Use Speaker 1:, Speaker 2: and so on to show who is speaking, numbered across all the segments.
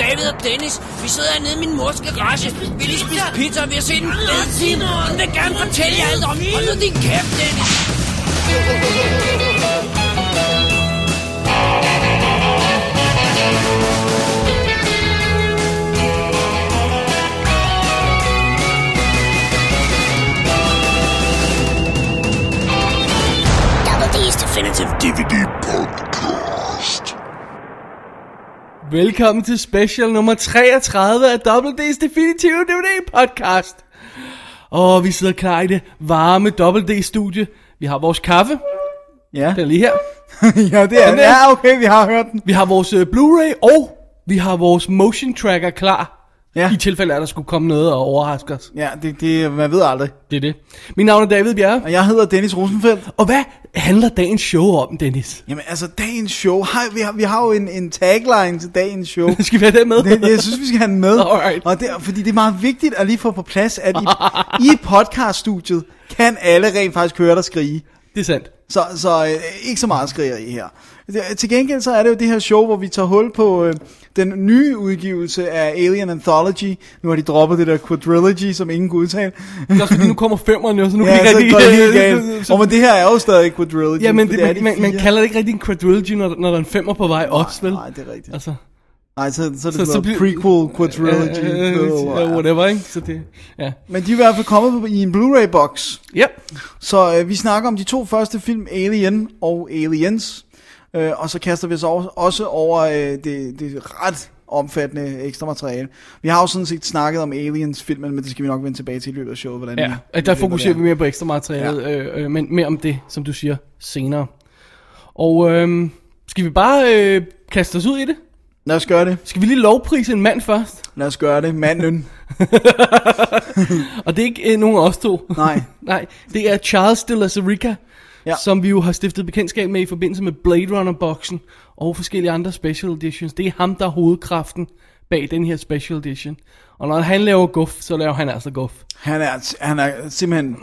Speaker 1: Dennis, vi sidder hernede i min mors garage. Vi lige spise pizza, og vi har set en fed film. Hun vil gerne fortælle jer alt om. Hold nu din kæft, Dennis.
Speaker 2: Double D's Definitive DVD
Speaker 3: Velkommen til special nummer 33 af Double D's Definitive DVD podcast. Og vi sidder klar i det varme Double D studie. Vi har vores kaffe,
Speaker 4: Ja.
Speaker 3: den er lige her.
Speaker 4: ja, det er
Speaker 3: Den
Speaker 4: den.
Speaker 3: der.
Speaker 4: Ja, okay, vi har hørt den.
Speaker 3: Vi har vores øh, Blu-ray, og vi har vores motion tracker klar.
Speaker 4: Ja.
Speaker 3: I tilfælde af, at der skulle komme noget og overraske os.
Speaker 4: Ja, det, det, man ved aldrig.
Speaker 3: Det er det. Mit navn er David Bjerre.
Speaker 4: Og jeg hedder Dennis Rosenfeldt.
Speaker 3: Og hvad handler dagens show om, Dennis?
Speaker 4: Jamen altså, dagens show. Hej, vi, har, vi har jo en, en tagline til dagens show.
Speaker 3: Skal vi have den med?
Speaker 4: Det, jeg synes, vi skal have den med.
Speaker 3: Alright.
Speaker 4: Og det, fordi det er meget vigtigt at lige få på plads, at i, i podcaststudiet kan alle rent faktisk høre dig skrige.
Speaker 3: det er sandt.
Speaker 4: Så, så øh, ikke så meget skriger i her. Det- Til gengæld så er det jo det her show, hvor vi tager hul på øh, den nye udgivelse af Alien Anthology. Nu har de droppet det der quadrilogy, som ingen kunne udtale.
Speaker 3: Det er også fordi, nu kommer femmeren jo, så nu
Speaker 4: Ja,
Speaker 3: kan
Speaker 4: så
Speaker 3: jeg
Speaker 4: går det helt
Speaker 3: ikke
Speaker 4: galt. Og men det her er jo stadig quadrilogy.
Speaker 3: Ja, men
Speaker 4: for
Speaker 3: det,
Speaker 4: er
Speaker 3: man,
Speaker 4: de
Speaker 3: man, man
Speaker 4: fire.
Speaker 3: kalder det ikke rigtig en quadrilogy, når, der- når der er en femmer på vej også, vel?
Speaker 4: Nej, det er rigtigt.
Speaker 3: Altså,
Speaker 4: Nej, så, så er
Speaker 3: så
Speaker 4: det sådan noget
Speaker 3: bliver-
Speaker 4: prequel quadrilogy.
Speaker 3: øh, øh,
Speaker 4: Øh, øh,
Speaker 3: whatever, ikke? Så det, ja.
Speaker 4: men de er i hvert fald kommet på- i en Blu-ray-boks.
Speaker 3: Ja,
Speaker 4: Så øh, vi snakker om de to første film, Alien og Aliens. Øh, og så kaster vi os over, også over øh, det, det ret omfattende ekstra materiale. Vi har jo sådan set snakket om Aliens-filmen, men det skal vi nok vende tilbage til i løbet af showet. Hvordan
Speaker 3: ja. Og der fokuserer vi mere på ekstra materialet, øh, øh, men mere om det, som du siger, senere. Og øh, skal vi bare øh, kaste os ud i det?
Speaker 4: Lad os gøre det.
Speaker 3: Skal vi lige lovprise en mand først?
Speaker 4: Lad os gøre det. Manden.
Speaker 3: Og det er ikke øh, nogen af os to.
Speaker 4: Nej.
Speaker 3: Nej, det er Charles de Lazarica, ja.
Speaker 4: Ja.
Speaker 3: som vi jo har stiftet bekendtskab med i forbindelse med Blade Runner-boksen og forskellige andre special editions. Det er ham, der er hovedkraften bag den her special edition. Og når han laver guf, så laver han altså guf.
Speaker 4: Han er, han er simpelthen,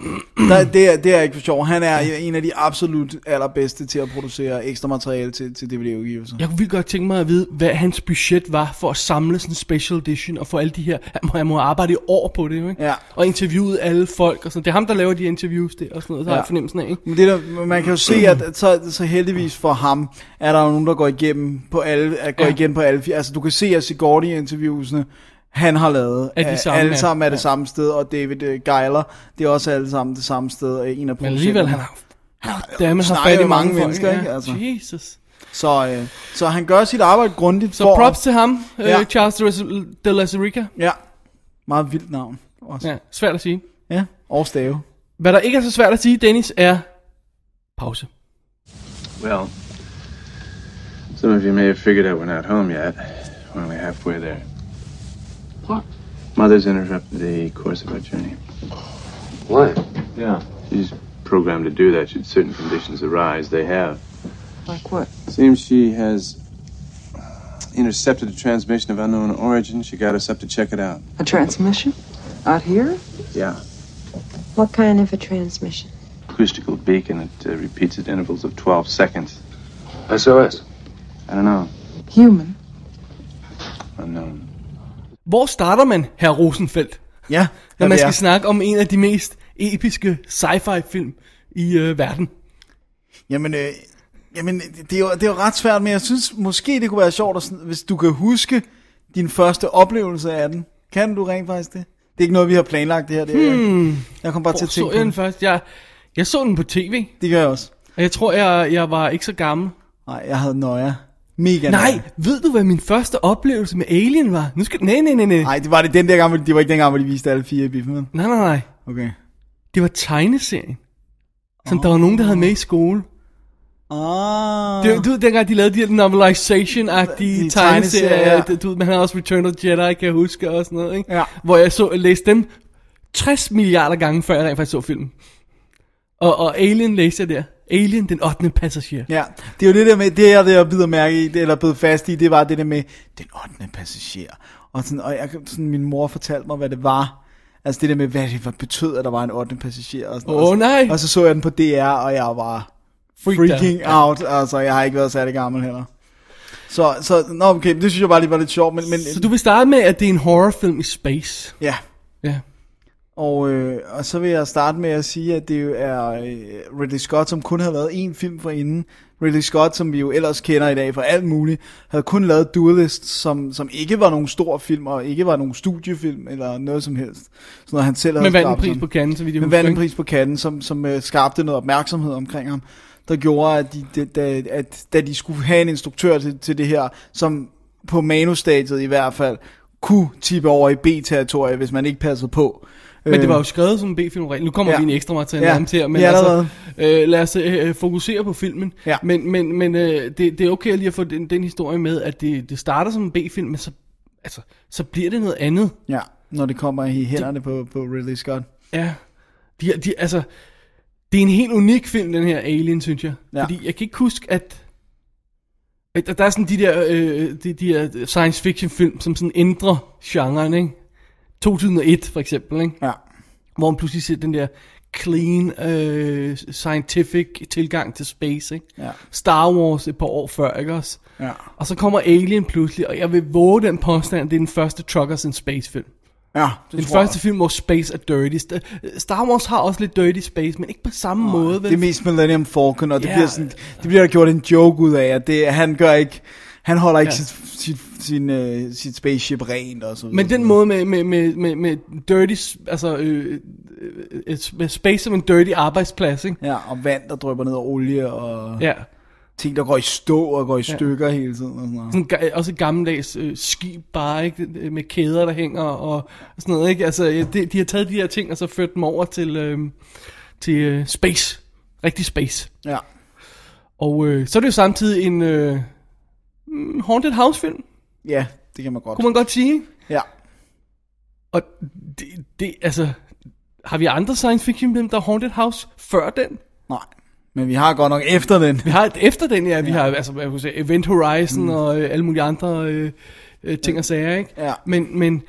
Speaker 4: der, det, er, det er ikke for sjov, han er en af de absolut allerbedste til at producere ekstra materiale til, til DVD-udgivelser.
Speaker 3: Jeg kunne virkelig godt tænke mig at vide, hvad hans budget var for at samle sådan en special edition og få alle de her... Han må, han må arbejde i år på det, jo, ikke?
Speaker 4: Ja.
Speaker 3: Og interviewe alle folk og sådan. Det er ham, der laver de interviews der og sådan noget, så ja. har
Speaker 4: Ja.
Speaker 3: jeg fornemmelsen af, ikke?
Speaker 4: Men det der, man kan jo se, at at så, så heldigvis for ham, er der jo nogen, der går igennem på alle, at går
Speaker 3: Ja.
Speaker 4: ja. igen på alle. fire. Altså du kan se, at Sigourney-interviewsene, han har lavet,
Speaker 3: Er de
Speaker 4: er-
Speaker 3: samme, ja.
Speaker 4: alle sammen er det
Speaker 3: Ja.
Speaker 4: samme sted, og David øh, Geiler, det er også alle sammen det samme sted, øh, en af
Speaker 3: Men alligevel, han har... Damme, har
Speaker 4: snakker
Speaker 3: fat i
Speaker 4: jo mange
Speaker 3: folk,
Speaker 4: mennesker,
Speaker 3: ja.
Speaker 4: ikke? Altså.
Speaker 3: Jesus.
Speaker 4: Så, øh, så han gør sit arbejde grundigt.
Speaker 3: Så
Speaker 4: for-
Speaker 3: props til ham, ja.
Speaker 4: Ja.
Speaker 3: øh, Charles de Las- de Lazarica.
Speaker 4: Ja, meget vildt navn også. Ja,
Speaker 3: Ja, svært at sige.
Speaker 4: ja. og stave.
Speaker 3: Hvad der ikke er så svært at sige, Dennis, er pause.
Speaker 5: Well, some of you may have figured out we're not home yet. We're only halfway there.
Speaker 6: What?
Speaker 5: Mother's interrupted the course of our journey.
Speaker 6: Why?
Speaker 5: Yeah. She's programmed to do that should certain conditions arise. They have.
Speaker 6: Like what?
Speaker 5: Seems she has intercepted a transmission of unknown origin. She got us up to check it out.
Speaker 6: A transmission? Out here?
Speaker 5: Yeah.
Speaker 7: What kind of a transmission?
Speaker 5: Acoustical beacon. It uh, repeats at intervals of 12 seconds.
Speaker 6: SOS.
Speaker 5: I don't know.
Speaker 6: Human.
Speaker 5: Unknown.
Speaker 3: Hvor starter man, herr Rosenfeldt,
Speaker 4: Ja,
Speaker 3: når
Speaker 4: hvad
Speaker 3: man
Speaker 4: ved
Speaker 3: skal
Speaker 4: jeg?
Speaker 3: snakke om en af de mest episke sci-fi film i øh, verden?
Speaker 4: Jamen, øh, jamen det, det, er jo, det er jo ret svært, men jeg synes måske, det kunne være sjovt, at, sådan- hvis du kan huske din første oplevelse af den. Kan du rent faktisk det? Det er ikke noget, vi har planlagt det her. Det er, hmm. Jeg kom bare til
Speaker 3: Hvor
Speaker 4: at
Speaker 3: så
Speaker 4: tænke
Speaker 3: jeg
Speaker 4: på
Speaker 3: den
Speaker 4: det.
Speaker 3: først? Jeg, jeg så den på tv,
Speaker 4: Det gør jeg også.
Speaker 3: og jeg tror, jeg, jeg var ikke så gammel.
Speaker 4: Nej, jeg havde nøje. Mega
Speaker 3: Nej, ved du, hvad min første oplevelse med Alien var? Nu skal... Nej, nej, nej, nej.
Speaker 4: Nej, det var det den der gang, hvor- det var ikke den gang, hvor de viste alle fire i biffen. vel?
Speaker 3: Nej, nej, nej.
Speaker 4: Okay.
Speaker 3: Det var tegneserien, som der var nogen, der havde med i skole.
Speaker 4: Ah.
Speaker 3: Det, var- du ved, dengang de lavede de her novelization-agtige tegneserier,
Speaker 4: De tegneserier, ja.
Speaker 3: ja. du ved, man havde også Return of the Jedi, kan jeg huske, og sådan noget, ikke?
Speaker 4: Ja.
Speaker 3: Hvor jeg så, læste dem 60 milliarder gange, før jeg rent faktisk så filmen. Og, og Alien læste jeg der. Alien, den 8. passager.
Speaker 4: Ja, det er jo det der med, det jeg, det jeg bider mærke i, det, eller blev fast i, det var det der med, den 8. passager. Og, sådan, og jeg, kan- sådan, min mor fortalte mig, hvad det var. Altså det der med, hvad det var, betød, at der var en 8. passager. Og sådan,
Speaker 3: Åh,
Speaker 4: og så-
Speaker 3: nej.
Speaker 4: Og så så jeg den på DR, og jeg var
Speaker 3: Freaked
Speaker 4: freaking out. Altså, jeg har ikke været særlig gammel heller. Så, så nå okay, men det synes jeg bare lige var lidt sjovt, men, men
Speaker 3: Så du vil starte med, at det er en horrorfilm i space.
Speaker 4: ja.
Speaker 3: Ja.
Speaker 4: Og, øh, og så vil jeg starte med at sige, at det jo er øh, Ridley Scott, som kun havde lavet én film for inden. Ridley Scott, som vi jo ellers kender i dag for alt muligt, havde kun lavet Duelist, som, som ikke var nogen stor film, og ikke var nogen studiefilm, eller noget som helst. Sådan noget, han selv havde
Speaker 3: Men vandt en
Speaker 4: skabt
Speaker 3: pris
Speaker 4: som-
Speaker 3: på Cannes, så vidt jeg
Speaker 4: Men
Speaker 3: husker,
Speaker 4: vandt en
Speaker 3: ikke?
Speaker 4: pris på katten, som, som øh, skabte noget opmærksomhed omkring ham, der gjorde, at de, de, de, at, da de skulle have en instruktør til, til det her, som på manustadiet i hvert fald, kunne tippe over i B-territoriet, hvis man ikke passede på.
Speaker 3: Men det var jo skrevet som en B-film regel. Nu kommer
Speaker 4: øh, Ja.
Speaker 3: vi en ekstra materiale
Speaker 4: Ja.
Speaker 3: ja. til, men
Speaker 4: Ja,
Speaker 3: altså,
Speaker 4: allerede.
Speaker 3: øh, lad os øh, fokusere på filmen.
Speaker 4: Ja.
Speaker 3: Men, men, men øh, det, det er okay lige at få den, den historie med, at det, det starter som en B-film, men så, altså, så bliver det noget andet.
Speaker 4: Øh, Ja, når det kommer i hænderne på, på Ridley Scott.
Speaker 3: Ja. De, de, altså, det er en helt unik film, den her Alien, synes jeg.
Speaker 4: Ja.
Speaker 3: Fordi jeg kan ikke huske, at... at der- der er sådan de der, øh, de, de der science fiction film, som sådan ændrer genren, ikke? 2001 for eksempel, ikke?
Speaker 4: Ja.
Speaker 3: Hvor man pludselig ser den der clean, øh, scientific tilgang til space, ikke?
Speaker 4: Ja.
Speaker 3: Star Wars et par år før, ikke også?
Speaker 4: Ja.
Speaker 3: Og så kommer Alien pludselig, og jeg vil våge den påstand, at det er den første Truckers in Space film.
Speaker 4: Ja, det
Speaker 3: Den
Speaker 4: tror
Speaker 3: første film, hvor space er dirty. St- Star Wars har også lidt dirty space, men ikke på samme måde.
Speaker 4: jeg.
Speaker 3: Vel?
Speaker 4: Det er mest Millennium Falcon, og det,
Speaker 3: Ja.
Speaker 4: bliver sådan, det bliver der gjort en joke ud af, at det, han gør ikke, han holder ikke
Speaker 3: Ja.
Speaker 4: ja. sit, sit, sin, øh, sit spaceship rent og så videre.
Speaker 3: men den måde med, med, med, med, med dirty, s- altså øh, øh, øh, med space som en dirty arbejdsplads, ikke?
Speaker 4: Ja, og vand, der drøber ned og olie, og ja.
Speaker 3: Ja.
Speaker 4: ting, der går i stå og går i stykker hele tiden og sådan noget.
Speaker 3: Sådan, ga- også et gammeldags øh, skib bare, ikke? Det- Med kæder, der hænger og sådan noget, ikke? Altså, ja, de, de har taget de her ting, og så ført dem over til, øh, til øh, space. Rigtig space.
Speaker 4: Ja.
Speaker 3: Og øh, så er det jo samtidig en øh, mm, haunted house film,
Speaker 4: ja, det kan man godt.
Speaker 3: kunne man godt sige, ikke?
Speaker 4: Ja.
Speaker 3: Og det, det, altså, har vi andre science fiction film, der er Haunted House før den?
Speaker 4: Nej. Men vi har godt nok efter den.
Speaker 3: Vi har et efter den, ja. Vi har altså, hvad kan man sige, Event Horizon mm. og øh, alle mulige andre øh, øh, ting og sager, ikke?
Speaker 4: Ja.
Speaker 3: Men, men,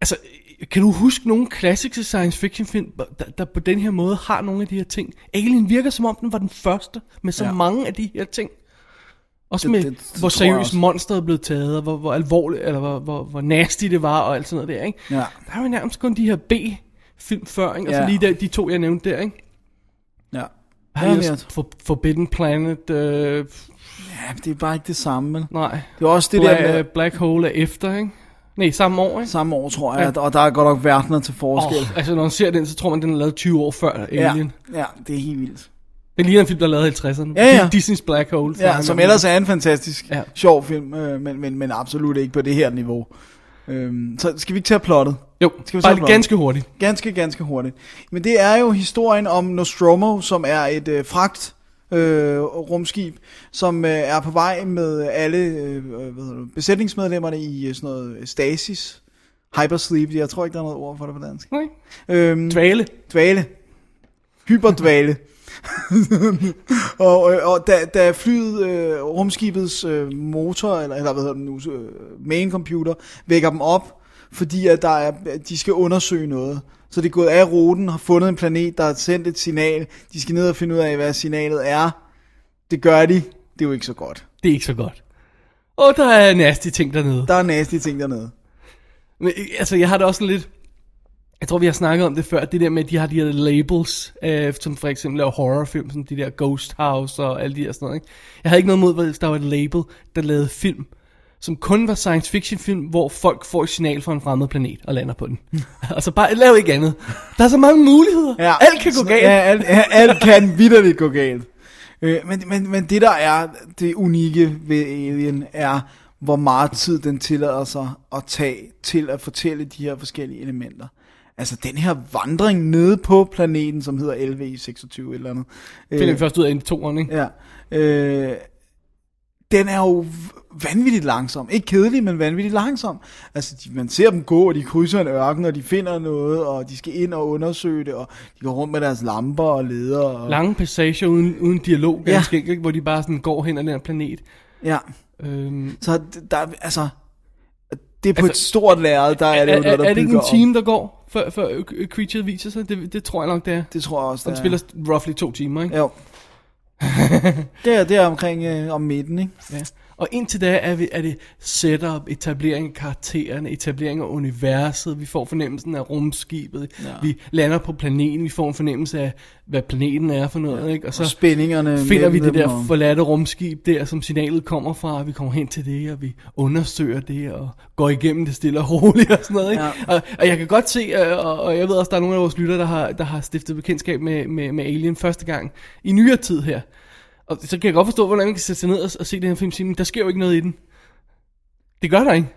Speaker 3: altså, øh, kan du huske nogle klassiske science fiction film, der, der på den her måde har nogle af de her ting? Alien virker som om, den var den første med så ja.
Speaker 4: Ja.
Speaker 3: mange af de her ting. Også
Speaker 4: Det-
Speaker 3: med, det,
Speaker 4: det-
Speaker 3: det,
Speaker 4: det
Speaker 3: hvor
Speaker 4: tror jeg
Speaker 3: seriøst
Speaker 4: også.
Speaker 3: monsteret blev taget, og hvor, hvor alvorligt, eller hvor, hvor, hvor nasty det var, og alt sådan noget der, ikke?
Speaker 4: Ja.
Speaker 3: Der er jo nærmest kun de her B-film før, ikke? Og så
Speaker 4: Ja.
Speaker 3: lige der, de to, jeg nævnte der, ikke?
Speaker 4: Ja.
Speaker 3: Har I
Speaker 4: Ja,
Speaker 3: også For, Forbidden Planet, øh,
Speaker 4: ja, det er bare ikke det samme. vel?
Speaker 3: nej,
Speaker 4: Det er også det
Speaker 3: Black,
Speaker 4: der med,
Speaker 3: øh, Black Hole er efter, ikke? Nej, samme år, ikke?
Speaker 4: samme år, tror jeg, ja. og der er godt nok verdener til forskel.
Speaker 3: Oh, altså, når man ser den, så tror man, den er lavet 20 år før
Speaker 4: ja,
Speaker 3: Alien. Ja.
Speaker 4: ja, det er helt vildt.
Speaker 3: Den ligner en film, der er lavet i 50'erne.
Speaker 4: Ja, ja.
Speaker 3: Disney's Black Hole. fra
Speaker 4: Ja,
Speaker 3: en
Speaker 4: som
Speaker 3: gang.
Speaker 4: ellers er en fantastisk
Speaker 3: Ja.
Speaker 4: ja. sjov film, øh, men, men, men absolut ikke på det her niveau. Øhm, så skal vi ikke tage plottet?
Speaker 3: Jo,
Speaker 4: Skal vi
Speaker 3: bare
Speaker 4: så
Speaker 3: lige ganske hurtigt.
Speaker 4: Ganske, ganske hurtigt. Men det er jo historien om Nostromo, som er et øh, fragt øh, rumskib, som øh, er på vej med alle øh, hvad hedder det, besætningsmedlemmerne i øh, sådan noget stasis. Hypersleep, jeg tror ikke, der er noget ord for det på dansk.
Speaker 3: Nej.
Speaker 4: Øhm,
Speaker 3: Dvale.
Speaker 4: dvale. Hyperdvale. og, øh, og da, da flyet, øh, rumskibets øh, motor, eller, eller hvad hedder den nu, øh, main computer, vækker dem op, fordi at der er, at de skal undersøge noget. Så det er gået af ruten, har fundet en planet, der har sendt et signal. De skal ned og finde ud af, hvad signalet er. Det gør de. Det er jo ikke så godt.
Speaker 3: Det er ikke så godt. Og der er nasty ting dernede.
Speaker 4: Der er nasty ting dernede.
Speaker 3: Men, øh, altså, jeg har det også sådan lidt... Jeg tror, vi har snakket om det før, det der med, at de har de her labels, øh, som for eksempel laver horrorfilm, som de der Ghost House og alle de her sådan noget. Ikke? Jeg havde ikke noget mod, hvis der var et label, der lavede film, som kun var science fiction film, hvor folk får et signal fra en fremmed planet og lander på den. altså bare, lav ikke andet. Der er så mange muligheder. Ja. Alt kan gå
Speaker 4: Sådan-
Speaker 3: galt.
Speaker 4: Ja, alt, ja, alt kan vidderligt gå galt. Øh, men, men, men det der er det unikke ved Alien er, hvor meget tid den tillader sig at tage til at fortælle de her forskellige elementer. Altså den her vandring nede på planeten, som hedder LV26 eller andet. Øh,
Speaker 3: Finder vi først ud af i toeren, ikke?
Speaker 4: Ja. Øh, den er jo v- vanvittigt langsom. Ikke kedelig, men vanvittigt langsom. Altså, de, man ser dem gå, og de krydser en ørken, og de finder noget, og de skal ind og undersøge det, og de går rundt med deres lamper og leder. Og,
Speaker 3: Lange passager uden, uden dialog,
Speaker 4: Ja.
Speaker 3: ganske enkelt, ikke? hvor de bare sådan går hen ad den her planet.
Speaker 4: ja.
Speaker 3: Øhm,
Speaker 4: Så d- der, er- altså, det er på
Speaker 3: Altså,
Speaker 4: altså, et stort lærred, der er det jo
Speaker 3: er,
Speaker 4: noget, der
Speaker 3: er, er det ikke
Speaker 4: bygger
Speaker 3: en
Speaker 4: op.
Speaker 3: time, der går, før, før øh, Creature viser sig? Det, det tror jeg nok, det er.
Speaker 4: Det tror jeg også,
Speaker 3: Den
Speaker 4: der
Speaker 3: spiller roughly to timer, ikke?
Speaker 4: er. Jo. det, er, det er omkring øh, om midten, ikke?
Speaker 3: Ja. Og indtil da er, vi, er det setup, etablering af karaktererne, etablering af universet, vi får fornemmelsen af rumskibet, ja. vi lander på planeten, vi får en fornemmelse af, hvad planeten er for noget, ja. ikke? Og så
Speaker 4: Og spændingerne
Speaker 3: finder vi
Speaker 4: mellem
Speaker 3: det
Speaker 4: dem,
Speaker 3: der
Speaker 4: og-
Speaker 3: forladte rumskib der, som signalet kommer fra, og vi kommer hen til det, og vi undersøger det, og går igennem det stille og roligt og sådan noget. Ikke? Ja. Og, og jeg kan godt se, øh, og, og jeg ved også, der er nogle af vores lytter, der har, der har stiftet bekendtskab med, med, med Alien første gang i nyere tid her. Og så kan jeg godt forstå, hvordan man kan sætte sig ned og, og se den her film og sige, men der sker jo ikke noget i den. Det gør der ikke.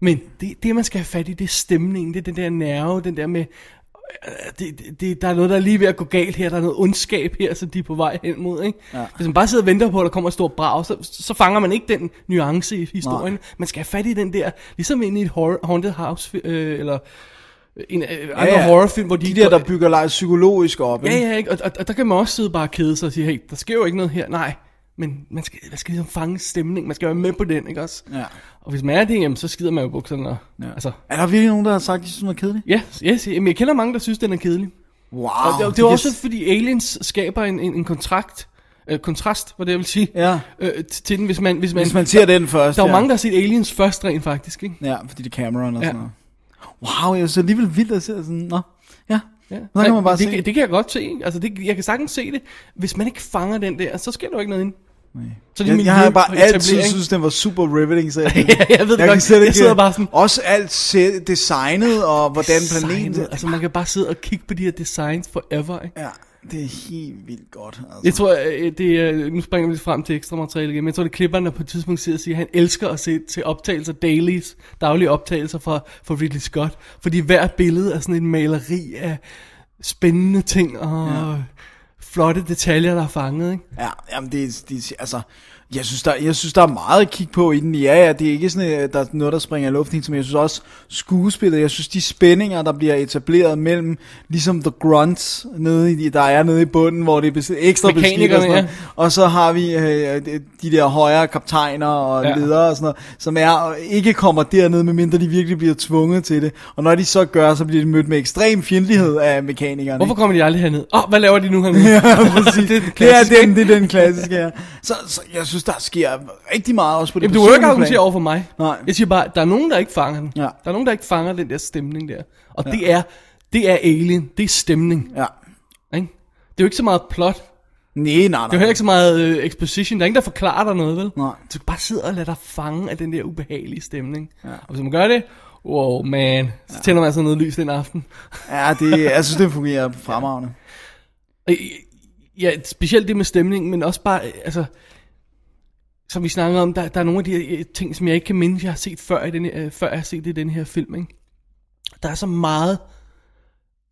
Speaker 3: Men det, det man skal have fat i, det er stemningen, det er den der nerve, den der med, øh, det, det- det, der er noget, der er lige ved at gå galt her, der er noget ondskab her, som de er på vej hen mod. Ikke? Ja. Hvis man bare sidder og venter på, at der kommer et stort brag, så, så fanger man ikke den nuance i historien. Nej. Man skal have fat i den der, ligesom inde i et horror, haunted house, øh, eller en, øh, andre
Speaker 4: ja.
Speaker 3: horrorfilm, hvor de,
Speaker 4: De der, der bygger lejet psykologisk op, ikke?
Speaker 3: Ja, ja, ikke? Og, og, og der kan man også sidde bare og kede sig og sige, hey, der sker jo ikke noget her. Nej, men man skal, man skal ligesom fange stemningen, man skal være med på den, ikke også?
Speaker 4: Ja.
Speaker 3: Og hvis man er det, jamen, så skider man jo i bukserne. Og, ja. Altså,
Speaker 4: Er der virkelig nogen, der har sagt, at de synes, den er kedelig?
Speaker 3: ja, yes, jamen, jeg kender mange, der synes, den er kedelig.
Speaker 4: Wow.
Speaker 3: Og det, det er også fordi aliens skaber en, en, en kontrakt, øh, kontrast, var det jeg vil sige,
Speaker 4: Ja.
Speaker 3: øh, t- til den, hvis man... Hvis man,
Speaker 4: Hvis man ser den først,
Speaker 3: der er jo
Speaker 4: ja.
Speaker 3: mange, der har set Aliens først rent faktisk, ikke?
Speaker 4: Ja, fordi det er Cameron og
Speaker 3: Ja.
Speaker 4: sådan noget. Wow, jeg er så alligevel vildt at se sådan, nå, ja.
Speaker 3: Ja.
Speaker 4: Så kan man bare
Speaker 3: det,
Speaker 4: se.
Speaker 3: Kan, det kan jeg godt se. ikke? Altså, det, jeg kan sagtens se det. Hvis man ikke fanger den der, så sker der jo ikke noget ind. Så er
Speaker 4: Jeg, jeg har
Speaker 3: miljø-
Speaker 4: bare
Speaker 3: og
Speaker 4: altid
Speaker 3: etablering.
Speaker 4: synes, den var super riveting, så jeg, jeg,
Speaker 3: jeg ved det godt.
Speaker 4: kan slet
Speaker 3: Jeg
Speaker 4: ikke-
Speaker 3: sidder bare sådan-
Speaker 4: Også alt se- designet og hvordan planeten...
Speaker 3: Designet. Altså, man kan bare sidde og kigge på de her designs forever, ikke?
Speaker 4: Ja, det er helt vildt godt. Altså.
Speaker 3: Jeg tror, øh, det er, nu springer vi lidt frem til ekstra materiale igen, men jeg tror, det er klipperen, der på et tidspunkt siger, siger, at han elsker at se til optagelser, dailies, daglige optagelser fra, fra Ridley Scott, fordi hvert billede er sådan et maleri af spændende ting og ja. flotte detaljer, der er fanget, ikke?
Speaker 4: Ja, jamen det, er- det er- altså, jeg synes, der, jeg synes, der er meget at kigge på i den. Ja, ja, det er ikke sådan, at der er noget, der springer i luften, men jeg synes også skuespillet, jeg synes de spændinger, der bliver etableret mellem, ligesom The Grunts, nede i, der er nede i bunden, hvor det er bes- ekstra beskidt og
Speaker 3: Mekanikerne,
Speaker 4: sådan noget. Og så har vi øh, de- de der højere kaptajner og
Speaker 3: Ja.
Speaker 4: ja. ledere og sådan noget, som er, ikke kommer derned, medmindre de virkelig bliver tvunget til det. Og når de så gør, så bliver de mødt med ekstrem fjendtlighed af mekanikerne.
Speaker 3: Hvorfor kommer de aldrig herned? Åh, oh, hvad laver de nu hernede?
Speaker 4: Præcis.
Speaker 3: det er den
Speaker 4: det, er
Speaker 3: klassiske.
Speaker 4: den, det er den klassiske, ja. Så, så jeg synes, der sker rigtig meget også på det
Speaker 3: Jamen, du må jo ikke
Speaker 4: personlige
Speaker 3: argumentere
Speaker 4: plan.
Speaker 3: over for mig.
Speaker 4: Nej.
Speaker 3: Jeg siger bare, der er nogen, der ikke fanger den.
Speaker 4: Ja.
Speaker 3: Der er nogen, der ikke fanger den der stemning der. Og ja. det er, det er alien. Det er stemning.
Speaker 4: Ja.
Speaker 3: Ikke? Det er jo ikke så meget plot. Det
Speaker 4: Nej, nej, nej.
Speaker 3: er jo heller ikke så meget øh, exposition. Der er ingen, der forklarer dig noget, vel?
Speaker 4: Nej.
Speaker 3: Du kan bare sidde og lade dig fange af den der ubehagelige stemning. Ja. Og hvis man gør det, wow, man. Så tænder man altså noget lys den aften.
Speaker 4: Ja, det, jeg synes, det fungerer fremragende.
Speaker 3: Øh, Ja, specielt det med stemningen, men også bare, øh, altså, som vi snakker om, der, der er nogle af de her øh, ting, som jeg ikke kan minde, jeg har set før, i den, øh, før jeg har set det i den her film, ikke? Der er så meget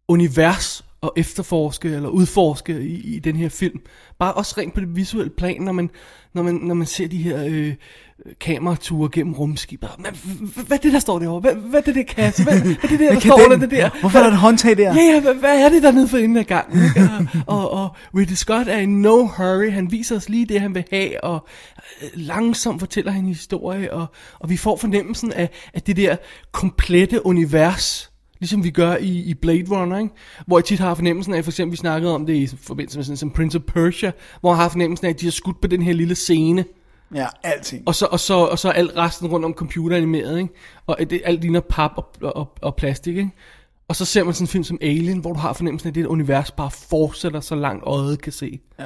Speaker 3: univers at efterforske eller udforske i, i den her film. Bare også rent på det visuelle plan, når man, når man, når man ser de her øh, kamerature gennem rumskibet. Hvad, hvad, hvad er det, der står derovre? Hvad, hvad er det, der kasse? Hvad, hvad er det, der, der
Speaker 4: kan
Speaker 3: står under
Speaker 4: den?
Speaker 3: det der?
Speaker 4: Hvorfor er der et håndtag der?
Speaker 3: Ja, ja, hvad, hvad er det dernede for enden af gangen? ikke? Og, og, og Ridley Scott er i no hurry, han viser os lige det, han vil have, og øh, langsomt fortæller han en historie, og, og vi får fornemmelsen af, af det der komplette univers, ligesom vi gør i, i Blade Runner, ikke? hvor jeg tit har fornemmelsen af, for eksempel vi snakkede om det i forbindelse med sådan som Prince of Persia, hvor jeg har fornemmelsen af, at de har skudt på den her lille scene,
Speaker 4: Ja, alting.
Speaker 3: og så, og så, og så er alt resten rundt om computeranimeret, ikke? Og det, alt ligner pap og, og, og plastik, ikke? Og så ser man sådan en film som Alien, hvor du har fornemmelsen af, at det univers bare fortsætter så langt øjet kan se.
Speaker 4: Ja.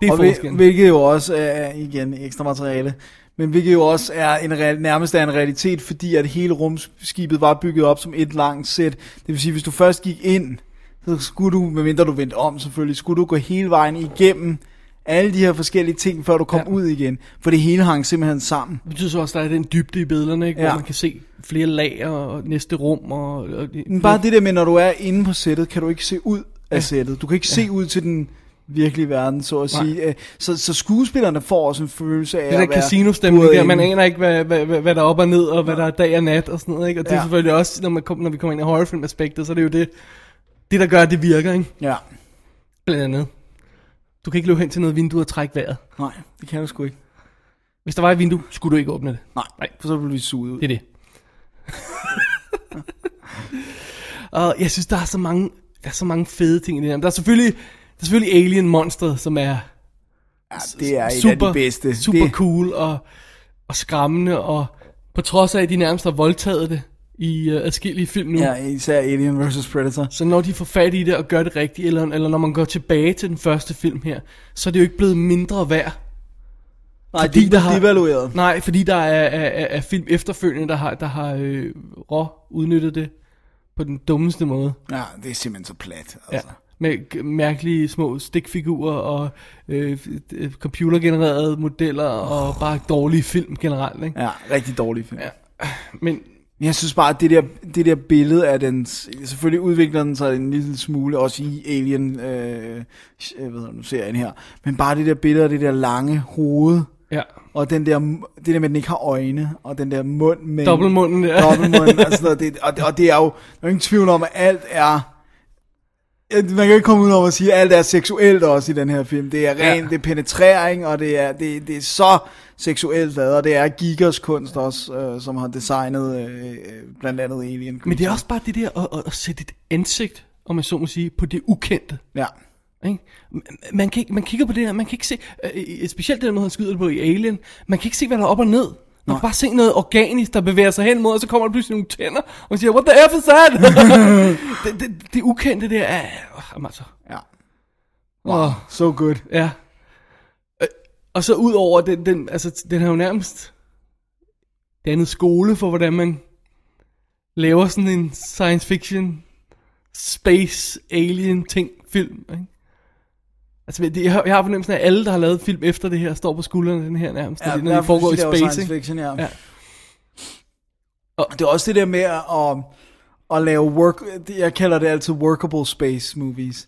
Speaker 3: Det er
Speaker 4: og
Speaker 3: forskellen.
Speaker 4: hvil- hvilket jo også er, igen, ekstra materiale, men hvilket jo også er en real, nærmest er en realitet, fordi at hele rumskibet var bygget op som et langt sæt. Det vil sige, hvis du først gik ind, så skulle du, medmindre du vendte om selvfølgelig, skulle du gå hele vejen igennem alle de her forskellige ting, før du kom
Speaker 3: Ja.
Speaker 4: ja. ud igen. For det hele hang simpelthen sammen.
Speaker 3: Det betyder så også, at der er den dybde i billederne, ikke? Ja.
Speaker 4: Ja.
Speaker 3: Hvor man kan se flere lag og næste rum og... og det,
Speaker 4: Men bare det der med, når du er inde på sættet, kan du ikke se ud af ja. sættet. Du kan ikke ja. se ud til den virkelige verden, så at
Speaker 3: Nej.
Speaker 4: sige. Øh, Så, så skuespillerne får også en følelse af
Speaker 3: det
Speaker 4: at
Speaker 3: der
Speaker 4: være...
Speaker 3: casinostemning
Speaker 4: ude
Speaker 3: der,
Speaker 4: af
Speaker 3: man
Speaker 4: enden.
Speaker 3: aner ikke, hvad, hvad, hvad, hvad der er op og ned, og hvad der er dag og nat og sådan noget, ikke? Og det ja. er
Speaker 4: Ja.
Speaker 3: selvfølgelig også, når, man kom, når vi kommer ind i horrorfilm-aspektet, så er det jo det, det der gør, at det virker, ikke?
Speaker 4: Ja,
Speaker 3: Blandt andet. Du kan ikke løbe hen til noget vindue og trække vejret.
Speaker 4: nej, det kan du sgu ikke.
Speaker 3: Hvis der var et vindue, skulle du ikke åbne det.
Speaker 4: Nej,
Speaker 3: Nej.
Speaker 4: Nej. for så bliver vi suget ud.
Speaker 3: Det er det. og jeg synes, der er så mange, der er så mange fede ting i det her. Men Der er selvfølgelig, der er selvfølgelig Alien Monster, som er
Speaker 4: Ja, det er et
Speaker 3: super,
Speaker 4: af de bedste.
Speaker 3: super
Speaker 4: det,
Speaker 3: cool og, og skræmmende, og på trods af, at de nærmest har voldtaget det i øh, adskillige film nu.
Speaker 4: Ja, især Alien vs. Predator.
Speaker 3: Så når de får fat i det og gør det rigtigt, eller, eller når man går tilbage til den første film her, så er det jo ikke blevet mindre værd.
Speaker 4: Nej,
Speaker 3: Fordi
Speaker 4: de,
Speaker 3: der
Speaker 4: der
Speaker 3: har-
Speaker 4: har... devalueret.
Speaker 3: Nej, fordi der er, er, er, er film efterfølgende, der har, der har øh, rå udnyttet det på den dummeste måde.
Speaker 4: Ja, det er simpelthen så plat.
Speaker 3: Ja.
Speaker 4: Altså.
Speaker 3: Med g- mærkelige små stikfigurer og øh, f- øh, computergenererede modeller og bare dårlige film generelt. Ikke?
Speaker 4: Ja. ja, rigtig dårlig film.
Speaker 3: Ja. Men
Speaker 4: Jeg synes bare, at det der, det der billede af den... Selvfølgelig udvikler den sig en lille smule, også i Alien, øh, jeg ved nu serien her. Men bare det der billede af det der lange hoved,
Speaker 3: ja,
Speaker 4: og den der, det der med, at den ikke har øjne, og den der mund med...
Speaker 3: dobbeltmunden der.
Speaker 4: Dobbeltmund, og altså, sådan noget. Det, og, og det er jo, der er ingen tvivl om, at alt er... at Man kan jo ikke komme ud over at sige, at alt er seksuelt også i den her film. Det er rent,
Speaker 3: Ja.
Speaker 4: ja. det er penetrering, og det er, det, det er så seksuelt lavet, og det er Gigas kunst også, øh, som har designet øh, øh, blandt andet Alien.
Speaker 3: Men det er også bare det der at, at, at sætte et ansigt, om jeg så må sige, på det ukendte.
Speaker 4: Ja.
Speaker 3: Ikke? M- Man, kan, ikke- man kigger på det her, man kan ikke se, øh, specielt den måde, han skyder det på i Alien, man kan ikke se, hvad der er op og ned. Man kan bare se noget organisk, der bevæger sig hen mod, og så kommer der pludselig nogle tænder, og man siger, what the F is that? det, det, det ukendte der er, øh, jamen altså,
Speaker 4: ja.
Speaker 3: wow. oh,
Speaker 4: So good.
Speaker 3: ja. Øh, Og så ud over, den, den, altså, den har jo nærmest dannet skole for, hvordan man laver sådan en science fiction, space, alien ting, film, ikke? Altså, det- jeg har, jeg har fornemmelsen af, at alle, der har lavet film efter det her, står på skuldrene af den her nærmest, ja, når
Speaker 4: der
Speaker 3: de foregår i
Speaker 4: laver
Speaker 3: space,
Speaker 4: science
Speaker 3: ikke?
Speaker 4: fiction, ja.
Speaker 3: Ja.
Speaker 4: ja. Og det er også det der med at, um, at, at lave work, jeg kalder det altid workable space movies.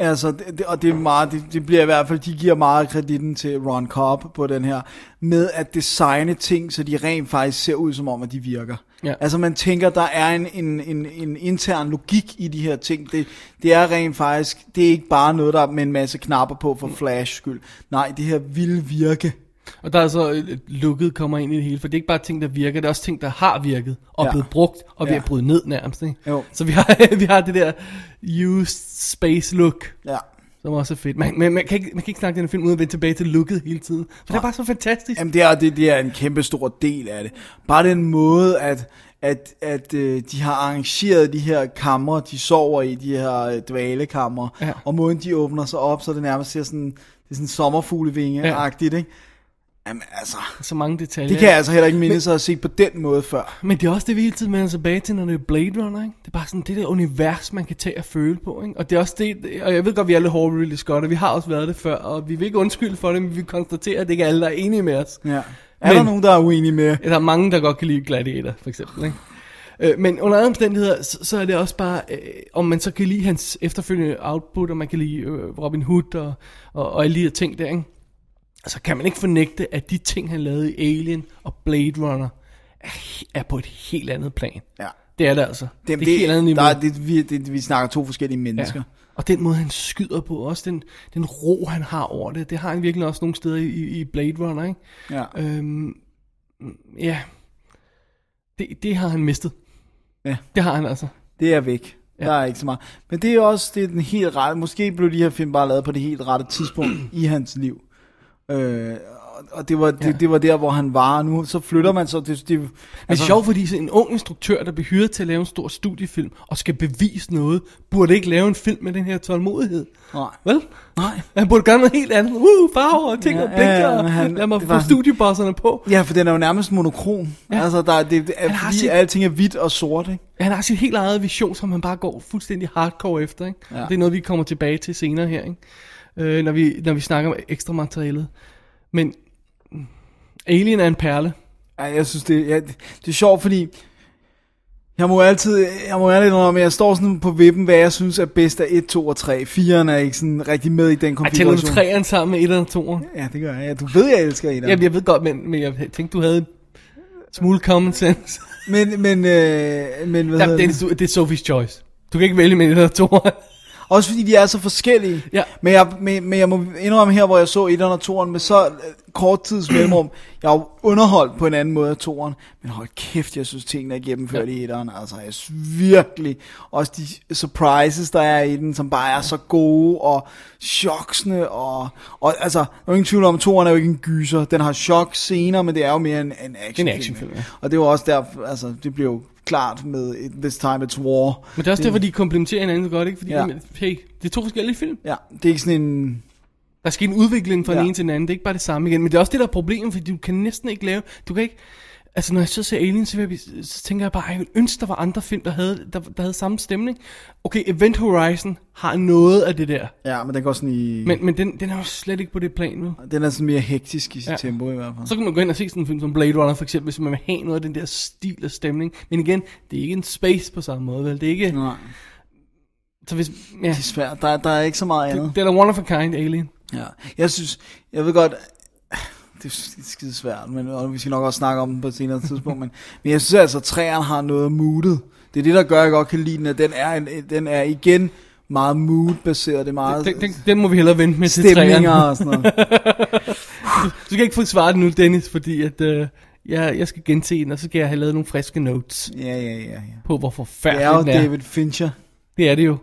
Speaker 4: Altså, det, det- og det er meget, det, det bliver i hvert fald, de giver meget kreditten til Ron Cobb på den her, med at designe ting, så de rent faktisk ser ud som om, at de virker.
Speaker 3: Ja.
Speaker 4: Altså man tænker, der er en, en, en, en intern logik i de her ting. Det, det er rent faktisk, det er ikke bare noget, der er med en masse knapper på
Speaker 3: Mm.
Speaker 4: for flash skyld. Nej, det her vil virke.
Speaker 3: Og der er så øh, lukket kommer ind i det hele, for det er ikke bare ting, der virker, det er også ting, der har virket, og ja.
Speaker 4: Ja.
Speaker 3: blevet brugt, og ved
Speaker 4: Ja.
Speaker 3: at bryde ned nærmest, ikke?
Speaker 4: Jo.
Speaker 3: Så vi har, vi har det der used space look,
Speaker 4: Ja.
Speaker 3: Som også er fedt. Man, man, man, kan, ikke, man kan ikke snakke den her film uden at vende tilbage til looket hele tiden. For det er bare så fantastisk.
Speaker 4: Jamen det er, det, det er en kæmpe stor del af det. Bare den måde, at, at, at øh, de har arrangeret de her kamre, de sover i, de her øh, dvalekamre,
Speaker 3: Ja.
Speaker 4: ja. og måden de åbner sig op, så det nærmest ser sådan, det er sådan sommerfuglevinge-agtigt, ikke? Jamen altså,
Speaker 3: Så mange detaljer.
Speaker 4: det kan jeg altså heller ikke mindes at have set på den måde før.
Speaker 3: Men det er også det, vi hele tiden vender tilbage til, når det er Blade Runner. Ikke? Det er bare sådan det der univers, man kan tage og føle på. Ikke? Og det er også det, og jeg ved godt, vi er lidt hårde ved Ridley Scott, og vi har også været det før, og vi vil ikke undskylde for det, men vi konstaterer, at det ikke er alle, der er enige med os.
Speaker 4: Ja. Er
Speaker 3: Men-
Speaker 4: men, der nogen, der er uenige med?
Speaker 3: Ja, Der er mange, der godt kan lide Gladiator, for eksempel. Ikke? Øh, Men under andre omstændigheder, så, så er det også bare, øh, om man så kan lide hans efterfølgende output, og man kan lide øh, Robin Hood og, og, og alle de her ting der, ikke? Altså kan man ikke fornægte, at de ting, han lavede i Alien og Blade Runner, er, he- er på et helt andet plan.
Speaker 4: Ja.
Speaker 3: Det er det altså.
Speaker 4: Jamen,
Speaker 3: det er et helt andet
Speaker 4: det,
Speaker 3: niveau.
Speaker 4: der, er- det, vi, det, vi snakker to forskellige mennesker.
Speaker 3: Og den måde, han skyder på, også den, den ro, han har over det, det har han virkelig også nogle steder i, i Blade Runner, ikke?
Speaker 4: Ja. ja.
Speaker 3: Øhm, ja. Det, det har han mistet.
Speaker 4: Ja.
Speaker 3: Det har han altså.
Speaker 4: Det er væk.
Speaker 3: Ja.
Speaker 4: Ja. Der er ikke så meget. Men det er også det er den helt rette. Måske blev de her film bare lavet på det helt rette tidspunkt i hans liv. Øh, og- og det var, det,
Speaker 3: Ja.
Speaker 4: det var der, hvor han var. Nu så flytter man så. Det, det,
Speaker 3: Men altså, sjovt, fordi en ung instruktør, der bliver hyret til at lave en stor studiefilm, og skal bevise noget, burde ikke lave en film med den her tålmodighed.
Speaker 4: Nej.
Speaker 3: Vel?
Speaker 4: Nej.
Speaker 3: Han burde gøre noget helt andet. Uh, farver og ting
Speaker 4: Ja,
Speaker 3: og blinker.
Speaker 4: ja,
Speaker 3: Ja,
Speaker 4: men
Speaker 3: han,
Speaker 4: han-
Speaker 3: lad mig
Speaker 4: det
Speaker 3: få
Speaker 4: var
Speaker 3: var...
Speaker 4: han.
Speaker 3: studiobosserne på.
Speaker 4: Ja, for den er jo nærmest monokrom.
Speaker 3: Ja.
Speaker 4: Ja. Altså, der, er- det, det
Speaker 3: Han
Speaker 4: er,
Speaker 3: har
Speaker 4: fordi
Speaker 3: sit-
Speaker 4: alting er hvidt og sort, ikke?
Speaker 3: Han har sit helt eget vision, som han bare går fuldstændig hardcore efter. Ikke? Ja.
Speaker 4: Ja.
Speaker 3: Det er noget, vi kommer tilbage til senere her, ikke? Øh, når, vi, når vi snakker om ekstra materialet. Men mm, Alien er en perle.
Speaker 4: Ja, jeg synes, det, ja, det, det er sjovt, fordi jeg må altid, jeg må ærligt indrømme, at jeg står sådan på vippen, hvad jeg synes er bedst af 1, 2 og 3. 4'eren er ikke sådan rigtig med i den
Speaker 3: Jeg tæller du
Speaker 4: konfiguration.
Speaker 3: træerne sammen med et eller toeren?
Speaker 4: Ja, det gør jeg. Ja, du ved, jeg elsker 1'eren.
Speaker 3: Ja. Jamen, jeg ved godt, men, men jeg tænkte, du havde en smule common sense.
Speaker 4: Men, men, øh, men hvad
Speaker 3: Jamen,
Speaker 4: hedder
Speaker 3: det, er, det er Sophie's Choice. Du kan ikke vælge mellem et eller toeren.
Speaker 4: Også fordi de er så forskellige.
Speaker 3: Ja.
Speaker 4: Men, jeg, men, men jeg må indrømme her, hvor jeg så 1'eren og 2'eren med så øh, kort tids mellemrum. Jeg er jo underholdt på en anden måde af 2'eren. Men hold kæft, jeg synes tingene er gennemført i 1'eren. Altså jeg synes virkelig. Også de surprises, der er i den, som bare er så gode og choksende. Og, og altså, der er jo ingen tvivl om, 2'eren er jo ikke en gyser. Den har chok scener, men det er jo mere en, en actionfilm.
Speaker 3: actionfilm, ja.
Speaker 4: Og det var også der, altså det blev jo klart med This Time It's War.
Speaker 3: Men det er også derfor, de komplementerer hinanden så godt, ikke? Fordi,
Speaker 4: Ja.
Speaker 3: jamen, hey, det er to forskellige film.
Speaker 4: Ja, det er ikke sådan en...
Speaker 3: Der skal en udvikling fra ja.
Speaker 4: Ja.
Speaker 3: den ene til den anden. Det er ikke bare det samme igen. Men det er også det, der er problemet, fordi du kan næsten ikke lave... Du kan ikke... Altså, når jeg så ser Alien, så, vil jeg, blive- så tænker jeg bare, at jeg ville ønske, der var andre film, der havde, der, der havde samme stemning. Okay, Event Horizon har noget af det der.
Speaker 4: Ja, men den går sådan i...
Speaker 3: Men, men den, den er jo slet ikke på det plan nu.
Speaker 4: Den er sådan mere hektisk i sit
Speaker 3: Ja.
Speaker 4: ja. tempo i hvert fald.
Speaker 3: Så kan man gå ind og se sådan en film som Blade Runner, for eksempel, hvis man vil have noget af den der stil og stemning. Men igen, det er ikke en space på samme måde, vel? Det er ikke...
Speaker 4: Nej,
Speaker 3: Så hvis... Ja,
Speaker 4: Mm. det er svært. Der, der er ikke så meget andet.
Speaker 3: det, det er da one of a kind, Alien.
Speaker 4: Ja. Jeg synes, jeg ved godt, det er skide svært, men og vi skal nok også snakke om den på et senere tidspunkt, men, men jeg synes altså, at træerne har noget moodet. Det er det, der gør, at jeg godt kan lide den, at den er, en, den er igen meget mood-baseret. Det er meget
Speaker 3: Den, den, den må vi hellere vente med til
Speaker 4: Ah, stemninger
Speaker 3: træerne.
Speaker 4: og sådan noget.
Speaker 3: Du skal ikke få svaret nu, Dennis, fordi at, øh, jeg, jeg skal gense den, og så skal jeg have lavet nogle friske notes
Speaker 4: Ja, ja, ja. ja.
Speaker 3: på, hvor
Speaker 4: Det er jo
Speaker 3: forfærdelig den er.
Speaker 4: David Fincher.
Speaker 3: Det er det jo.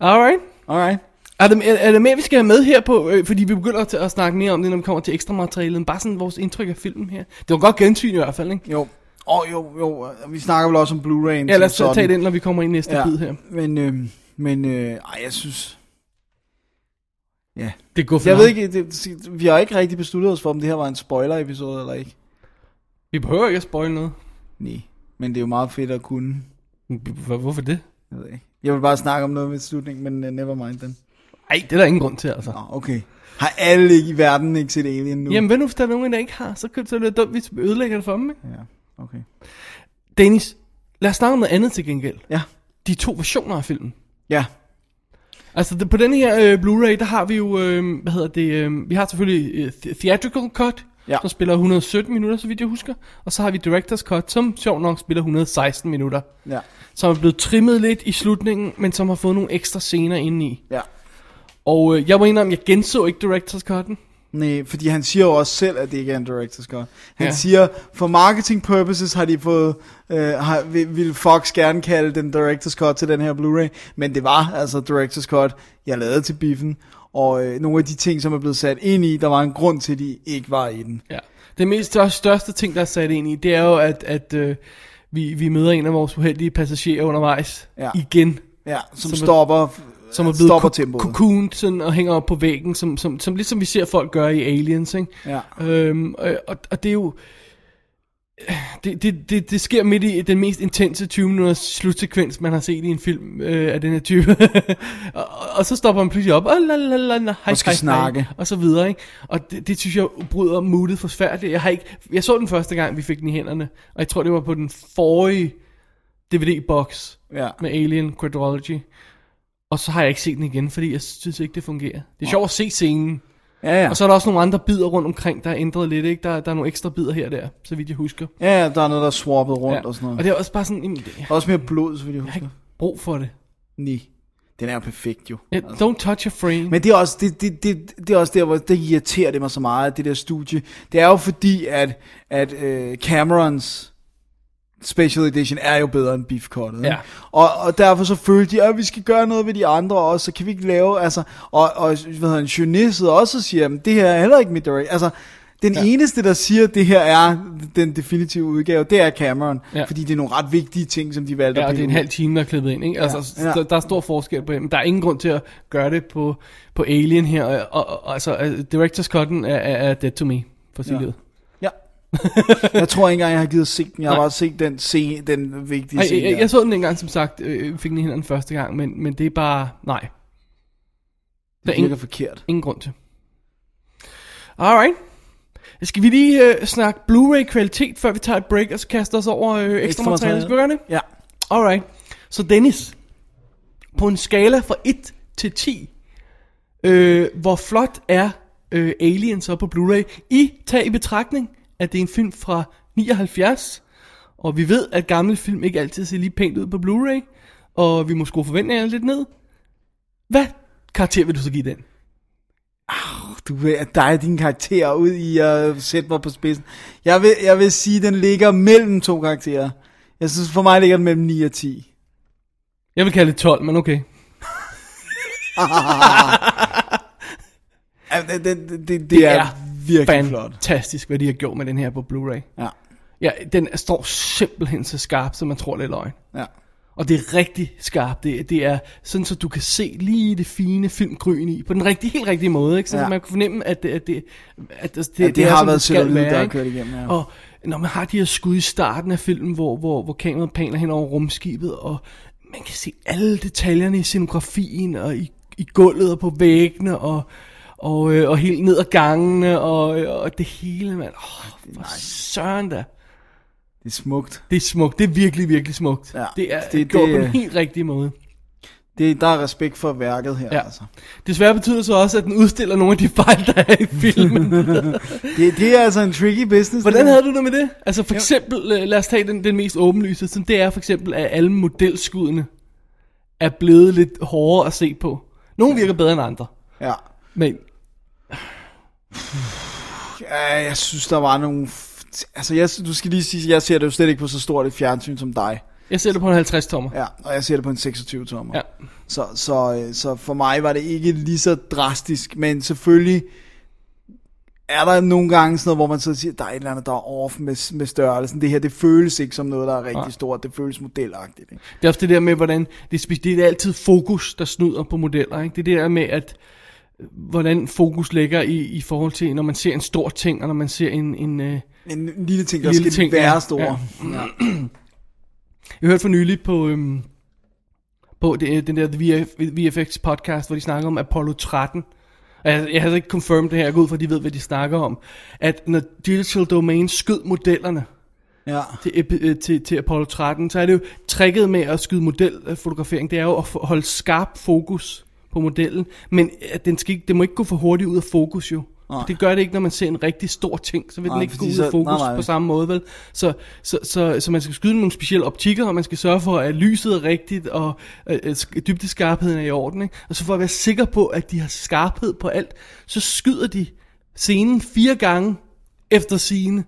Speaker 3: Alright.
Speaker 4: Alright.
Speaker 3: Er der, er, er der mere, vi skal have med her på? Øh, fordi vi begynder at, at snakke mere om det, når vi kommer til ekstra materialet. Men bare sådan vores indtryk af filmen her. Det var godt gensyn i hvert fald, ikke?
Speaker 4: Jo. Åh, oh, jo, jo. Vi snakker vel også om Blu-ray.
Speaker 3: Ja, lad os tage det ind, når vi kommer ind i næste ja. bid her.
Speaker 4: Men, øh, men øh, ej, jeg synes... Ja.
Speaker 3: Det går for
Speaker 4: Jeg ved
Speaker 3: langt.
Speaker 4: ikke, det, vi har ikke rigtig besluttet os for, om det her var en spoiler-episode eller ikke.
Speaker 3: Vi behøver ikke at spoil noget.
Speaker 4: Nej. Men det er jo meget fedt at kunne.
Speaker 3: Hvor- Hvorfor det?
Speaker 4: Jeg ved ikke. Jeg vil bare snakke om noget ved slutningen, men uh, never mind den.
Speaker 3: Ej, det er der ingen grund til, altså.
Speaker 4: Nå, okay. Har alle ikke i verden ikke set Alien nu?
Speaker 3: Jamen, hvad nu, hvis der er nogen, der ikke har? Så kan så er det dumt, hvis vi ødelægger det for dem, ikke?
Speaker 4: Ja, okay.
Speaker 3: Dennis, lad os snakke om noget andet til gengæld.
Speaker 4: Ja.
Speaker 3: De to versioner af filmen.
Speaker 4: Ja.
Speaker 3: Altså det, på den her øh, Blu-ray, der har vi jo, øh, hvad hedder det, øh, vi har selvfølgelig øh, the- Theatrical Cut, ja.
Speaker 4: Ja.
Speaker 3: som spiller 117 minutter, så vidt jeg husker. Og så har vi Director's Cut, som sjovt nok spiller 116 minutter.
Speaker 4: Ja.
Speaker 3: Som er blevet trimmet lidt i slutningen, men som har fået nogle ekstra scener indeni.
Speaker 4: Ja.
Speaker 3: Og øh, jeg må indrømme, jeg genså ikke Director's Cut'en.
Speaker 4: Nej, fordi han siger jo også selv, at det ikke er en director's cut. Han
Speaker 3: Ja.
Speaker 4: ja. siger, for marketing purposes har de fået, øh, har, vil, vil Fox gerne kalde den director's cut til den her Blu-ray, men det var altså director's cut, jeg lavede til biffen, og øh, nogle af de ting, som er blevet sat ind i, der var en grund til, at de ikke var i den.
Speaker 3: Ja. Det mest og største ting, der er sat ind i, det er jo, at, at øh, vi, vi møder en af vores uheldige passagerer undervejs
Speaker 4: Ja.
Speaker 3: igen.
Speaker 4: Ja, som,
Speaker 3: Som er-
Speaker 4: som stopper, øh,
Speaker 3: som er
Speaker 4: stopper
Speaker 3: blevet
Speaker 4: tempoet.
Speaker 3: cocooned sådan, og hænger op på væggen, som, som, som ligesom vi ser folk gøre i Aliens, ikke?
Speaker 4: Ja.
Speaker 3: Øhm, øh, og, og det er jo... Det, det, det, det sker midt i den mest intense 20 minutters slutsekvens, man har set i en film øh, af den her type. og, og- og så stopper man pludselig op, og, la, la, la, la, hej,
Speaker 4: Og skal
Speaker 3: hej,
Speaker 4: snakke.
Speaker 3: Hej, og så videre, ikke? Og det, det synes jeg bryder moodet forfærdeligt. Jeg, har ikke, jeg så den første gang, vi fik den i hænderne, og jeg tror, det var på den forrige DVD-boks
Speaker 4: ja.
Speaker 3: med Alien Quadrology. Og så har jeg ikke set den igen, fordi jeg synes ikke, det fungerer. Det er sjovt at se scenen.
Speaker 4: Ja, ja.
Speaker 3: Og så er der også nogle andre bidder rundt omkring, der er ændret lidt. Ikke? Der, der er nogle ekstra bidder her og der, så vidt jeg husker.
Speaker 4: ja, ja, der er noget, der er swappet rundt
Speaker 3: Ja.
Speaker 4: og sådan noget.
Speaker 3: og det er også bare sådan, jamen, det- jeg
Speaker 4: Der er også mere blod, så vil jeg
Speaker 3: har
Speaker 4: huske.
Speaker 3: ikke brug for det.
Speaker 4: Nej. Den er jo perfekt jo.
Speaker 3: Yeah, don't touch a frame. Men,
Speaker 4: Altså. Men det er også, det, det, det, det er også der, hvor det irriterer det mig så meget, det der studie. Det er jo fordi, at, at øh, Camerons Special Edition er jo bedre end Beef Cut'et. ikke?
Speaker 3: Ja.
Speaker 4: Og, og derfor så følte de, at vi skal gøre noget ved de andre også, så kan vi ikke lave, altså, og, og hvad hedder han, Jeunet sidder også og siger, at det her er heller ikke mit direct, altså, den ja. eneste, der siger, at det her er den definitive udgave, det er Cameron.
Speaker 3: Ja.
Speaker 4: Ja. Fordi det er nogle ret vigtige ting, som de valgte
Speaker 3: ja, og
Speaker 4: at
Speaker 3: det er en
Speaker 4: pille ud.
Speaker 3: halv time, der er klippet ind. Ikke? Altså,
Speaker 4: Ja, ja.
Speaker 3: Der, der er stor forskel på det, men der er ingen grund til at gøre det på, på Alien her. Og, og, og altså, øh, Director's Cut'en er, er, er dead to me, for sit
Speaker 4: Ja.
Speaker 3: livet.
Speaker 4: Ja. jeg tror ikke engang, jeg har givet at se den. Jeg har
Speaker 3: Nej.
Speaker 4: bare set den, se, den vigtige
Speaker 3: Ej,
Speaker 4: scene.
Speaker 3: jeg,
Speaker 4: der.
Speaker 3: jeg så den engang, som sagt, øh, fik den i hænderne første gang, men, men det er bare, nej. Der er
Speaker 4: det
Speaker 3: ingen,
Speaker 4: virker forkert.
Speaker 3: ingen grund til. Alright. Skal vi lige øh, snakke Blu-ray-kvalitet, før vi tager et break, og så kaster os over øh, ekstra materiale?
Speaker 4: materiale.
Speaker 3: Skal vi gøre det?
Speaker 4: Ja.
Speaker 3: Alright. Så Dennis, på en skala fra 1 til 10, øh, hvor flot er øh, Alien så på Blu-ray? I tag i betragtning, at det er en film fra 79, og vi ved, at gamle film ikke altid ser lige pænt ud på Blu-ray, og vi må skrue forventningerne lidt ned. Hvad karakter vil du så give den?
Speaker 4: Du øh, er dig og dine karakterer ud i at sætte mig på spidsen. Jeg vil, jeg vil sige, at den ligger mellem to karakterer. Jeg synes, for mig ligger den mellem 9 og 10.
Speaker 3: Jeg vil kalde det 12, men okay.
Speaker 4: Altså, det, det, det, det, det er, er virkelig flot.
Speaker 3: fantastisk, hvad de har gjort med den her på Blu-ray.
Speaker 4: Ja,
Speaker 3: Ja, den står simpelthen så skarp, som man tror, det er løgn.
Speaker 4: ja.
Speaker 3: Og det er rigtig skarpt. Det, det er sådan, så du kan se lige det fine filmgryn i, på den rigtig, helt rigtige måde. Ikke? Så
Speaker 4: Ja.
Speaker 3: ja. man kan fornemme, at det, at det, at det,
Speaker 4: det har
Speaker 3: som
Speaker 4: været
Speaker 3: det skal
Speaker 4: sceneriet,
Speaker 3: være,
Speaker 4: der er
Speaker 3: ikke?
Speaker 4: kørt igennem, ja.
Speaker 3: Og når man har de her skud i starten af filmen, hvor, hvor, hvor kameraet paner hen over rumskibet, og man kan se alle detaljerne i scenografien, og i, i gulvet og på væggene, og, og, øh, og helt ned ad gangene, og, øh, og det hele, mand. Åh, hvor søren da.
Speaker 4: Det er smukt.
Speaker 3: Det er smukt. Det er virkelig, virkelig smukt.
Speaker 4: Ja,
Speaker 3: det er
Speaker 4: det-
Speaker 3: det, gjort
Speaker 4: det-
Speaker 3: det, på den helt rigtige måde.
Speaker 4: Det, der er respekt for værket her. Ja.
Speaker 3: Ja.
Speaker 4: Altså.
Speaker 3: Desværre betyder det så også, at den udstiller nogle af de fejl, der er i filmen.
Speaker 4: Det, det er altså en tricky business.
Speaker 3: Hvordan
Speaker 4: det her.
Speaker 3: havde du det med det? Altså for eksempel, øh, lad os tage den, den mest åbenlyse, som det er for eksempel, at alle modelskudene er blevet lidt hårdere at se på. Nogle virker bedre end andre,
Speaker 4: Ja.
Speaker 3: men
Speaker 4: ja, jeg synes, der var nogle... f- Altså, jeg, du skal lige sige, jeg ser det jo slet ikke på så stort et fjernsyn som dig.
Speaker 3: jeg ser det på en 50-tommer.
Speaker 4: Ja, og jeg ser det på en 26-tommer.
Speaker 3: Ja.
Speaker 4: Så, så, øh, så for mig var det ikke lige så drastisk, men selvfølgelig er der nogle gange sådan noget, hvor man så siger, der er et eller andet, der er off med, med størrelsen. Det her, det føles ikke som noget, der er rigtig
Speaker 3: Nej.
Speaker 4: stort. Det føles modelagtigt. Ikke?
Speaker 3: Det er også det der med, hvordan det, er spe- det er altid fokus, der snyder på modeller. Ikke? Det er det der med, at øh, hvordan fokus ligger i, i forhold til, når man ser en stor ting, og når man ser en... en øh,
Speaker 4: En lille ting, der
Speaker 3: Lille
Speaker 4: skal
Speaker 3: ting,
Speaker 4: være
Speaker 3: ja.
Speaker 4: stor.
Speaker 3: Ja. Jeg hørte for nylig på, øhm, på det, øh, den der VF, VFX podcast, hvor de snakker om Apollo 13. Og Jeg, jeg havde ikke confirmed det her, jeg går ud fra, at de ved, hvad de snakker om. At når Digital Domain skød modellerne
Speaker 4: Ja.
Speaker 3: til, epi- øh, til, til Apollo 13, så er det jo tricket med at skyde modelfotografering, det er jo at få- holde skarp fokus på modellen, men at den, skal ikke, den må ikke gå for hurtigt ud af fokus jo.
Speaker 4: Nej.
Speaker 3: Det gør det ikke, når man ser en rigtig stor ting, så vil
Speaker 4: Nej,
Speaker 3: den ikke gå
Speaker 4: fordi
Speaker 3: ud
Speaker 4: så-
Speaker 3: af fokus
Speaker 4: nej, nej.
Speaker 3: på samme måde, vel? Så, så, så, så man skal skyde nogle specielle optikker, og man skal sørge for, at lyset er rigtigt, og øh, øh, sk- dybdeskarpheden er i orden, ikke? Og så for at være sikker på, at de har skarphed på alt, så skyder de scenen fire gange efter scene,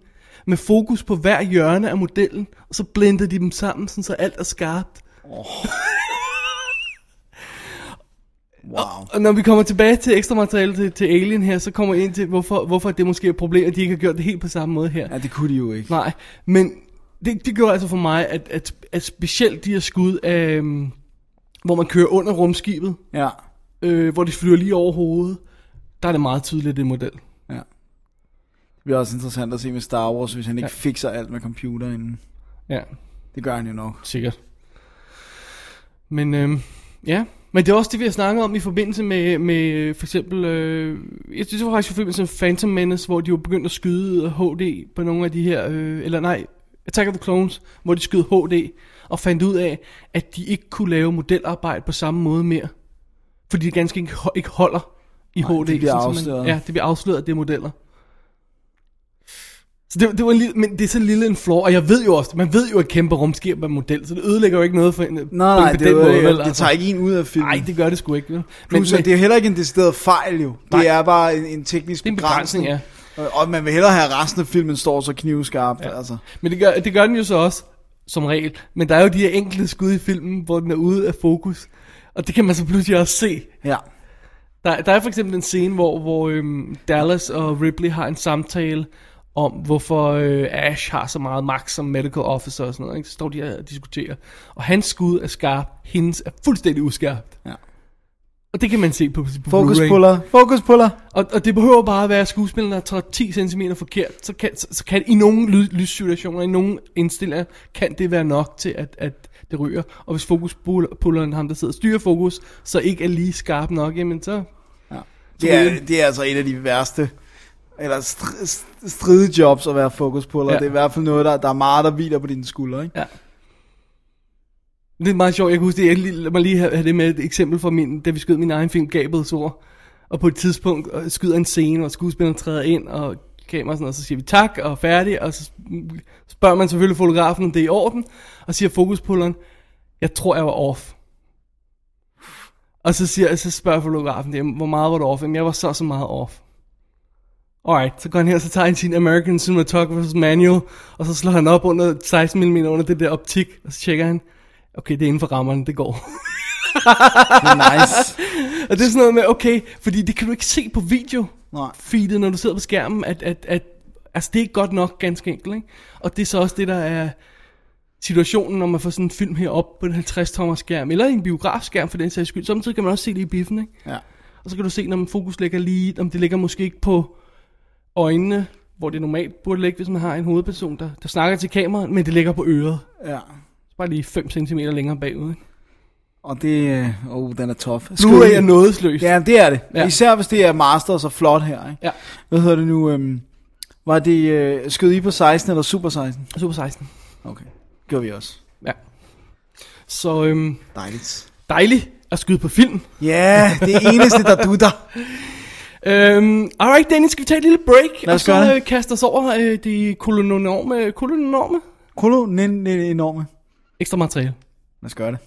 Speaker 3: med fokus på hver hjørne af modellen, og så blender de dem sammen, sådan så alt er skarpt.
Speaker 4: Wow.
Speaker 3: Og når vi kommer tilbage til ekstra materiale til, til Alien her, så kommer jeg ind til, hvorfor, hvorfor det måske er et problem, at de ikke har gjort det helt på samme måde her.
Speaker 4: Ja, det kunne de jo ikke.
Speaker 3: Nej, men det, det gjorde altså for mig, at, at, at specielt de her skud, af, øhm, hvor man kører under rumskibet,
Speaker 4: Ja.
Speaker 3: øh, hvor de flyver lige over hovedet, der er det meget tydeligt, det er model.
Speaker 4: ja. Det bliver også interessant at se med Star Wars, hvis han ikke ja. fikser alt med computeren.
Speaker 3: Ja,
Speaker 4: Det gør han jo nok.
Speaker 3: sikkert. Men øhm, ja, men det er også det, vi har snakket om i forbindelse med, med for eksempel, øh, jeg synes det var faktisk i forbindelse med Phantom Menace, hvor de jo begyndte at skyde HD på nogle af de her, øh, eller nej, Attack of the Clones, hvor de skød HD, og fandt ud af, at de ikke kunne lave modelarbejde på samme måde mere. Fordi det ganske ikke, ikke holder i
Speaker 4: Nej,
Speaker 3: HD.
Speaker 4: det bliver
Speaker 3: sådan, så
Speaker 4: afsløret.
Speaker 3: ja, det bliver afsløret, at det er modeller. Så det, det var en lille, men det er så lille en flaw, og jeg ved jo også, man ved jo, at kæmpe rumskib er model, så det ødelægger jo ikke noget for en på-
Speaker 4: Nej, nej,
Speaker 3: på
Speaker 4: det,
Speaker 3: måde, vel,
Speaker 4: det, det
Speaker 3: altså.
Speaker 4: tager ikke en ud af filmen.
Speaker 3: Nej, det gør det sgu ikke. vel? Men,
Speaker 4: Plus, men, det er heller ikke en decideret fejl jo.
Speaker 3: Nej.
Speaker 4: Det er bare en, en teknisk
Speaker 3: Det er en begrænsning,
Speaker 4: begrænsning. Og, og man vil hellere have at resten af filmen står så knivskarpt. Ja. Altså.
Speaker 3: men det, gør, det gør den jo så også, som regel. Men der er jo de her enkelte skud i filmen, hvor den er ude af fokus. Og det kan man så pludselig også se.
Speaker 4: Ja.
Speaker 3: Der, der er for eksempel en scene, hvor, hvor øhm, Dallas og Ripley har en samtale om, hvorfor øh, Ash har så meget magt som medical officer og sådan noget. Ikke? Så står de og diskuterer. Og hans skud er skarp, hendes er fuldstændig uskarpt.
Speaker 4: Ja.
Speaker 3: Og det kan man se på, på
Speaker 4: Fokus
Speaker 3: Blu-ray.
Speaker 4: puller. Fokus puller.
Speaker 3: Og, og det behøver bare at være skuespilleren, der træder 10 cm forkert, så kan, så, så kan i nogle lyd, lyssituationer, i nogle indstillinger, kan det være nok til, at, at det ryger. Og hvis fokuspulleren, ham der sidder og styrer fokus, så ikke er lige skarp nok, jamen så...
Speaker 4: Det er, det er altså et af de værste eller str- str- stride jobs at være fokus puller. Ja.
Speaker 3: Ja.
Speaker 4: Det er i hvert fald noget, der, der er meget, der hviler på dine skuldre. Ikke?
Speaker 3: Ja. Det er meget sjovt, jeg kan huske det, jeg lige, lad mig lige have have det med et eksempel fra min, da vi skød min egen film, Gabels ord. Og på et tidspunkt øh, skyder en scene, og skuespilleren træder ind, og kamera og sådan noget, så siger vi tak, og færdig, og så spørger man selvfølgelig fotografen, om det er i orden, og siger fokuspulleren, jeg tror jeg var off. Og så, siger, så spørger fotografen, "Jamen, hvor meget var du off? Jamen, jeg var så så meget off. Alright, så går han her, så tager han sin American Cinematographer's Manual, og så slår han op under 16 mm under det der optik, og så tjekker han, okay, det er inden for rammerne, det går.
Speaker 4: Nice.
Speaker 3: Og det er sådan noget med, okay, fordi det kan du ikke se på video
Speaker 4: Nej.
Speaker 3: feedet, når du sidder på skærmen, at, at, at altså, det er ikke godt nok, ganske enkelt. Ikke? Og det er så også det, der er situationen, når man får sådan en film herop på en 50-tommer skærm, eller en biografskærm for den sags skyld. Samtidig kan man også se det i biffen, ikke?
Speaker 4: ja.
Speaker 3: Og så kan du se, når man fokus ligger lige, om det ligger måske ikke på øjnene, hvor det normalt burde ligge, hvis man har en hovedperson, der, der snakker til kameraet, men det ligger på øret.
Speaker 4: ja.
Speaker 3: Bare lige 5 cm længere bagud. Ikke?
Speaker 4: Og det, øh, oh, den er tof.
Speaker 3: Nu er jeg nådesløs.
Speaker 4: Ja, det er det.
Speaker 3: Ja.
Speaker 4: Ja. Især hvis det er masters og flot her, ikke?
Speaker 3: Ja.
Speaker 4: Hvad hedder det nu? Øhm, var det øh, skød I på 16 eller super 16?
Speaker 3: Super 16.
Speaker 4: Okay. Gjorde vi også.
Speaker 3: Ja. Så øhm,
Speaker 4: Dejligt.
Speaker 3: dejligt at skyde på film.
Speaker 4: Ja, yeah, det eneste, der dutter.
Speaker 3: Øhm, alright Dennis, skal vi tage et lille break?
Speaker 4: Lad os
Speaker 3: og så
Speaker 4: gøre det.
Speaker 3: øh, kaste os over øh, de kolonorme, kolonorme
Speaker 4: Kolo, den enorme.
Speaker 3: ekstra materiale.
Speaker 4: Lad os gøre det.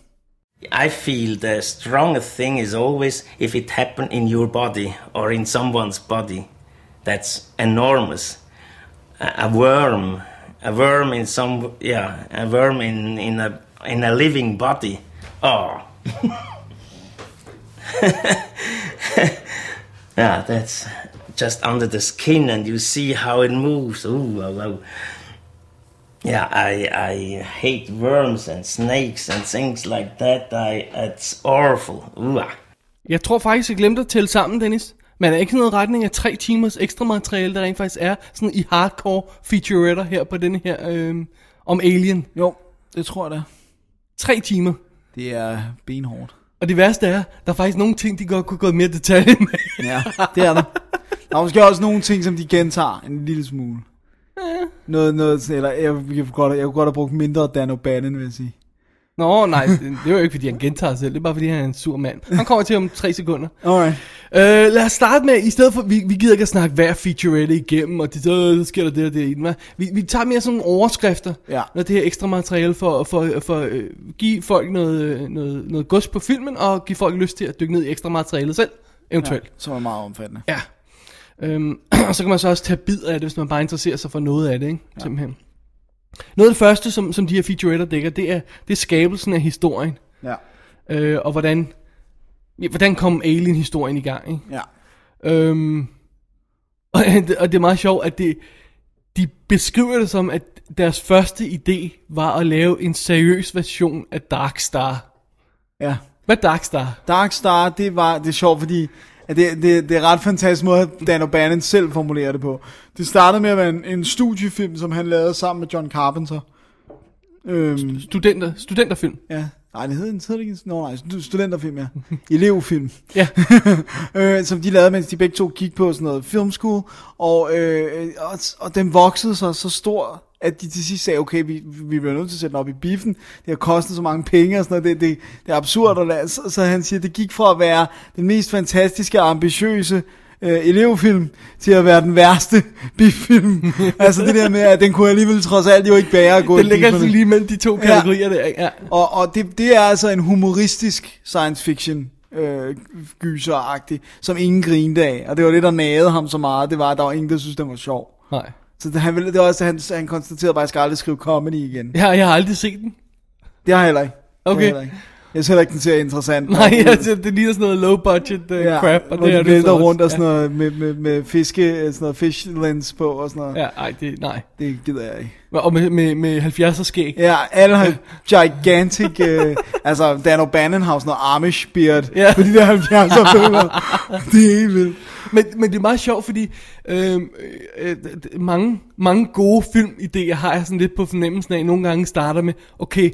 Speaker 8: I feel the strongest thing is always if it happened in your body or in someone's body. That's enormous. A, a worm, a worm in some, yeah, a worm in, in a in a living body. Oh, yeah, that's just under the skin, and you see how it moves. Ooh, wow, wow. Yeah, I I hate worms and snakes and things like that. I it's awful. Ooh, ah.
Speaker 3: Jeg tror faktisk, jeg glemte at tælle sammen, Dennis. Men er ikke sådan noget retning af tre timers ekstra materiale, der rent faktisk er sådan i hardcore featuretter her på denne her, øhm, om Alien.
Speaker 4: Jo, det tror jeg da.
Speaker 3: Tre timer.
Speaker 4: Det er benhårdt.
Speaker 3: Og det værste er, der er faktisk nogle ting, de godt kunne gå mere i detalje med.
Speaker 4: Ja, det er der. Der er måske også nogle ting, som de gentager en lille smule. Noget, noget, sådan- eller jeg, jeg, kunne godt, jeg kunne godt have brugt mindre Dan O'Bannon, vil jeg sige.
Speaker 3: Nå, nej, det det var jo ikke, fordi han gentager sig selv. Det er bare, fordi han er en sur mand. Han kommer til om tre sekunder.
Speaker 4: Alright.
Speaker 3: Øh, lad os starte med, i stedet for, vi, vi gider ikke at snakke hver featurette igennem, og det, så sker der det og det i den, hva? vi, vi tager mere sådan nogle overskrifter,
Speaker 4: Ja.
Speaker 3: noget det her ekstra materiale, for, for, for at øh, give folk noget, øh, noget, noget gods på filmen, og give folk lyst til at dykke ned i ekstra materialet selv, eventuelt.
Speaker 4: Som er meget omfattende.
Speaker 3: Ja. ja. Øhm, og så kan man så også tage bidder af det, hvis man bare interesserer sig for noget af det, ikke? Ja. Simpelthen. Noget af det første, som, som de her featuretter dækker, det er, det er skabelsen af historien,
Speaker 4: Ja.
Speaker 3: øh, og hvordan, ja, hvordan kom Alien-historien i gang, ikke?
Speaker 4: Ja.
Speaker 3: Øhm, og, det- og det er meget sjovt, at det, de beskriver det som, at deres første idé var at lave en seriøs version af Dark Star.
Speaker 4: Ja.
Speaker 3: Hvad er Dark Star?
Speaker 4: Dark Star, det var det er sjovt, fordi at det, det, det er ret fantastisk måde, at Dan O'Bannon selv formulerer det på. Det startede med at være en, en studiefilm, som han lavede sammen med John Carpenter. Øhm,
Speaker 3: Studenter, studenterfilm.
Speaker 4: ja. Nej, det hed, det hed det ikke. Nå, nej, stu- studenterfilm, ja. Elevfilm.
Speaker 3: Ja.
Speaker 4: øh, som de lavede, mens de begge to gik på sådan noget filmskole, og, øh, og, og den voksede sig så stor, at de til sidst sagde, okay, vi, vi bliver nødt til at sætte den op i biffen, det har kostet så mange penge og sådan noget, det, det, det er absurd, og lade, så, så han siger, det gik fra at være den mest fantastiske og ambitiøse øh, elevfilm, til at være den værste biffilm. altså det der med, at den kunne alligevel trods alt jo ikke bære at gå
Speaker 3: Den
Speaker 4: i
Speaker 3: ligger
Speaker 4: bifferne.
Speaker 3: altså lige mellem de to kategorier der. ikke? Ja.
Speaker 4: Og, og det, det er altså en humoristisk science fiction øh, gyseragtig, som ingen grinede af. Og det var det, der nagede ham så meget, det var, at der var ingen, der synes den var sjov.
Speaker 3: Nej.
Speaker 4: Så det, han, ville, det var også, han, han konstaterede bare, at jeg skal aldrig skrive comedy igen.
Speaker 3: Jeg, har- jeg har aldrig set den.
Speaker 4: Det har jeg heller ikke. Det har
Speaker 3: Okay.
Speaker 4: Jeg, heller ikke. jeg synes heller ikke, den ser interessant.
Speaker 3: Nej, altså, det ligner sådan noget low budget uh,
Speaker 4: Ja,
Speaker 3: crap.
Speaker 4: og hvor de
Speaker 3: er
Speaker 4: vælter
Speaker 3: så også.
Speaker 4: rundt og sådan noget med, med, med fiske, sådan noget fish lens på og sådan noget.
Speaker 3: Ja, ja ej, det, nej.
Speaker 4: Det gider jeg ikke.
Speaker 3: Og med, med, med 70'er skæg.
Speaker 4: Ja, alle har gigantic, øh, altså Dan O'Bannon har jo sådan noget Amish beard
Speaker 3: Ja.
Speaker 4: ja. på de der 70'er billeder. Det er helt vildt.
Speaker 3: Men, men det er meget sjovt, fordi øh, øh, d- mange, mange gode filmidéer har jeg sådan lidt på fornemmelsen af, nogle gange starter med, okay,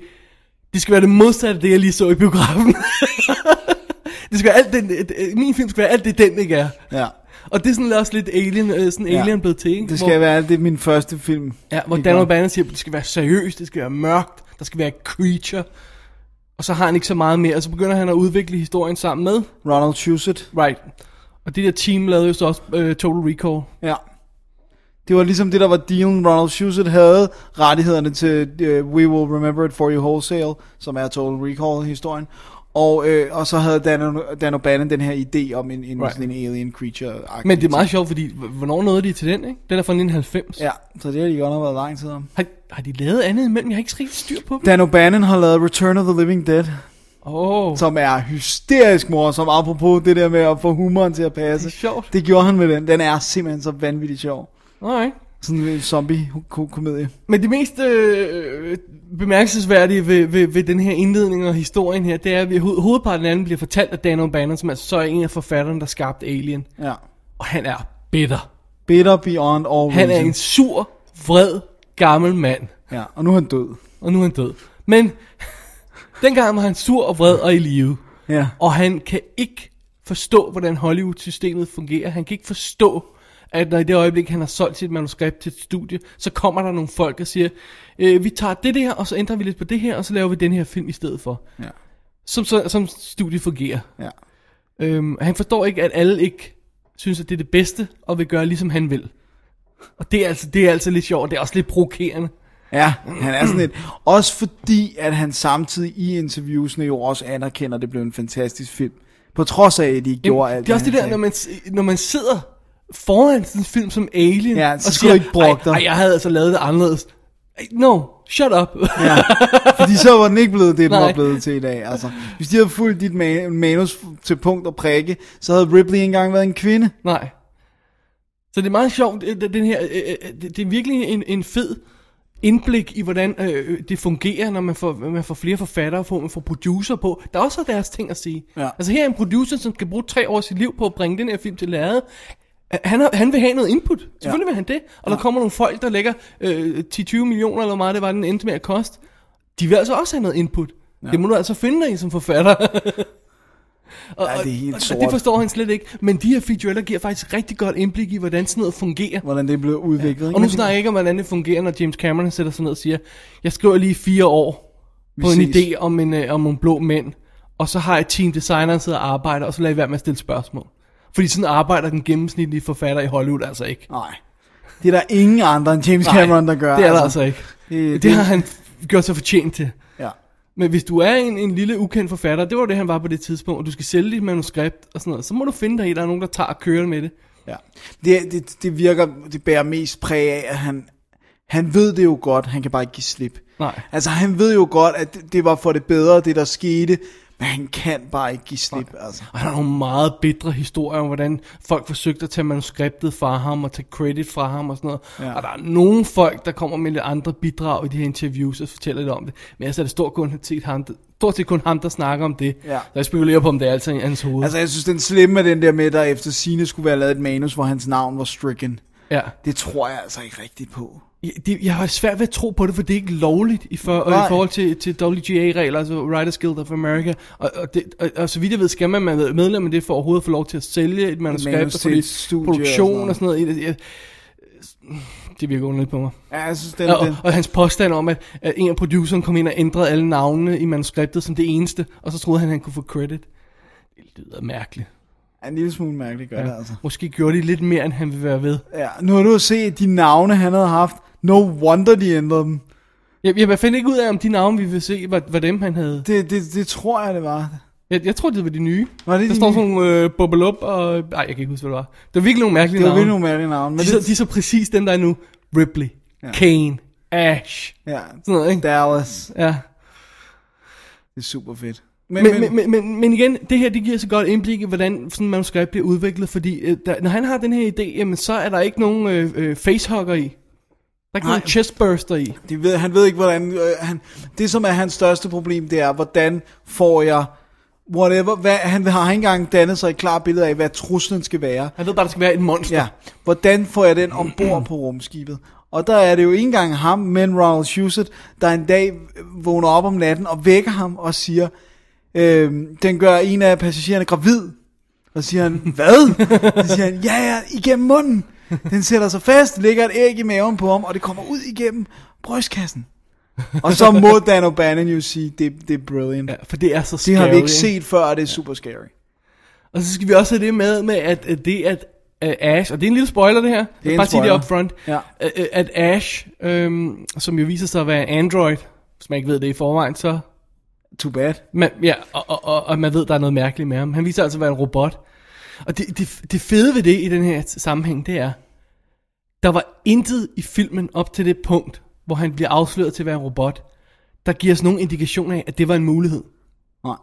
Speaker 3: det skal være det modsatte af det, jeg lige så i biografen. det skal være alt den, øh, øh, min film skal være alt det, den ikke er.
Speaker 4: Ja,
Speaker 3: Og det er sådan også lidt alien, øh, sådan
Speaker 4: Ja.
Speaker 3: alien blevet til, ikke?
Speaker 4: det skal
Speaker 3: hvor,
Speaker 4: være, det er min første film.
Speaker 3: Ja, hvor
Speaker 4: Det
Speaker 3: Dan
Speaker 4: går.
Speaker 3: O'Bannon siger, det skal være seriøst, det skal være mørkt, der skal være creature. Og så har han ikke så meget mere, og så begynder han at udvikle historien sammen med.
Speaker 4: Ronald Shusett.
Speaker 3: Right. Og det der team lavede jo så også øh, Total Recall.
Speaker 4: Ja. Det var ligesom det, der var dealen. Ronald Shusett havde øh, rettighederne til uh, We Will Remember It For You Wholesale, som er Total Recall-historien. Og, øh, og så havde Dan, O- Dan O'Bannon den her idé om en, en,
Speaker 3: Right.
Speaker 4: right. sådan en alien creature.
Speaker 3: Men det er meget sjovt, fordi h- hvornår nåede de til den, ikke? Den er fra 1990.
Speaker 4: Ja, så det har de godt nok været lang tid om.
Speaker 3: Har, har de lavet andet imellem? Jeg har ikke rigtig styr på dem.
Speaker 4: Dan O'Bannon har lavet Return of the Living Dead,
Speaker 3: Åh, oh,
Speaker 4: som er hysterisk morsom, apropos det der med at få humoren til at
Speaker 3: det
Speaker 4: passe.
Speaker 3: er sjovt.
Speaker 4: Det gjorde han med den. Den er simpelthen så vanvittigt sjov.
Speaker 3: Alright.
Speaker 4: Sådan en zombie-komedie.
Speaker 3: Men det mest øh, øh, bemærkelsesværdige ved, ved, ved den her indledning og historien her, det er, at vi- ho- hovedparten af den bliver fortalt af Dan O'Bannon, som altså så er en af forfatterne, der skabte Alien.
Speaker 4: Ja.
Speaker 3: Og han er bitter.
Speaker 4: Bitter beyond all
Speaker 3: Han er
Speaker 4: reason.
Speaker 3: en sur, vred, gammel mand.
Speaker 4: Ja, og nu er han død.
Speaker 3: Og nu er han død. Men dengang var han sur og vred og i live.
Speaker 4: Ja.
Speaker 3: Og han kan ikke forstå, hvordan Hollywood-systemet fungerer. Han kan ikke forstå, at når i det øjeblik, han har solgt sit manuskript til et studie, så kommer der nogle folk og siger, øh, vi tager det der, og så ændrer vi lidt på det her, og så laver vi den her film i stedet for.
Speaker 4: Ja.
Speaker 3: Som, så, som studiet fungerer.
Speaker 4: Ja.
Speaker 3: Øhm, han forstår ikke, at alle ikke synes, at det er det bedste, og vil gøre, ligesom han vil. Og det er altså, det er altså lidt sjovt, og det er også lidt provokerende.
Speaker 4: Ja, han er sådan lidt. Også fordi, at han samtidig i interviewsene jo også anerkender, at det blev en fantastisk film. På trods af, at de ikke gjorde alt
Speaker 3: det er også det
Speaker 4: han
Speaker 3: der,
Speaker 4: sagde.
Speaker 3: når man, s- når man sidder foran sådan en film som Alien,
Speaker 4: Ja, så skulle du ikke brokke
Speaker 3: ej,
Speaker 4: dig."
Speaker 3: ej, jeg havde altså lavet det anderledes. Ej, No, shut up.
Speaker 4: Ja, fordi så var den ikke blevet det, den
Speaker 3: Nej.
Speaker 4: var blevet til i dag. Altså, hvis de havde fulgt dit ma- manus til punkt og prikke, så havde Ripley engang været en kvinde.
Speaker 3: Nej. Så det er meget sjovt, øh, den her, øh, øh, det det er virkelig en, en fed indblik i, hvordan øh, øh, det fungerer, når man får, man får flere forfattere på, man får producer på, der også har deres ting at sige.
Speaker 4: Ja.
Speaker 3: Altså her er en producer, som skal bruge tre år af sit liv på at bringe den her film til lærred. Han, har, han vil have noget input, selvfølgelig vil han det. Og der kommer nogle folk, der lægger øh, 10-20 millioner, eller hvor meget det var, den endte med at koste. De vil altså også have noget input. Ja. Det må du altså finde dig i som forfatter. og,
Speaker 4: Ja, det er helt
Speaker 3: og, og
Speaker 4: sort.
Speaker 3: det forstår han slet ikke. Men de her featureller giver faktisk rigtig godt indblik i, hvordan sådan noget fungerer.
Speaker 4: Hvordan det blev udviklet. ikke?
Speaker 3: Og nu
Speaker 4: Men
Speaker 3: snakker jeg ikke om, hvordan det fungerer, når James Cameron sætter sig ned og siger, jeg skriver lige fire år på en
Speaker 4: ses."
Speaker 3: idé om, en, øh, om nogle blå mænd, og så har jeg team designer, der sidder og arbejder, og så lader jeg være med at stille spørgsmål. Fordi sådan arbejder den gennemsnitlige forfatter i Hollywood altså ikke.
Speaker 4: Nej. Det er der ingen andre end James Cameron, der gør.
Speaker 3: det er der altså ikke.
Speaker 4: Det, det,
Speaker 3: Det har han f- gjort sig fortjent til.
Speaker 4: Ja.
Speaker 3: Men hvis du er en, en lille ukendt forfatter, det var det, han var på det tidspunkt, og du skal sælge dit manuskript og sådan noget, så må du finde dig i, at der er nogen, der tager og kører med det.
Speaker 4: Ja. Det, det, det virker, det bærer mest præg af, at han, han ved det jo godt, han kan bare ikke give slip.
Speaker 3: Nej.
Speaker 4: Altså han ved jo godt, at det, det var for det bedre, det der skete, men han kan bare ikke give slip. Altså.
Speaker 3: Og der er nogle meget bitre historier om, hvordan folk forsøgte at tage manuskriptet fra ham og tage credit fra ham og sådan noget. Ja.
Speaker 4: Ja.
Speaker 3: Og der er nogle folk, der kommer med lidt andre bidrag i de her interviews og fortæller lidt om det. Men altså er det stort, kun set ham, stort set kun ham, der snakker om det.
Speaker 4: Ja.
Speaker 3: Så jeg spekulerer på, om det er altså i hans hoved. Altså,
Speaker 4: altså jeg synes, den slemme er den der med, der efter sine skulle være lavet et manus, hvor hans navn var stricken.
Speaker 3: ja.
Speaker 4: Det tror jeg altså ikke rigtigt på.
Speaker 3: Jeg, det, jeg har svært ved at tro på det, for det er ikke lovligt i, for,
Speaker 4: Nej.
Speaker 3: i forhold til, til WGA-regler, altså Writers Guild of America. Og, og, det, og, og så vidt jeg ved, skal man være medlem af det for overhovedet at få lov til at sælge et manuskript
Speaker 4: manus
Speaker 3: og
Speaker 4: til et
Speaker 3: fordi
Speaker 4: studie og
Speaker 3: produktion og
Speaker 4: sådan
Speaker 3: sådan noget. i det. Jeg- Det virker underligt på mig.
Speaker 4: Ja, jeg synes, den,
Speaker 3: Ja,
Speaker 4: den,
Speaker 3: og, og hans påstand om, at, at en af produceren kom ind og ændrede alle navnene i manuskriptet som det eneste, og så troede han, at han kunne få credit. Det lyder mærkeligt.
Speaker 4: er en lille smule mærkelig, gør ja. det altså.
Speaker 3: Måske gjorde de lidt mere, end han ville være ved.
Speaker 4: Ja, nu har du set de navne, han havde haft. No wonder, de ændrede dem.
Speaker 3: Jeg, jeg fandt ikke ud af, om de navne, vi vil se, var, var dem, han havde.
Speaker 4: Det, det, det tror jeg, det var.
Speaker 3: Jeg, jeg tror, det var de nye.
Speaker 4: Var det
Speaker 3: Der
Speaker 4: de
Speaker 3: står
Speaker 4: nye?
Speaker 3: sådan nogle øh, Bobbleop og... Nej, jeg kan ikke huske, hvad det var. Det var virkelig nogle mærkelige
Speaker 4: Det var
Speaker 3: navne.
Speaker 4: virkelig nogle mærkelige navne. Men
Speaker 3: de, er
Speaker 4: det,
Speaker 3: så, de er så præcis dem, der er nu. Ripley, ja. Kane, Ash,
Speaker 4: ja,
Speaker 3: sådan noget, ikke?
Speaker 4: Dallas.
Speaker 3: Ja.
Speaker 4: Det er super fedt.
Speaker 3: Men, men, men, men, men igen, det her det giver så godt indblik i, hvordan sådan et manuskript bliver udviklet, fordi øh, der, når han har den her idé, jamen, så er der ikke nogen øh, øh, facehugger i. Der er ikke
Speaker 4: Nej.
Speaker 3: nogen chestburster i.
Speaker 4: De ved, han ved ikke, hvordan... Øh, han, det, som er hans største problem, det er, hvordan får jeg... Whatever, hvad, han har ikke engang dannet sig et klart billede af, hvad truslen skal være.
Speaker 3: Han ved bare, der skal være et monster.
Speaker 4: Ja, hvordan får jeg den ombord på rumskibet? Og der er det jo ikke engang ham, men Ronald Shusett, der en dag vågner op om natten og vækker ham og siger, øh, den gør en af passagererne gravid. Og så siger han, hvad? Så siger han, ja, ja, igennem munden. Den sætter sig fast, lægger et æg i maven på ham, og det kommer ud igennem brystkassen. Og så må Dan O'Bannon jo sige, det, det er brilliant.
Speaker 3: Ja, for det er så
Speaker 4: Det har vi
Speaker 3: scary,
Speaker 4: ikke set før, og det er super scary.
Speaker 3: Og så skal vi også have det med, med at, at det at øh, Ash, og det er en lille spoiler det her, det
Speaker 4: en
Speaker 3: bare sige det
Speaker 4: spoiler.
Speaker 3: up front,
Speaker 4: Ja.
Speaker 3: øh, øh, at Ash, øhm, som jo viser sig at være en android, hvis man ikke ved det i forvejen, så
Speaker 4: Too bad.
Speaker 3: Man, ja, og, og, og, og man ved, der er noget mærkeligt med ham. Han viser altså at være en robot. Og det, det, det fede ved det i den her sammenhæng, det er, der var intet i filmen op til det punkt, hvor han bliver afsløret til at være en robot, der giver os nogen indikation af, at det var en mulighed.
Speaker 4: Nej.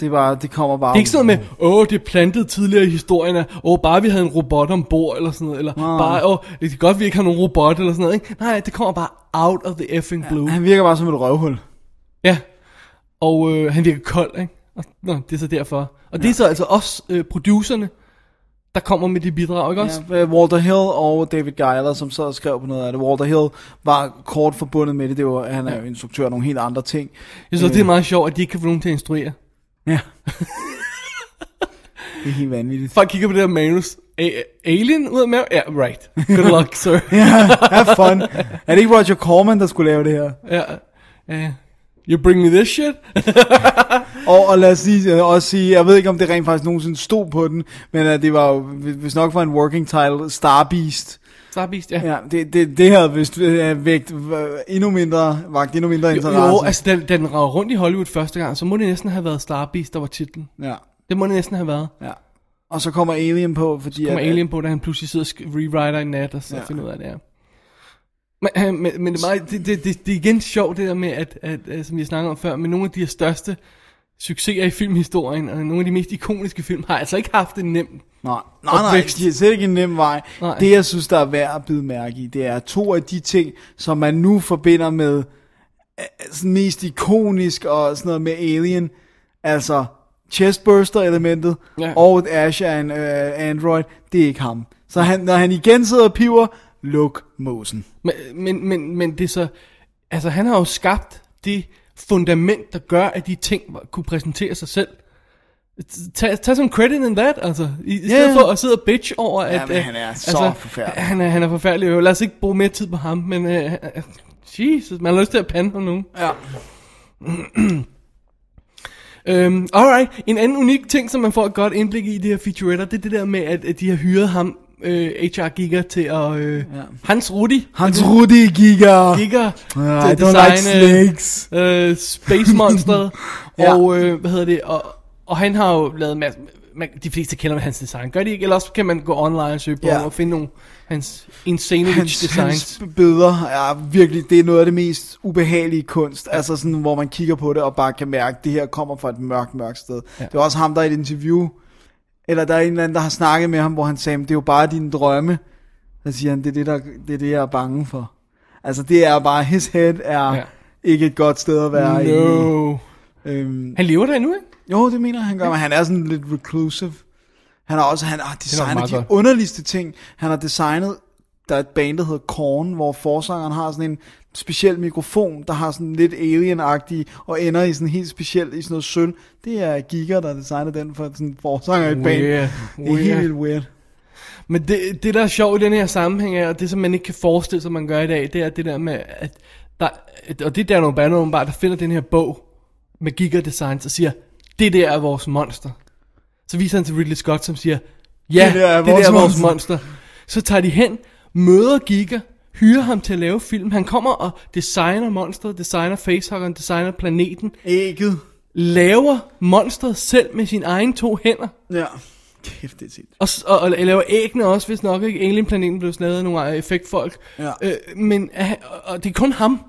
Speaker 4: Det, var, det kommer bare...
Speaker 3: Det er ikke sådan noget med, åh, det er plantet tidligere i historien, af, åh, bare vi havde en robot ombord, eller sådan noget, eller
Speaker 4: Nå.
Speaker 3: bare, åh, det er godt, vi ikke har nogen robot, eller sådan noget, ikke? Nej, det kommer bare out of the effing blue. Ja,
Speaker 4: Han virker bare som et røvhul.
Speaker 3: ja. og øh, han virker kold, ikke? Og, nå, det er så derfor. Og ja. det er så altså også øh, producerne, der kommer med det bidrag, ikke også?
Speaker 4: Ja, Øh, Walter Hill og David Geiler, som så skrev på noget af det. Walter Hill var kort forbundet med det. det var, han er jo instruktør af nogle helt andre ting.
Speaker 3: Jeg synes, øh. det er meget sjovt, at de ikke kan få nogen til at instruere.
Speaker 4: Ja. det er helt vanvittigt.
Speaker 3: Folk kigger på det her manus. A- alien ud af maven? Ja, right. Good luck, sir.
Speaker 4: Have fun. Er det ikke Roger Corman, der skulle lave det her?
Speaker 3: ja. ja. You bring me this shit?
Speaker 4: Og, og lad os lige også sige, jeg ved ikke, om det rent faktisk nogensinde stod på den, men uh, det var jo, hvis nok var en working title, Star Beast.
Speaker 3: Starbeast, ja.
Speaker 4: Ja, det, det, det havde vist øh, vægt øh, endnu mindre, vagt endnu mindre
Speaker 3: Jo,
Speaker 4: interesse.
Speaker 3: jo, altså da, da den rager rundt i Hollywood første gang, så må det næsten have været Star Beast, der var titlen.
Speaker 4: ja,
Speaker 3: Det må det næsten have været.
Speaker 4: ja. Og så kommer Alien på, fordi...
Speaker 3: Kommer
Speaker 4: at-
Speaker 3: Alien på, da han pludselig sidder og sk- rewriter en nat, og så ja.
Speaker 4: Ja.
Speaker 3: finder ud af det her. Men, øh, men, men det, er meget, det, det, det, det er igen sjovt det der med, at, at, at som vi har snakket om før, men nogle af de her største succeser i filmhistorien, og nogle af de mest ikoniske film, har altså ikke haft det nemt.
Speaker 4: Nej, nej, nej,
Speaker 3: opvækst.
Speaker 4: de er slet ikke en nem vej.
Speaker 3: Nej.
Speaker 4: Nej. Det, jeg synes, der er værd at bide mærke i, det er to af de ting, som man nu forbinder med øh, sådan mest ikonisk og sådan noget med Alien. Altså chestburster-elementet,
Speaker 3: Ja.
Speaker 4: ja. og Ash er en øh, android, det er ikke ham. Så han, når han igen sidder og piver, luk mosen.
Speaker 3: Men, men, men, men det er så, altså han har jo skabt det fundament, der gør, at de ting var- kunne præsentere sig selv. Tag, tag som credit in that, altså. I, i stedet
Speaker 4: Ja.
Speaker 3: for at sidde og bitch over, at...
Speaker 4: men
Speaker 3: øh,
Speaker 4: han er så forfærdelig.
Speaker 3: Han er, han er forfærdelig, jo. lad os ikke bruge mere tid på ham, men... Øh, øh, Jesus, man har lyst til at pande ham nu.
Speaker 4: Ja.
Speaker 3: Øhm, alright, en anden unik ting, som man får et godt indblik i i de her featuretter, det er det der med, at, at de har hyret ham, øh, HR Giger, til at... Øh, Hans Rudi.
Speaker 4: Hans Rudi Giga.
Speaker 3: Giger.
Speaker 4: Ah,
Speaker 3: til
Speaker 4: I
Speaker 3: at
Speaker 4: don't like
Speaker 3: designe, øh,
Speaker 4: snakes.
Speaker 3: øh, Space Monster,
Speaker 4: Ja.
Speaker 3: og øh, hvad hedder det, og, og han har jo lavet en masse, man, de fleste kender hans design, gør de ikke? Eller også kan man gå online og søge på
Speaker 4: Ja.
Speaker 3: yeah. og finde nogle hans insane
Speaker 4: hans,
Speaker 3: designs.
Speaker 4: hans billeder er virkelig, det er noget af det mest ubehagelige kunst, altså sådan, hvor man kigger på det og bare kan mærke, at det her kommer fra et mørkt, mørkt sted. Ja. Det var også ham, der i et interview, eller der er en eller anden, der har snakket med ham, hvor han sagde, "Men det er jo bare dine drømme. Så siger han, det er det, der, det, er det jeg er bange for. Altså det er bare, his head er
Speaker 3: Ja.
Speaker 4: ja. ikke et godt sted at være i.
Speaker 3: No.
Speaker 4: Øhm,
Speaker 3: Han lever der endnu, ikke?
Speaker 4: jo, det mener han gør, men han er sådan lidt reclusive. Han har også han har designet
Speaker 3: meget
Speaker 4: de
Speaker 3: godt.
Speaker 4: underligste ting. Han har designet, der er et band, der hedder Korn, hvor forsangeren har sådan en speciel mikrofon, der har sådan lidt alien og ender i sådan helt specielt i sådan noget sølv. Det er Giga, der har designet den for sådan en forsanger i et band.
Speaker 3: Weird,
Speaker 4: Det er
Speaker 3: weird.
Speaker 4: helt vildt weird.
Speaker 3: Men det, det, der er sjovt i den her sammenhæng, er, og det som man ikke kan forestille sig, man gør i dag, det er det der med, at der, og det er Daniel Banner åbenbart, der finder den her bog med Giga Designs og siger, det der er vores monster. Så viser han til Ridley Scott, som siger, ja, det der er, det vores, der er vores monster. Så tager de hen, møder Giga, hyrer ham til at lave film. Han kommer og designer monsteret, designer facehuggeren, designer planeten,
Speaker 4: Ægget.
Speaker 3: laver monsteret selv med sine egne to hænder.
Speaker 4: Ja. Kæft, det er sindssygt.
Speaker 3: Og, s- og, og laver æggene også, hvis nok ikke. Alien-planeten blev lavet af nogle øh, effektfolk.
Speaker 4: Ja.
Speaker 3: Øh, men øh, og- og det er kun ham.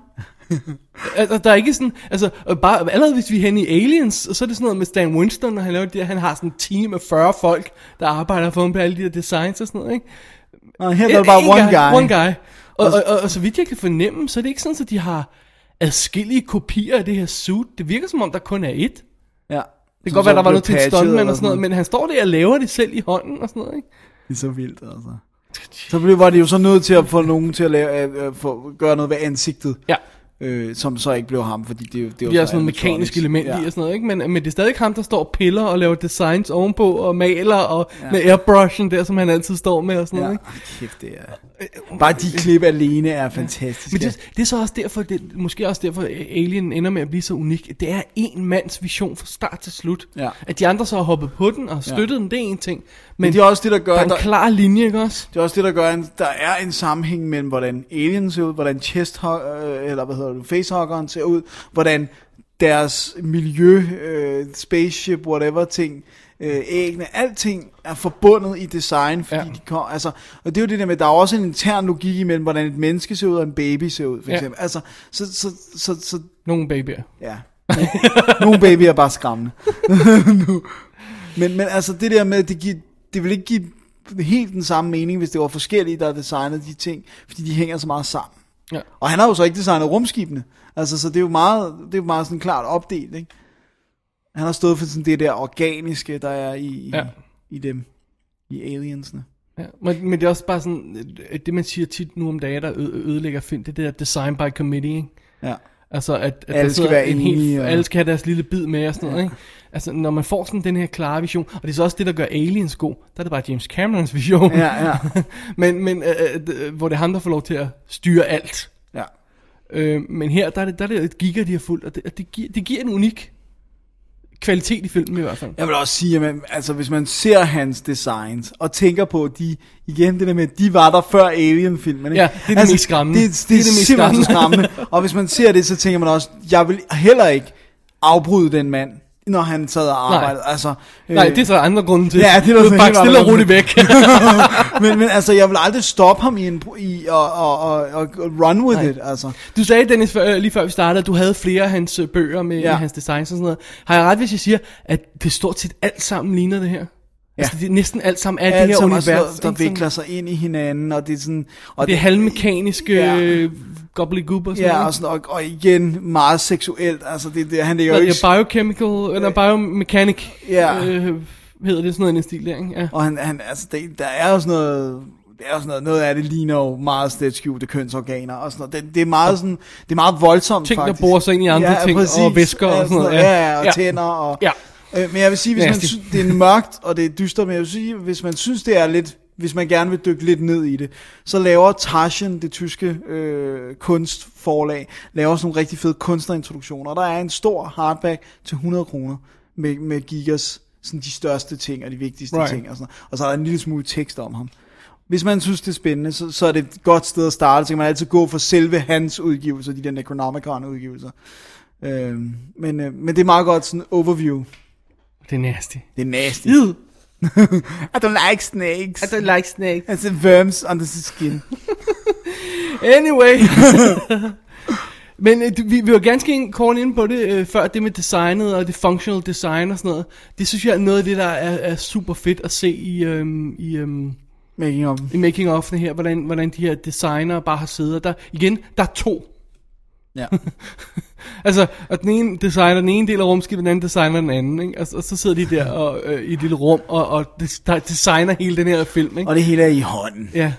Speaker 3: altså, der er ikke sådan, altså, og bare, allerede hvis vi er henne i Aliens, og så er det sådan noget med Stan Winston, og han laver det der, han har sådan en team af 40 folk, der arbejder for ham på alle de der designs og sådan noget, ikke?
Speaker 4: Nå, her er der
Speaker 3: En-
Speaker 4: bare
Speaker 3: en
Speaker 4: one guy.
Speaker 3: One guy. Og, og, og, og, så vidt jeg kan fornemme, så er det ikke sådan, at de har adskillige kopier af det her suit. Det virker som om, der kun er et.
Speaker 4: Ja.
Speaker 3: Det kan godt være, der var noget til en stuntman og sådan noget, men han står der og laver det selv i hånden og sådan noget, ikke?
Speaker 4: Det er så vildt, altså. Så blev, var de jo så nødt til at få nogen til at lave, øh, øh, få, gøre noget ved ansigtet,
Speaker 3: Ja.
Speaker 4: øh, som så ikke blev ham, fordi det, det var
Speaker 3: Vi har
Speaker 4: så
Speaker 3: sådan noget
Speaker 4: animatronics.
Speaker 3: mekanisk element ja. i og sådan noget, ikke? Men, men det er stadig ikke ham, der står og piller og laver designs ovenpå og maler og ja. med airbrushen der, som han altid står med og sådan
Speaker 4: Ja,
Speaker 3: noget,
Speaker 4: Ej,
Speaker 3: ikke? Øh,
Speaker 4: kæft, det er... Bare de klip alene er fantastiske.
Speaker 3: Men det, det er så også derfor, det, måske også derfor, at Alien ender med at blive så unik. Det er en mands vision fra start til slut.
Speaker 4: Ja.
Speaker 3: At de andre så har hoppet på den og støttet ja. den, det er en ting. Men,
Speaker 4: Men det er også det, der gør,
Speaker 3: der er en
Speaker 4: der,
Speaker 3: klar linje, ikke også?
Speaker 4: det er også det, der gør, at der er en sammenhæng mellem, hvordan aliens ser ud, hvordan chest, øh, eller hvad hedder det, facehuggeren ser ud, hvordan deres miljø, øh, spaceship, whatever ting, øh, æggene, alting er forbundet i design, fordi
Speaker 3: Ja.
Speaker 4: ja. de kom, altså, og det er jo det der med, der er også en intern logik imellem, hvordan et menneske ser ud, og en baby ser ud, for
Speaker 3: Ja.
Speaker 4: eksempel. Altså, så, så, så, så,
Speaker 3: Nogle babyer.
Speaker 4: ja. Nogle babyer er bare skræmmende. nu. Men, men altså, det der med, at det, giver, det vil ikke give helt den samme mening, hvis det var forskellige, der designede de ting, fordi de hænger så meget sammen.
Speaker 3: Ja.
Speaker 4: Og han har jo så ikke designet rumskibene. Altså, så det er jo meget, det er jo meget sådan klart opdelt, ikke? Han har stået for sådan det der organiske, der er i, i,
Speaker 3: Ja.
Speaker 4: ja. i dem. I aliensene.
Speaker 3: Ja, men, men det er også bare sådan, øh, det man siger tit nu om dagen, der ø- ødelægger film, det er det der design by committee, ikke?
Speaker 4: Ja.
Speaker 3: Altså, at, at der
Speaker 4: Alle skal
Speaker 3: sidder
Speaker 4: være
Speaker 3: en
Speaker 4: enige,
Speaker 3: hel,
Speaker 4: og-
Speaker 3: alle skal have deres lille bid med og sådan noget, ikke? Altså, når man får sådan den her klare vision, og det er så også det, der gør Aliens god, der er det bare James Camerons vision.
Speaker 4: Ja, ja.
Speaker 3: men men øh, øh, d- øh, hvor det er ham, der får lov til at styre alt.
Speaker 4: Ja.
Speaker 3: Øh, men her, der er det, der er det et giga, de har fulgt, og det, og det, giver, det giver en unik kvalitet i filmen i hvert fald.
Speaker 4: Jeg vil også sige, at man, altså, hvis man ser hans designs, og tænker på, at de, igen det der med, at de var der før Alien-filmen. ikke? Altså,
Speaker 3: Ja, det er det mest skræmmende.
Speaker 4: Det, det, det, er det mest simpelthen skræmmende. og hvis man ser det, så tænker man også, jeg vil heller ikke afbryde den mand, når han sad og arbejdede. Altså, øh,
Speaker 3: Nej, det er så andre grunde til.
Speaker 4: Ja, det er der
Speaker 3: Du
Speaker 4: så
Speaker 3: Bare
Speaker 4: helt
Speaker 3: stille og
Speaker 4: andre
Speaker 3: roligt væk.
Speaker 4: men, men altså, jeg vil aldrig stoppe ham i, en, i og, og, og, og run with
Speaker 3: Nej.
Speaker 4: Nej. it, altså.
Speaker 3: Du sagde, Dennis, før, øh, lige før vi startede, at du havde flere af hans øh, bøger med ja.
Speaker 4: Ja.
Speaker 3: hans designs og sådan noget. Har jeg ret, hvis jeg siger, at det stort set alt sammen ligner det her? Ja. Altså, det er næsten alt sammen er det
Speaker 4: Alt
Speaker 3: her
Speaker 4: som er
Speaker 3: univers.
Speaker 4: sådan noget, der
Speaker 3: ikke? Sådan-
Speaker 4: vikler sig ind i hinanden, og det er sådan... Og
Speaker 3: Det er halvmekaniske
Speaker 4: Ja.
Speaker 3: ja. gobbledygook og sådan
Speaker 4: Ja,
Speaker 3: noget.
Speaker 4: og, sådan, og, og igen meget seksuelt, altså det, det han ligger jo
Speaker 3: Hvad
Speaker 4: ikke
Speaker 3: hedder det? biochemical, eller biomechanic,
Speaker 4: Ja.
Speaker 3: øh, hedder det sådan noget i den stil der, ikke? Ja.
Speaker 4: Og han, han altså, det, der er jo sådan noget... Det er jo sådan noget, noget af det ligner jo meget slet skjulte kønsorganer og sådan noget. Det, det er meget sådan, det er meget voldsomt
Speaker 3: Ting, der
Speaker 4: faktisk.
Speaker 3: borer sig ind i andre ting, og væsker og
Speaker 4: Ja,
Speaker 3: sådan noget, ja.
Speaker 4: Ja, ja, og
Speaker 3: Ja.
Speaker 4: tænder og...
Speaker 3: ja.
Speaker 4: Øh, men jeg vil sige, hvis man
Speaker 3: Nasty.
Speaker 4: synes, det er mørkt, og det er dystert, men jeg vil sige, hvis man synes, det er lidt, hvis man gerne vil dykke lidt ned i det, så laver Taschen, det tyske øh, kunstforlag, laver sådan nogle rigtig fede kunstnerintroduktioner, og der er en stor hardback til 100 kroner med, med gigas, sådan de største ting og de vigtigste
Speaker 3: Right.
Speaker 4: right. ting, og, sådan noget. og så er der en lille smule tekst om ham. Hvis man synes, det er spændende, så, så er det et godt sted at starte, så kan man altid gå for selve hans udgivelser, de der Necronomicon-udgivelser. Øh, men, øh, men det er meget godt sådan overview.
Speaker 3: Det er nasty.
Speaker 4: Det er nasty.
Speaker 3: Id.
Speaker 4: I don't like snakes.
Speaker 3: I don't like snakes.
Speaker 4: It's worms under the skin.
Speaker 3: Anyway. Men øh, du- vi, vi var ganske ind- kort inde på det øh, før, det med designet og det functional design og sådan noget. Det synes jeg er noget af det, der er, er super fedt at se i, øhm, i, øhm,
Speaker 4: Making of.
Speaker 3: i making of'ene her, hvordan, hvordan de her designer bare har siddet. Og Der, igen, der er to.
Speaker 4: Ja.
Speaker 3: Altså, og den ene designer den ene del af rumskibet, den anden designer den anden. Ikke? Altså, Og, så- og så sidder de der og, øh, i et lille rum og, og des- der designer hele den her film. Ikke?
Speaker 4: Og det hele er i hånden.
Speaker 3: Ja.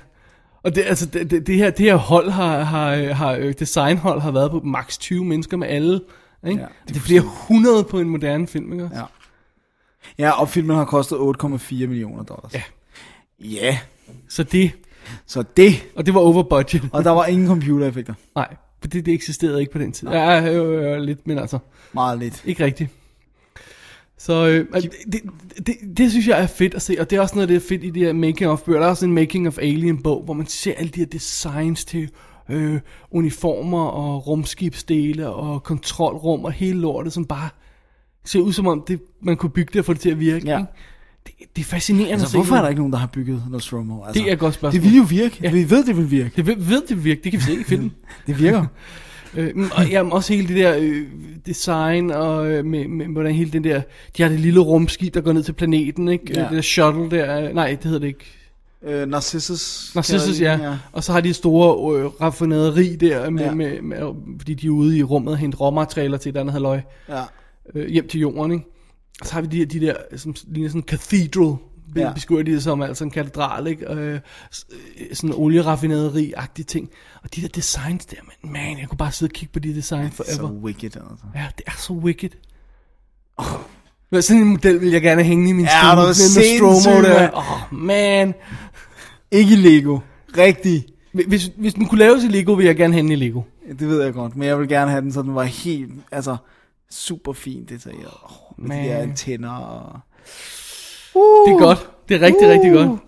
Speaker 3: Og det, altså, det, det, det, her, det her hold har, har, øh, har øh, designhold har været på maks 20 mennesker med alle. Ikke? Ja,
Speaker 4: Ja,
Speaker 3: det, det bliver 100 på en moderne film, ikke? også?
Speaker 4: Ja. Ja, og filmen har kostet 8,4 millioner dollars.
Speaker 3: Ja.
Speaker 4: Ja,
Speaker 3: Så det,
Speaker 4: så det.
Speaker 3: og det var over budget.
Speaker 4: Og der var ingen computereffekter.
Speaker 3: Nej, for det, det eksisterede ikke på den tid. Ja, øh, øh, lidt, men altså,
Speaker 4: Meget lidt.
Speaker 3: ikke rigtigt. Så øh, altså, det, det, det, det synes jeg er fedt at se, og det er også noget af det er fedt i de her making of bøger. Der er også en making of alien bog, hvor man ser alle de her designs til øh, uniformer og rumskibsdele og kontrolrum og hele lortet, som bare ser ud som om det, man kunne bygge det og få det til at virke.
Speaker 4: Ja.
Speaker 3: Ja. Det, det er fascinerende
Speaker 4: Altså,
Speaker 3: at se.
Speaker 4: hvorfor er
Speaker 3: hvordan-
Speaker 4: der ikke nogen, der har bygget noget slow altså,
Speaker 3: Det er et godt spørgsmål.
Speaker 4: Det vil jo virke.
Speaker 3: Ja.
Speaker 4: Ja. Vi ved, det vil virke.
Speaker 3: Det ved, ved det virkelig, det kan vi se i filmen.
Speaker 4: Det virker.
Speaker 3: Øh, men- og jamen, også hele det der øh, design, og øh, med, med, hvordan hele den der, de har det lille rumskib, der går ned til planeten, ikke? Ja.
Speaker 4: Ja.
Speaker 3: Det der shuttle der, øh, nej, det hedder det ikke.
Speaker 4: øh, Narcissus.
Speaker 3: Narcissus,
Speaker 4: kalder
Speaker 3: ja.
Speaker 4: de den,
Speaker 3: ja. Og så har de et store øh, raffinaderi der, med, ja.
Speaker 4: Ja.
Speaker 3: med, med, med, fordi de er ude i rummet og henter råmaterialer til et andet halvøj,
Speaker 4: ja.
Speaker 3: øh, hjem til jorden, ikke? Og så har vi de, de der, som ligner sådan en cathedral, ja.
Speaker 4: Ja.
Speaker 3: beskriver de det som, altså en katedral, ikke? Og, øh, s- øh, sådan olieraffinaderi-agtige ting. Og de der designs der, man, man, jeg kunne bare sidde og kigge på de designs
Speaker 4: Så
Speaker 3: forever.
Speaker 4: wicked, altså.
Speaker 3: Ja, det er så wicked. Oh. Sådan en model vil jeg gerne hænge i min
Speaker 4: Ja, du
Speaker 3: Stromo
Speaker 4: er sindssyg,
Speaker 3: der.
Speaker 4: mand.
Speaker 3: Åh, oh, man.
Speaker 4: Ikke i Lego. Rigtig.
Speaker 3: Hvis, hvis den kunne laves i Lego, ville jeg gerne hænge i Lego.
Speaker 4: Det ved jeg godt, men jeg vil gerne have den, så den var helt, altså, super fint detaljeret. Oh, med
Speaker 3: Man.
Speaker 4: de der antenner og...
Speaker 3: Det er godt. Det er rigtig, uh. rigtig godt.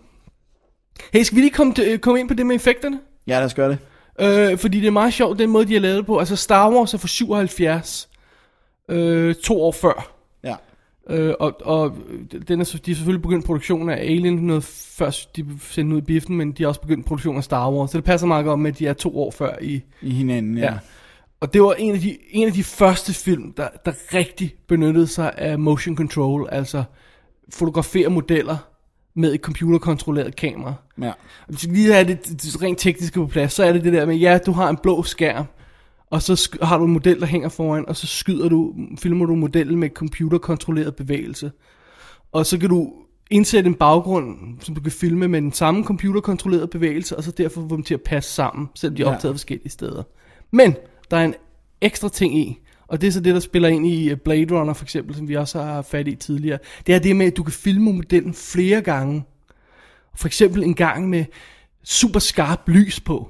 Speaker 3: Hey, skal vi lige komme, til, øh, komme ind på det med effekterne?
Speaker 4: Ja, lad os gøre det.
Speaker 3: Øh, fordi det er meget sjovt, den måde, de har lavet det på. Altså, Star Wars er fra 77. øh, to år før.
Speaker 4: Ja.
Speaker 3: Øh, og og den er, så- de er selvfølgelig begyndt produktionen af Alien noget først, de sendte den ud i biffen, men de har også begyndt produktionen af Star Wars, så det passer meget godt med, at de er to år før i...
Speaker 4: I hinanden, ja.
Speaker 3: Ja.
Speaker 4: ja.
Speaker 3: Og det var en af de, en af de første film, der, der rigtig benyttede sig af motion control, altså fotografere modeller med et computerkontrolleret kamera.
Speaker 4: ja.
Speaker 3: Hvis vi lige have det, det rent tekniske på plads, så er det det der med, ja, du har en blå skærm, og så sk- har du en model, der hænger foran, og så skyder du, filmer du modellen med computerkontrolleret bevægelse. Og så kan du indsætte en baggrund, som du kan filme med den samme computerkontrollerede bevægelse, og så derfor få dem til at passe sammen, selvom de er
Speaker 4: Ja.
Speaker 3: optaget forskellige steder. Men der er en ekstra ting i, og det er så det, der spiller ind i øh, Blade Runner for eksempel, som vi også har haft fat i tidligere. Det er det med, at du kan filme modellen flere gange. For eksempel en gang med super skarp lys på.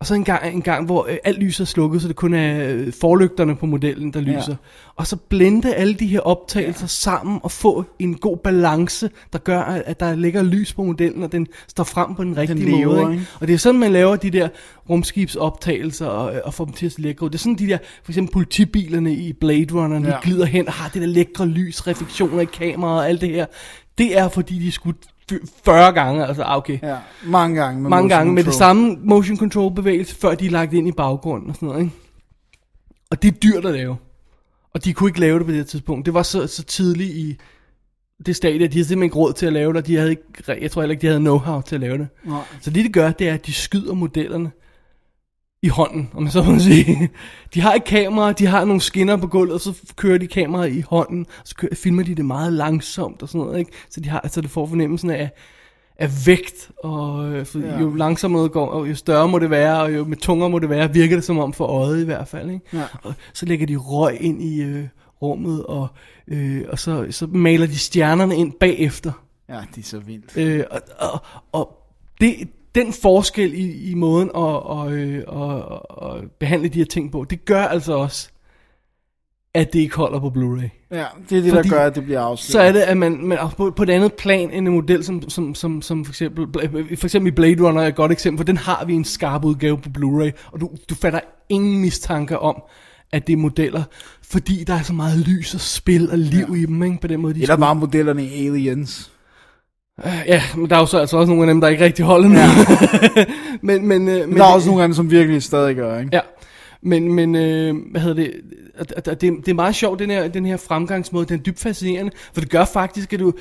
Speaker 3: Og så en gang, en gang hvor øh, alt lyset er slukket, så det kun er øh, forlygterne på modellen, der lyser. Og så blende alle de her optagelser ja. sammen og få en god balance, der gør, at at der ligger lys på modellen, og den står frem på den rigtige
Speaker 4: lever,
Speaker 3: måde. Ikke?
Speaker 4: ikke?
Speaker 3: Og det er sådan, man laver de der rumskibsoptagelser og, øh, og får dem til at se lækre ud. Det er sådan, de der, for eksempel politibilerne i Blade Runner, ja. de
Speaker 4: Ja.
Speaker 3: glider hen og har det der lækre lys, refleksioner i kameraet og alt det her. Det er, fordi de skulle 40 gange, altså ah, okay.
Speaker 4: ja. Mange gange. Med
Speaker 3: Mange
Speaker 4: motion
Speaker 3: gange med det
Speaker 4: control.
Speaker 3: samme motion control bevægelse, før de er lagt ind i baggrunden og sådan noget, ikke? Og det er dyrt at lave. Og de kunne ikke lave det på det her tidspunkt. Det var så, så tidligt i det stadie, at de havde simpelthen ikke råd til at lave det, og de havde ikke, jeg tror heller ikke, de havde know-how til at lave det.
Speaker 4: Nej.
Speaker 3: Så det, de gør, det er, at de skyder modellerne i hånden, om man så må sige. De har et kamera, de har nogle skinner på gulvet, og så kører de kameraet i hånden, og så kører, filmer de det meget langsomt og sådan noget, ikke? Så, de har, så det får fornemmelsen af, af vægt, og øh, for ja.
Speaker 4: Ja.
Speaker 3: jo langsommere noget går, og jo større må det være, og jo med tungere må det være, virker det som om for øjet i hvert fald, ikke?
Speaker 4: Ja.
Speaker 3: Og så lægger de røg ind i øh, rummet, og, øh, og så, så maler de stjernerne ind bagefter.
Speaker 4: Ja, det er så vildt.
Speaker 3: Øh, og, og, og det, den forskel i, i måden at og, øh, og, og, og behandle de her ting på, det gør altså også, at det ikke holder på Blu-ray.
Speaker 4: Ja, det er det,
Speaker 3: Fordi-
Speaker 4: der gør, at det bliver afsløret.
Speaker 3: Så er det, at man, man er på, på et andet plan end en model, som, som, som, som for, eksempel, Bla- for eksempel Blade Runner er et godt eksempel, for den har vi en skarp udgave på Blu-ray, og du, du fatter ingen mistanke om, at det er modeller, fordi der er så meget lys og spil og liv ja. i dem, ikke? på den måde, de
Speaker 4: Eller bare modellerne i Aliens.
Speaker 3: Øh, Ja, men der er jo så altså også nogle af dem, der ikke rigtig holder nu. Ja. men, men, øh, men,
Speaker 4: Men der er også nogle af dem, som virkelig stadig gør, ikke?
Speaker 3: Ja, men, men øh, hvad hedder det, at, at, at det, det er meget sjovt, den her, den her fremgangsmåde, den er dybt fascinerende, for det gør faktisk, at du,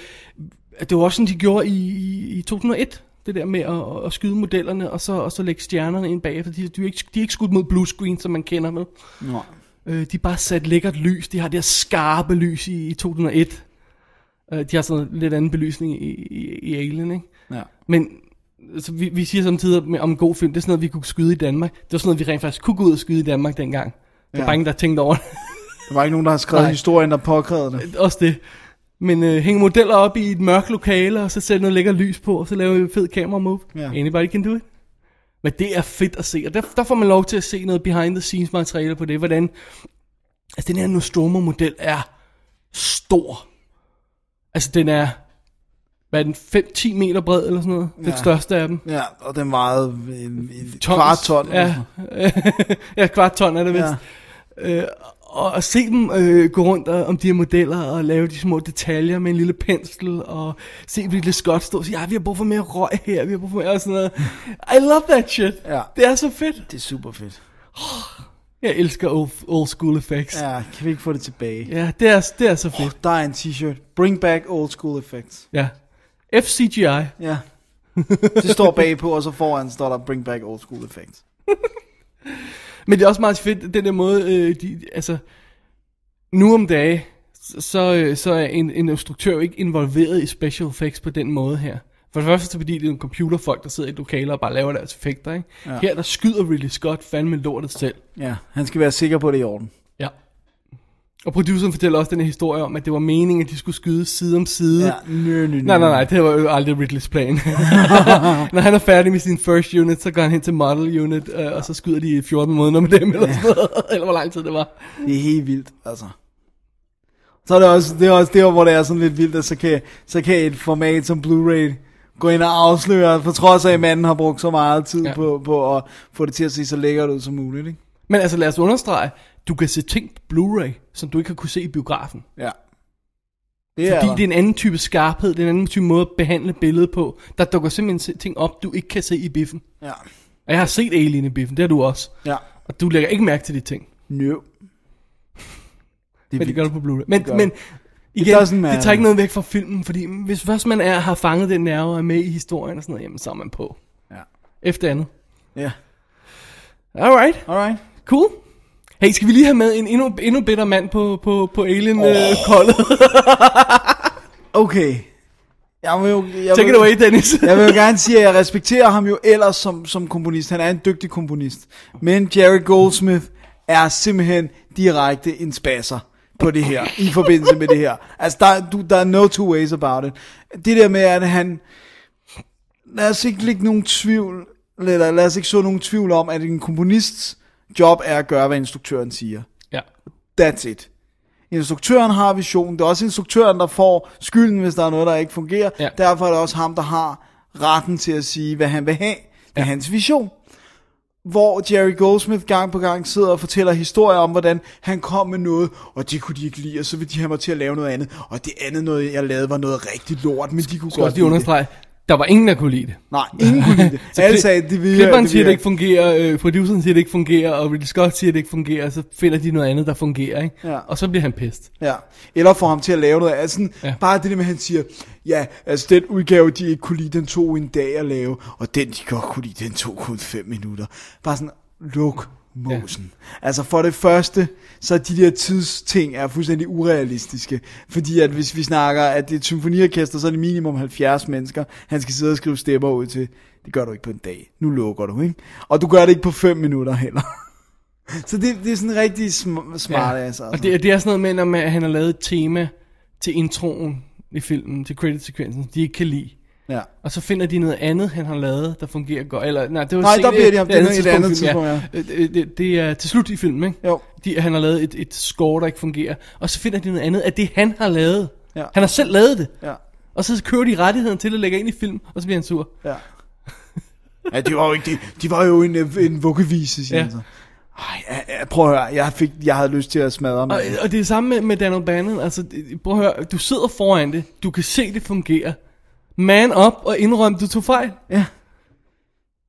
Speaker 3: at det var også sådan, de gjorde i, i, i 2001, det der med at, at skyde modellerne, og så, og så lægge stjernerne ind bagefter. De, de, er ikke, de er ikke skudt mod blue screen, som man kender med.
Speaker 4: Nå.
Speaker 3: Øh, de er bare sat lækkert lys. De har det her skarpe lys i, i 2001. Øh, de har sådan lidt anden belysning i, i, i Alien, ikke?
Speaker 4: Ja.
Speaker 3: Men altså, vi, vi siger samtidig med, om en god film, det er sådan noget, vi kunne skyde i Danmark. Det var sådan noget, vi rent faktisk kunne gå ud og skyde i Danmark dengang. Der er
Speaker 4: Ja.
Speaker 3: bare ingen, der tænkte over det.
Speaker 4: Der var ikke nogen, der har skrevet
Speaker 3: Nej.
Speaker 4: historien, der påkrævede det.
Speaker 3: Også det. Men øh, hænge modeller op i et mørkt lokale, og så sætte noget lækker lys på, og så lave en fed kamera move.
Speaker 4: Ja.
Speaker 3: Anybody can do it. Men det er fedt at se, og der, der får man lov til at se noget behind the scenes materiale på det, hvordan altså den her Nostromo-model er stor. Altså den er, hvad er den, 5-10 meter bred eller sådan noget, ja. den
Speaker 4: Ja.
Speaker 3: største af dem.
Speaker 4: Ja, og den vejede en, en
Speaker 3: Tons.
Speaker 4: kvart ton.
Speaker 3: Ja, ja kvart ton er det vist.
Speaker 4: Ja.
Speaker 3: Øh, og at se dem øh, gå rundt og, om de her modeller og lave de små detaljer med en lille pensel og se Ridley Scott stå og sige, ja, vi har brug for mere røg her, vi har brug for mere og sådan noget. I love that shit.
Speaker 4: Ja.
Speaker 3: Det er så fedt.
Speaker 4: Det er super fedt.
Speaker 3: Jeg elsker old, old school effects. Ja.
Speaker 4: Ja, kan vi ikke få det tilbage?
Speaker 3: ja, det er, det er så fedt.
Speaker 4: Der er en t-shirt. Bring back old school effects.
Speaker 3: Ja. FCGI.
Speaker 4: Ja. Det står bagpå, og så foran står der bring back old school effects.
Speaker 3: Men det er også meget fedt, den der måde, øh, de, altså, nu om dage, så- så, øh, så er en, en instruktør jo ikke involveret i special effects på den måde her. For det første, fordi det er nogle computerfolk, der sidder i et lokale og bare laver deres effekter, ikke? Ja. Her, der skyder Ridley Scott fandme lortet selv.
Speaker 4: Ja, han skal være sikker på, at det er i orden.
Speaker 3: Ja. Og produceren fortæller også den her historie om, at det var meningen, at de skulle skyde side om side.
Speaker 4: Ja, nø, nø, nø.
Speaker 3: Nej, nej, nej, det var jo aldrig Ridleys plan. Når han er færdig med sin first unit, så går han hen til model unit, øh, og så skyder de i 14 måneder med dem, eller, ja. sådan noget, eller hvor lang tid det var.
Speaker 4: Det er helt vildt, altså. Så er det også, det er også der, hvor det er sådan lidt vildt, at så kan, så kan et format som Blu-ray gå ind og afsløre, for trods af, at manden har brugt så meget tid
Speaker 3: Ja.
Speaker 4: ja. på, på at få det til at se så lækkert ud som muligt, ikke?
Speaker 3: Men altså lad os understrege, du kan se ting på Blu-ray, som du ikke har kunne se i biografen.
Speaker 4: Ja.
Speaker 3: Det fordi
Speaker 4: der.
Speaker 3: det er en anden type skarphed, det er en anden type måde at behandle billedet på. Der dukker simpelthen se- ting op, du ikke kan se i biffen.
Speaker 4: Ja.
Speaker 3: Og jeg har set Alien i biffen, det har du også.
Speaker 4: Ja.
Speaker 3: Og du lægger ikke mærke til de ting.
Speaker 4: No.
Speaker 3: Men det gør du på Blu-ray. Men,
Speaker 4: gør
Speaker 3: men
Speaker 4: det.
Speaker 3: igen,
Speaker 4: doesn't matter.
Speaker 3: det tager ikke noget væk fra filmen, fordi hvis først man er, har fanget den nerve og er med i historien og sådan noget, jamen så er man på.
Speaker 4: Ja.
Speaker 3: Efter andet.
Speaker 4: Ja.
Speaker 3: Alright,
Speaker 4: Alright.
Speaker 3: cool. Hey, skal vi lige have med en endnu, endnu bedre mand på, på, på alien oh. øh, koldet?
Speaker 4: Okay. Jeg vil jo, jeg
Speaker 3: Take
Speaker 4: vil,
Speaker 3: it away, Dennis.
Speaker 4: jeg vil jo gerne sige, at jeg respekterer ham jo ellers som, som komponist. Han er en dygtig komponist. Men Jerry Goldsmith er simpelthen direkte en spasser på det her, i forbindelse med det her. Altså, der, du, der er no two ways about it. Det der med, at han... Lad os ikke lægge nogen tvivl, eller lad os ikke så nogen tvivl om, at en komponists job er at gøre, hvad instruktøren siger.
Speaker 3: ja.
Speaker 4: That's it. Instruktøren har visionen. Det er også instruktøren, der får skylden, hvis der er noget, der ikke fungerer.
Speaker 3: Ja.
Speaker 4: Derfor er det også ham, der har retten til at sige, hvad han vil have. Det er ja. hans vision. Hvor Jerry Goldsmith gang på gang sidder og fortæller historier om, hvordan han kom med noget, og det kunne de ikke lide, og så ville de have mig til at lave noget andet. Og det andet, noget jeg lavede, var noget rigtig lort, men de kunne
Speaker 3: Så
Speaker 4: godt
Speaker 3: også lige
Speaker 4: lide det.
Speaker 3: understrege, der var ingen, der kunne lide det.
Speaker 4: Nej, ingen kunne lide det. Alle
Speaker 3: kli-
Speaker 4: sagde, det virker.
Speaker 3: Klipperen
Speaker 4: det
Speaker 3: siger, det
Speaker 4: virker.
Speaker 3: ikke fungerer, øh, produceren siger, det ikke fungerer, og Ridley Scott siger, det ikke fungerer, og så finder de noget andet, der fungerer, ikke?
Speaker 4: Ja.
Speaker 3: Og så bliver han pissed.
Speaker 4: Ja, eller få ham til at lave noget. Altså sådan,
Speaker 3: Ja.
Speaker 4: ja. bare det der med, at han siger, ja, altså den udgave, de ikke kunne lide, den tog en dag at lave, og den, de godt kunne lide, den tog kun fem minutter. Bare sådan, luk mosen. Ja. Altså for det første, så de der tidsting er fuldstændig urealistiske, fordi at hvis vi snakker, at det er et symfoniorkester, så er det minimum 70 mennesker, han skal sidde og skrive stemmer ud til. Det gør du ikke på en dag. Nu lukker du, ikke? Og du gør det ikke på 5 minutter heller. Så det, det er sådan rigtig sm- smart, ja. altså.
Speaker 3: Og det, er- det er sådan noget med, når man, han har lavet et tema til introen i filmen, til credit-sekvensen, de ikke kan lide.
Speaker 4: ja.
Speaker 3: Og så finder de noget andet, han har lavet, der fungerer godt. Eller, nej, det var
Speaker 4: Nej,
Speaker 3: senere-
Speaker 4: der bliver de- det er et andet
Speaker 3: ja. Øh, øh, Det, det er til slut i filmen, ikke?
Speaker 4: Jo.
Speaker 3: De, han har lavet et, et score, der ikke fungerer. Og så finder de noget andet af det, han har lavet.
Speaker 4: Ja.
Speaker 3: Han har selv lavet det.
Speaker 4: Ja.
Speaker 3: Og så kører de rettigheden til at lægge ind i film, og så bliver han sur.
Speaker 4: Ja. ja, de var jo, ikke, de, de var jo en, øh, en vuggevise, siger
Speaker 3: Ja.
Speaker 4: ja. han så. Ej, ja, ja, prøv at høre, jeg, fik, jeg havde lyst til at smadre mig.
Speaker 3: Og, og det er det samme med, med Daniel Bannon. Altså, det- prøv at høre, du sidder foran det, du kan se det fungere. Man op og indrøm, du tog fejl.
Speaker 4: Ja.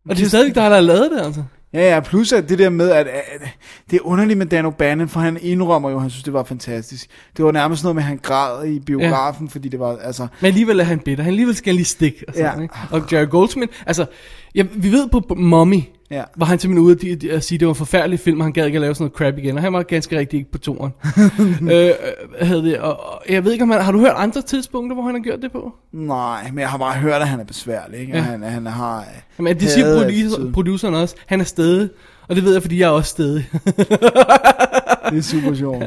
Speaker 3: Og det er stadigvæk dig, der har lavet det, altså.
Speaker 4: Ja, ja, plus at det der med, at, at det er underligt med Dan O'Bannon, for han indrømmer jo, at han synes, det var fantastisk. Det var nærmest noget med, at han græd i biografen, ja. fordi det var, altså,
Speaker 3: Men alligevel er han bitter. Han alligevel skal han lige stikke. Og, sådan,
Speaker 4: Ja.
Speaker 3: ikke? og Jerry Goldsmith, altså, ja, vi ved på på Mommy,
Speaker 4: Ja.
Speaker 3: var han simpelthen ude at de- de- at sige, at det var en forfærdelig film, og han gad ikke at lave sådan noget crap igen. Og han var ganske rigtig ikke på toren. øh, hvad hedder det? Og, og, jeg ved ikke, om han, har du hørt andre tidspunkter, hvor han har gjort det på?
Speaker 4: nej, men jeg har bare hørt, at han er besværlig, ikke? Ja. Og han, han har... øh,
Speaker 3: Jamen, det siger
Speaker 4: hadet
Speaker 3: producer,
Speaker 4: altid.
Speaker 3: produceren også. Han er stedig. Og det ved jeg, fordi jeg er også stedig.
Speaker 4: Det er super sjovt.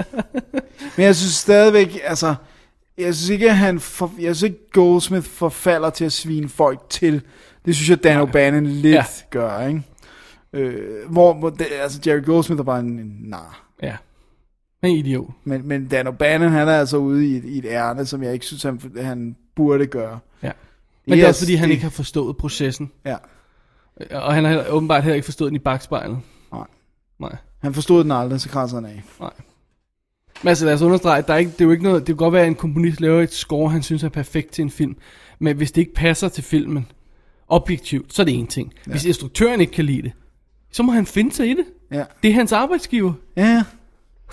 Speaker 4: Men jeg synes stadigvæk, altså, jeg synes ikke, at han for, jeg synes ikke, Goldsmith forfalder til at svine folk til. Det synes jeg, Dan O'Bannon lidt
Speaker 3: Ja.
Speaker 4: ja. gør, ikke? Øh, hvor, hvor det, altså, Jerry Goldsmith er bare en, en nar.
Speaker 3: ja. Han er en idiot.
Speaker 4: Men, men Dan O'Bannon, han er altså ude i et, i et ærne, som jeg ikke synes, han, han burde gøre.
Speaker 3: Ja. Men yes, det er
Speaker 4: Yes,
Speaker 3: også, fordi han
Speaker 4: det-
Speaker 3: ikke har forstået processen.
Speaker 4: Ja.
Speaker 3: Og han har åbenbart heller ikke forstået den i bagspejlet.
Speaker 4: Nej.
Speaker 3: Nej.
Speaker 4: Han forstod den aldrig, så krasser han af.
Speaker 3: Nej. Men altså lad os understrege, at der er ikke, det er jo ikke noget, det kan godt være, at en komponist laver et score, han synes er perfekt til en film, men hvis det ikke passer til filmen, objektivt, så er det en ting. Ja. Hvis instruktøren ikke kan lide det, så må han finde sig i det.
Speaker 4: Ja.
Speaker 3: Det er hans arbejdsgiver.
Speaker 4: Ja, ja.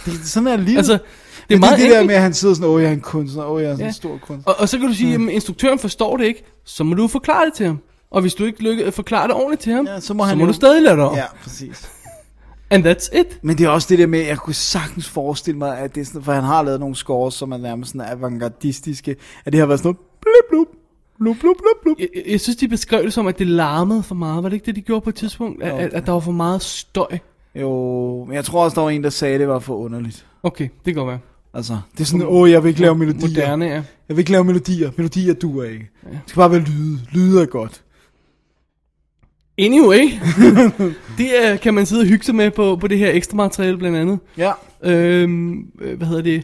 Speaker 4: Det, sådan er livet.
Speaker 3: Altså, det er
Speaker 4: det,
Speaker 3: meget
Speaker 4: det, det der
Speaker 3: enkelt.
Speaker 4: med, at han sidder sådan, åh, jeg er en kunstner, åh, jeg er sådan
Speaker 3: Ja.
Speaker 4: ja. en stor kunstner.
Speaker 3: Og, og så kan du sige, at instruktøren forstår det ikke, så må du forklare det til ham. Og hvis du ikke lykke, øh, forklarer det ordentligt til ham, ja, så må, han så må
Speaker 4: jo-
Speaker 3: du stadig lade det om.
Speaker 4: Ja, præcis.
Speaker 3: And that's it.
Speaker 4: Men det er også det der med, at jeg kunne sagtens forestille mig, at det er sådan, for han har lavet nogle scores, som er nærmest sådan avantgardistiske, at det har været sådan noget, blip, blip, blip, blip, blip, blip.
Speaker 3: Jeg, jeg- jeg synes, de beskrev det som, at det larmede for meget. Var det ikke det, de gjorde på et tidspunkt? At, at, at der var for meget støj.
Speaker 4: Jo, men jeg tror også, der var en, der sagde, at det var for underligt.
Speaker 3: Okay, det kan godt være.
Speaker 4: Altså, det er sådan, åh, jeg vil ikke lave melodier.
Speaker 3: Moderne, ja.
Speaker 4: Jeg vil ikke lave melodier. Melodier duer ikke. Det skal bare være lyde. Lyde er godt.
Speaker 3: Anyway, det øh, kan man sidde og hygge sig med på, på det her ekstra materiale blandt andet.
Speaker 4: Ja.
Speaker 3: Øhm, øh, hvad hedder det?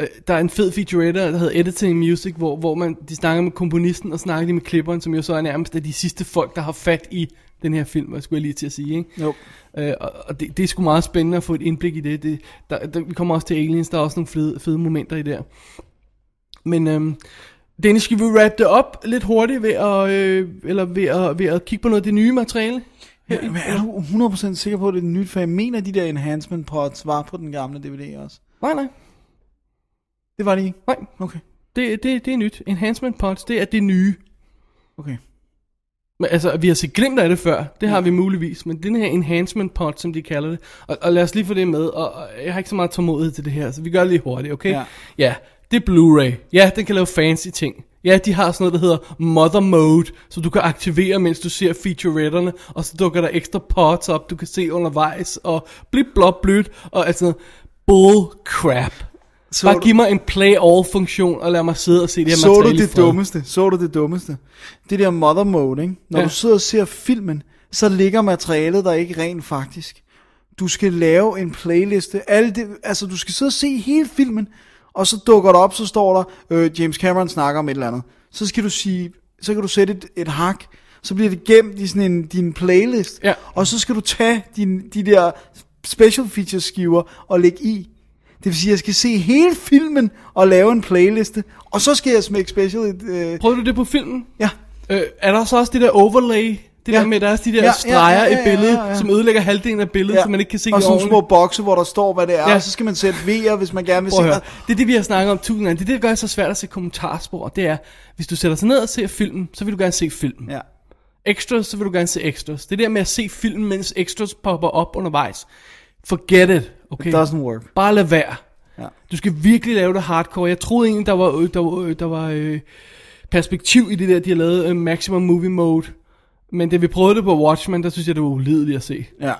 Speaker 3: Øh, Der er en fed featurette, der hedder Editing Music, hvor, hvor man, de snakker med komponisten og snakker lige med klipperen, som jo så er nærmest af de sidste folk, der har fat i den her film, skulle jeg lige til at sige. Ikke?
Speaker 4: Jo.
Speaker 3: Øh, og og det, det er sgu meget spændende at få et indblik i det. det der, der, vi kommer også til Aliens, der er også nogle fede, fede momenter i der. Men øhm, Dennis, skal vi wrap det op lidt hurtigt ved at, øh, eller ved at, ved at kigge på noget af det nye materiale?
Speaker 4: Ja, men er du 100% sikker på, at det er nyt? For jeg mener, de der enhancement pods var på den gamle DVD også.
Speaker 3: Nej, nej,
Speaker 4: Det var de ikke?
Speaker 3: nej.
Speaker 4: Okay.
Speaker 3: Det, det, det er nyt. Enhancement pods, det er det nye.
Speaker 4: Okay.
Speaker 3: Men altså, vi har set glimt af det før, det har vi muligvis, men den her enhancement pot, som de kalder det, og, og lad os lige få det med, og, og jeg har ikke så meget tålmodighed til det her, så vi gør det lige hurtigt, okay?
Speaker 4: Ja.
Speaker 3: ja det er Blu-ray. Ja, den kan lave fancy ting. Ja, de har sådan noget, der hedder Mother Mode, som du kan aktivere, mens du ser featuretterne, og så dukker der ekstra pots op, du kan se undervejs, og blip blop blødt, og altså bull crap.
Speaker 4: Så
Speaker 3: Bare
Speaker 4: du-
Speaker 3: giv mig en play-all-funktion, og lad mig sidde og se det her
Speaker 4: Så du
Speaker 3: materiale i
Speaker 4: det
Speaker 3: fred.
Speaker 4: dummeste? Så du det dummeste? Det der mother mode, ikke? Når
Speaker 3: Ja.
Speaker 4: ja. du sidder og ser filmen, så ligger materialet der ikke rent faktisk. Du skal lave en playliste. Alle det, altså, du skal sidde og se hele filmen, og så dukker der op, så står der, øh, James Cameron snakker om et eller andet. Så skal du sige, så kan du sætte et, et hak, så bliver det gemt i sådan en, din playlist,
Speaker 3: Ja.
Speaker 4: og så skal du tage din, de der special feature skiver og lægge i. Det vil sige, at jeg skal se hele filmen og lave en playliste, og så skal jeg smække special et... Øh,
Speaker 3: Prøvede du det på filmen?
Speaker 4: ja,
Speaker 3: Øh, er der så også det der overlay? Det ja.
Speaker 4: Ja.
Speaker 3: der med, der er også de der ja,
Speaker 4: Ja,
Speaker 3: streger
Speaker 4: ja, ja, ja,
Speaker 3: i billedet, ja,
Speaker 4: ja,
Speaker 3: ja,
Speaker 4: ja.
Speaker 3: som ødelægger halvdelen af billedet, ja.
Speaker 4: ja.
Speaker 3: så man ikke kan se
Speaker 4: Og
Speaker 3: det
Speaker 4: sådan
Speaker 3: ordentligt.
Speaker 4: små bokse, hvor der står, hvad det er,
Speaker 3: Ja.
Speaker 4: ja. og så skal man sætte V'er, hvis man gerne vil
Speaker 3: Prøv
Speaker 4: se
Speaker 3: at høre.
Speaker 4: det.
Speaker 3: Det er det, vi har snakket om tusind gange. Det er det, der gør det så svært at se kommentarspor. Det er, hvis du sætter sig ned og ser filmen, så vil du gerne se filmen.
Speaker 4: Ja.
Speaker 3: Extras, så vil du gerne se extras. Det der med at se filmen, mens extras popper op undervejs. Forget it, okay?
Speaker 4: It doesn't work.
Speaker 3: Bare lad være.
Speaker 4: Ja.
Speaker 3: Du skal virkelig lave det hardcore. Jeg troede egentlig, der var, øh, der var, øh, der var øh, perspektiv i det der, de har lavet øh, Maximum Movie Mode. Men da vi prøvede det på Watchmen, der synes jeg, det var ulideligt at se.
Speaker 4: Ja.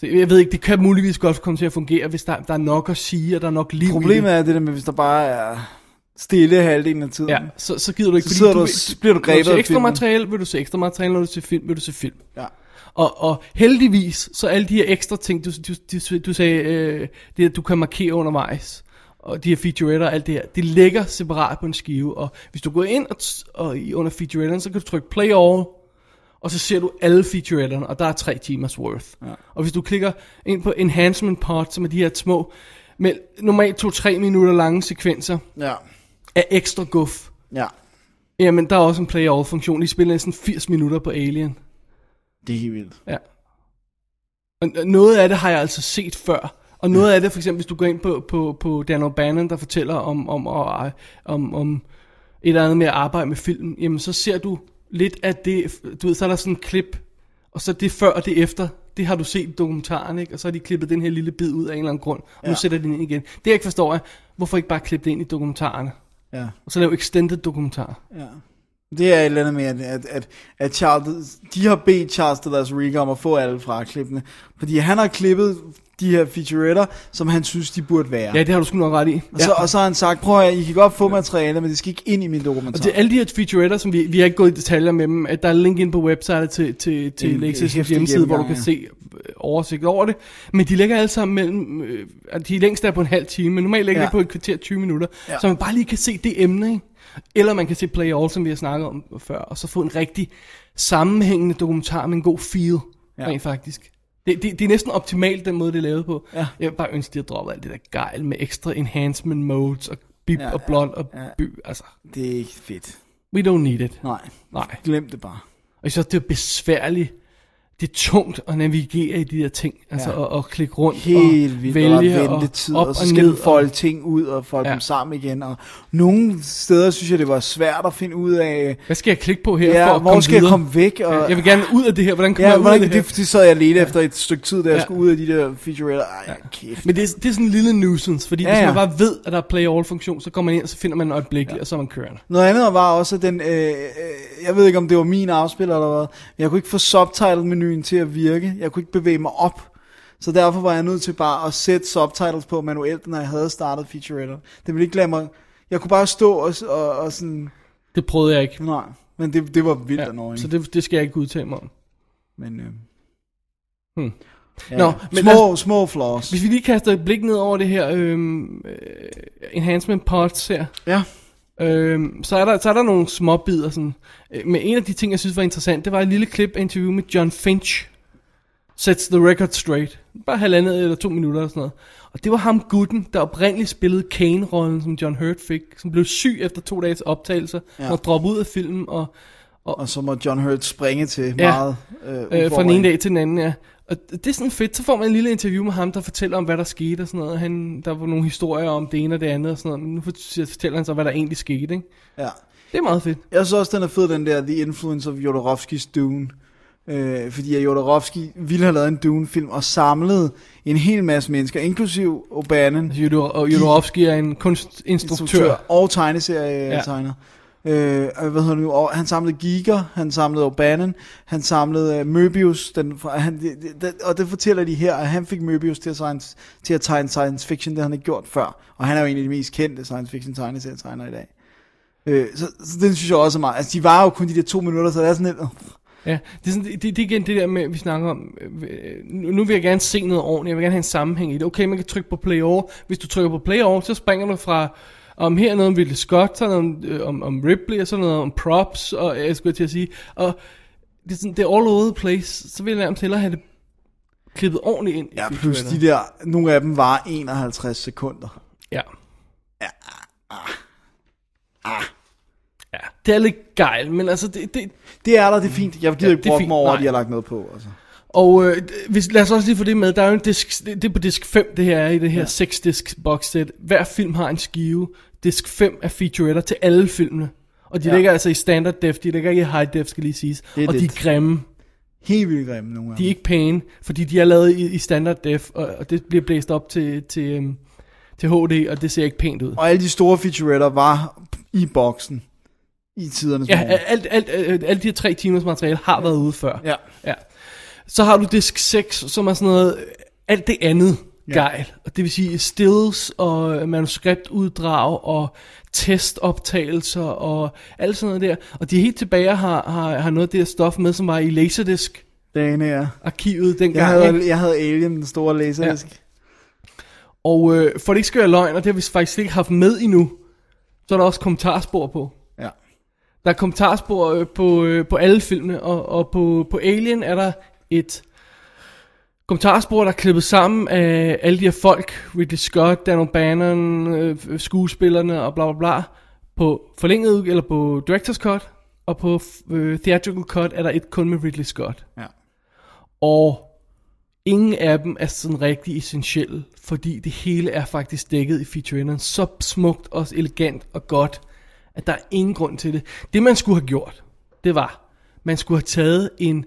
Speaker 3: Så jeg ved ikke, det kan muligvis godt komme til at fungere, hvis der, der er nok at sige, og der er nok liv
Speaker 4: Problemet
Speaker 3: i
Speaker 4: er det der med, hvis der bare er stille halvdelen af
Speaker 3: det.
Speaker 4: tiden.
Speaker 3: Ja, så, så gider du ikke,
Speaker 4: Så sidder du,
Speaker 3: vil-
Speaker 4: så bliver du
Speaker 3: når du
Speaker 4: grebet
Speaker 3: ser
Speaker 4: af
Speaker 3: ekstra
Speaker 4: filmen.
Speaker 3: materiale, vil du se ekstra materiale, når du ser film, vil du se film.
Speaker 4: Ja.
Speaker 3: Og, og heldigvis, så alle de her ekstra ting, du, du, du, du sagde, øh, det at du kan markere undervejs, og de her featuretter og alt det her, det ligger separat på en skive, og hvis du går ind og, t- og i- under featuretterne, så kan du trykke play all, og så ser du alle featuretterne, og der er tre timers worth. Ja. Og hvis du klikker ind på enhancement part, som er de her små, med normalt 2-3 minutter lange sekvenser
Speaker 4: Ja.
Speaker 3: af ekstra guf,
Speaker 4: Ja.
Speaker 3: jamen der er også en play all funktion, de spiller næsten 80 minutter på Alien.
Speaker 4: Det er helt vildt.
Speaker 3: Ja. Og og noget af det har jeg altså set før. Og noget af det, for eksempel hvis du går ind på, på, på Dan O'Bannon, der fortæller om, om, om, om, om et eller andet med at arbejde med film, jamen så ser du lidt af det, du ved, så er der sådan en klip, og så det før og det efter, det har du set i dokumentaren, ikke? og så har de klippet den her lille bid ud af en eller anden grund, og nu
Speaker 4: Ja.
Speaker 3: sætter de den ind igen. Det jeg ikke forstår er, hvorfor ikke bare klippe det ind i dokumentarerne,
Speaker 4: Ja.
Speaker 3: og så lave extended dokumentar.
Speaker 4: Ja. Det er et eller andet med, at, at, at, at Charles, de har bedt Charles Dallas Rika om at få alle fraklippene. Fordi han har klippet de her featuretter, som han synes, de burde være.
Speaker 3: Ja, det har du sgu nok ret i.
Speaker 4: Og, så, og så har han sagt, prøv at høre, I kan godt få materiale, men det skal ikke ind i min
Speaker 3: Og
Speaker 4: dokumentar.
Speaker 3: det, alle de her featuretter, som vi, vi har ikke gået i detaljer med dem, at der er link ind på websitet til, til, til
Speaker 4: En
Speaker 3: Lexus
Speaker 4: heftig
Speaker 3: hjemmeside, hvor du kan
Speaker 4: gennemgang,
Speaker 3: se øh, oversigt over det. Men de ligger alle sammen mellem, øh, at de længst er på en halv time, men normalt ligger ja.
Speaker 4: Ja.
Speaker 3: det på et kvarter 20 minutter, ja.
Speaker 4: Ja.
Speaker 3: så man bare lige kan se det emne, ikke? Eller man kan se Play All, som vi har snakket om før, og så få en rigtig sammenhængende dokumentar med en god feel, ja.
Speaker 4: Ja.
Speaker 3: rent faktisk. Det, det, det er næsten optimalt, den måde, det er lavet på.
Speaker 4: Ja.
Speaker 3: Jeg vil bare ønske, at de havde droppet alt det der gejl med ekstra enhancement modes og bip ja,
Speaker 4: Ja,
Speaker 3: og blond og
Speaker 4: ja, ja.
Speaker 3: by. Altså,
Speaker 4: det er ikke fedt.
Speaker 3: we don't need it.
Speaker 4: Nej,
Speaker 3: Nej.
Speaker 4: glem det bare.
Speaker 3: Og så det er besværligt. Det er tungt at navigere i de der ting. Altså ja. at, at klikke rundt
Speaker 4: Helt
Speaker 3: og
Speaker 4: vildt, og
Speaker 3: vælge
Speaker 4: der er ventetid,
Speaker 3: og op og,
Speaker 4: og, og så skal
Speaker 3: ned.
Speaker 4: du folde ting ud og folde
Speaker 3: Ja.
Speaker 4: ja. dem sammen igen. Og nogle steder synes jeg, det var svært at finde ud af,
Speaker 3: Hvad skal jeg klikke på her
Speaker 4: Ja,
Speaker 3: for at
Speaker 4: hvor
Speaker 3: komme
Speaker 4: skal jeg
Speaker 3: videre?
Speaker 4: komme væk, og-
Speaker 3: Ja, jeg vil gerne ud af det her. Hvordan kommer
Speaker 4: Ja,
Speaker 3: jeg ud af
Speaker 4: hvordan,
Speaker 3: det
Speaker 4: det,
Speaker 3: her?
Speaker 4: det, sad jeg alene efter et stykke tid, da jeg
Speaker 3: Ja.
Speaker 4: skulle ud af de der featuretter. Ej, kæft.
Speaker 3: Men det er, det er sådan en lille nuisance, fordi ja,
Speaker 4: Ja,
Speaker 3: hvis
Speaker 4: ja.
Speaker 3: man bare ved, at der er play-all-funktion, så kommer man ind, og så finder man en øjeblik, ja. og så er man kørende.
Speaker 4: Noget andet var også, at den, øh, øh, jeg ved ikke om det var min afspiller eller hvad, men jeg kunne ikke få subtitle-menuen til at virke. Jeg kunne ikke bevæge mig op. Så derfor var jeg nødt til bare at sætte subtitles på manuelt, når jeg havde startet featuretter. Det ville ikke lade mig... Jeg kunne bare stå og, s- og, og sådan...
Speaker 3: Det prøvede jeg ikke.
Speaker 4: Nej, men det, det var vildt ja,
Speaker 3: Ja,
Speaker 4: annoying.
Speaker 3: så det, det skal jeg ikke udtale mig om.
Speaker 4: Men, øh,
Speaker 3: Hmm.
Speaker 4: ja,
Speaker 3: Nå,
Speaker 4: Nå,
Speaker 3: men altså,
Speaker 4: men små, små flaws.
Speaker 3: Hvis vi lige kaster et blik ned over det her øhm, øh, enhancement pods her,
Speaker 4: Ja,
Speaker 3: Øhm, så, er der, så er der nogle små bidder sådan. Øh, Men en af de ting, jeg synes var interessant, det var et lille klip af interview med John Finch. Sets the record straight. Bare halvandet eller to minutter eller sådan noget. Og det var ham gutten, der oprindeligt spillede Kane-rollen, som John Hurt fik, som blev syg efter to dages optagelser, ja.
Speaker 4: Ja.
Speaker 3: og droppede ud af filmen, og øh,
Speaker 4: Og så må John Hurt springe til
Speaker 3: Ja.
Speaker 4: meget øh,
Speaker 3: øh, fra den
Speaker 4: udfordring.
Speaker 3: ene dag til den anden, ja. Og det er sådan fedt, så får man en lille interview med ham, der fortæller om, hvad der skete og sådan noget. Han, der var nogle historier om det ene og det andet og sådan noget, men nu fortæller han så, hvad der egentlig skete, ikke?
Speaker 4: Ja.
Speaker 3: Det er meget fedt.
Speaker 4: Jeg synes også, den er fed, den der The Influence of Jodorowskis Dune. Øh, fordi at Jodorowsky ville have lavet en Dune-film og samlede en hel masse mennesker, inklusiv O'Bannon,
Speaker 3: Jodor- og Jodorowsky er en kunstinstruktør.
Speaker 4: og tegneserietegner. Ja. Øh, og hvad hedder det nu? Og han samlede Giger, han samlede O'Bannon, han samlede uh, Möbius, den, fra- han, det, det- det, og det fortæller de her, at han fik Möbius til at, science, til at tegne science fiction, det han ikke gjort før. Og han er jo en af de mest kendte science fiction tegneserietegnere i dag. Øh, så, så den synes jeg også er meget. Altså, de var jo kun de der to minutter, så det er sådan lidt... øh,
Speaker 3: Ja, det er, sådan, det, det er igen det der med, vi snakker om, øh, nu nu vil jeg gerne se noget ordentligt, jeg vil gerne have en sammenhæng i det. Okay, man kan trykke på play over. Hvis du trykker på play over, så springer du fra, om her er noget om Ridley Scott, så er noget om, øh, om, om Ripley, og så er noget om props, og øh, jeg skulle til at sige, og det er, sådan, det er all over the place, så vil jeg nærmest hellere have det klippet ordentligt ind. i
Speaker 4: Ja,
Speaker 3: filmen.
Speaker 4: plus de der... Nogle af dem var 51 sekunder.
Speaker 3: Ja. Ja, det er lidt gejl, men altså, det, det,
Speaker 4: Det er der, det er fint. Jeg
Speaker 3: Ja,
Speaker 4: gider ja, ikke
Speaker 3: det er
Speaker 4: brokke
Speaker 3: fint.
Speaker 4: mig over, at
Speaker 3: Nej.
Speaker 4: de har lagt noget på. Altså.
Speaker 3: Og øh, d- hvis, lad os også lige få det med, der er jo en disk, det det er på disk 5, det her er i det her ja. 6-disk boxset. Hver film har en skive. Disk 5 er featuretter til alle filmene. Og de ja.
Speaker 4: Ja.
Speaker 3: ligger altså i standard def, de ligger ikke i high def, skal lige siges.
Speaker 4: Det er
Speaker 3: og de
Speaker 4: lidt.
Speaker 3: er grimme,
Speaker 4: Helt vildt grimme nogle af
Speaker 3: de
Speaker 4: dem.
Speaker 3: er ikke pæne, fordi de er lavet i, i standard def, og, og det bliver blæst op til, til, øhm, til HD, og det ser ikke pænt ud.
Speaker 4: Og alle de store featuretter var i boksen i tidernes
Speaker 3: Ja,
Speaker 4: morgen.
Speaker 3: alt, alt, alt, alt øh, de her tre timers materiale har været ude før.
Speaker 4: Ja.
Speaker 3: ja. Så har du disk 6, som er sådan noget, øh, alt det andet ja. gejl. Og det vil sige stills og øh, manuskriptuddrag og testoptagelser og alt sådan noget der. Og de helt tilbage har, har, har noget af det der stof med, som var i Laserdisc
Speaker 4: Dagen her.
Speaker 3: arkivet dengang.
Speaker 4: Jeg
Speaker 3: ikke?
Speaker 4: havde, jeg havde Alien, den store laserdisk. Ja.
Speaker 3: Og øh, for det ikke skal være løgn, og det har vi faktisk ikke haft med endnu, så er der også kommentarspor på.
Speaker 4: ja.
Speaker 3: Der er kommentarspor øh, på, øh, på alle filmene, og, og på, på Alien er der et kommentarspor, der er klippet sammen af alle de her folk, Ridley Scott, Dan O'Bannon, øh, skuespillerne og bla bla bla, på forlænget, ud- eller på Director's Cut, og på øh, Theatrical Cut er der et kun med Ridley Scott.
Speaker 4: Ja.
Speaker 3: Og ingen af dem er sådan rigtig essentielle, fordi det hele er faktisk dækket i featuretterne så smukt og elegant og godt, at der er ingen grund til det. Det man skulle have gjort, det var, man skulle have taget en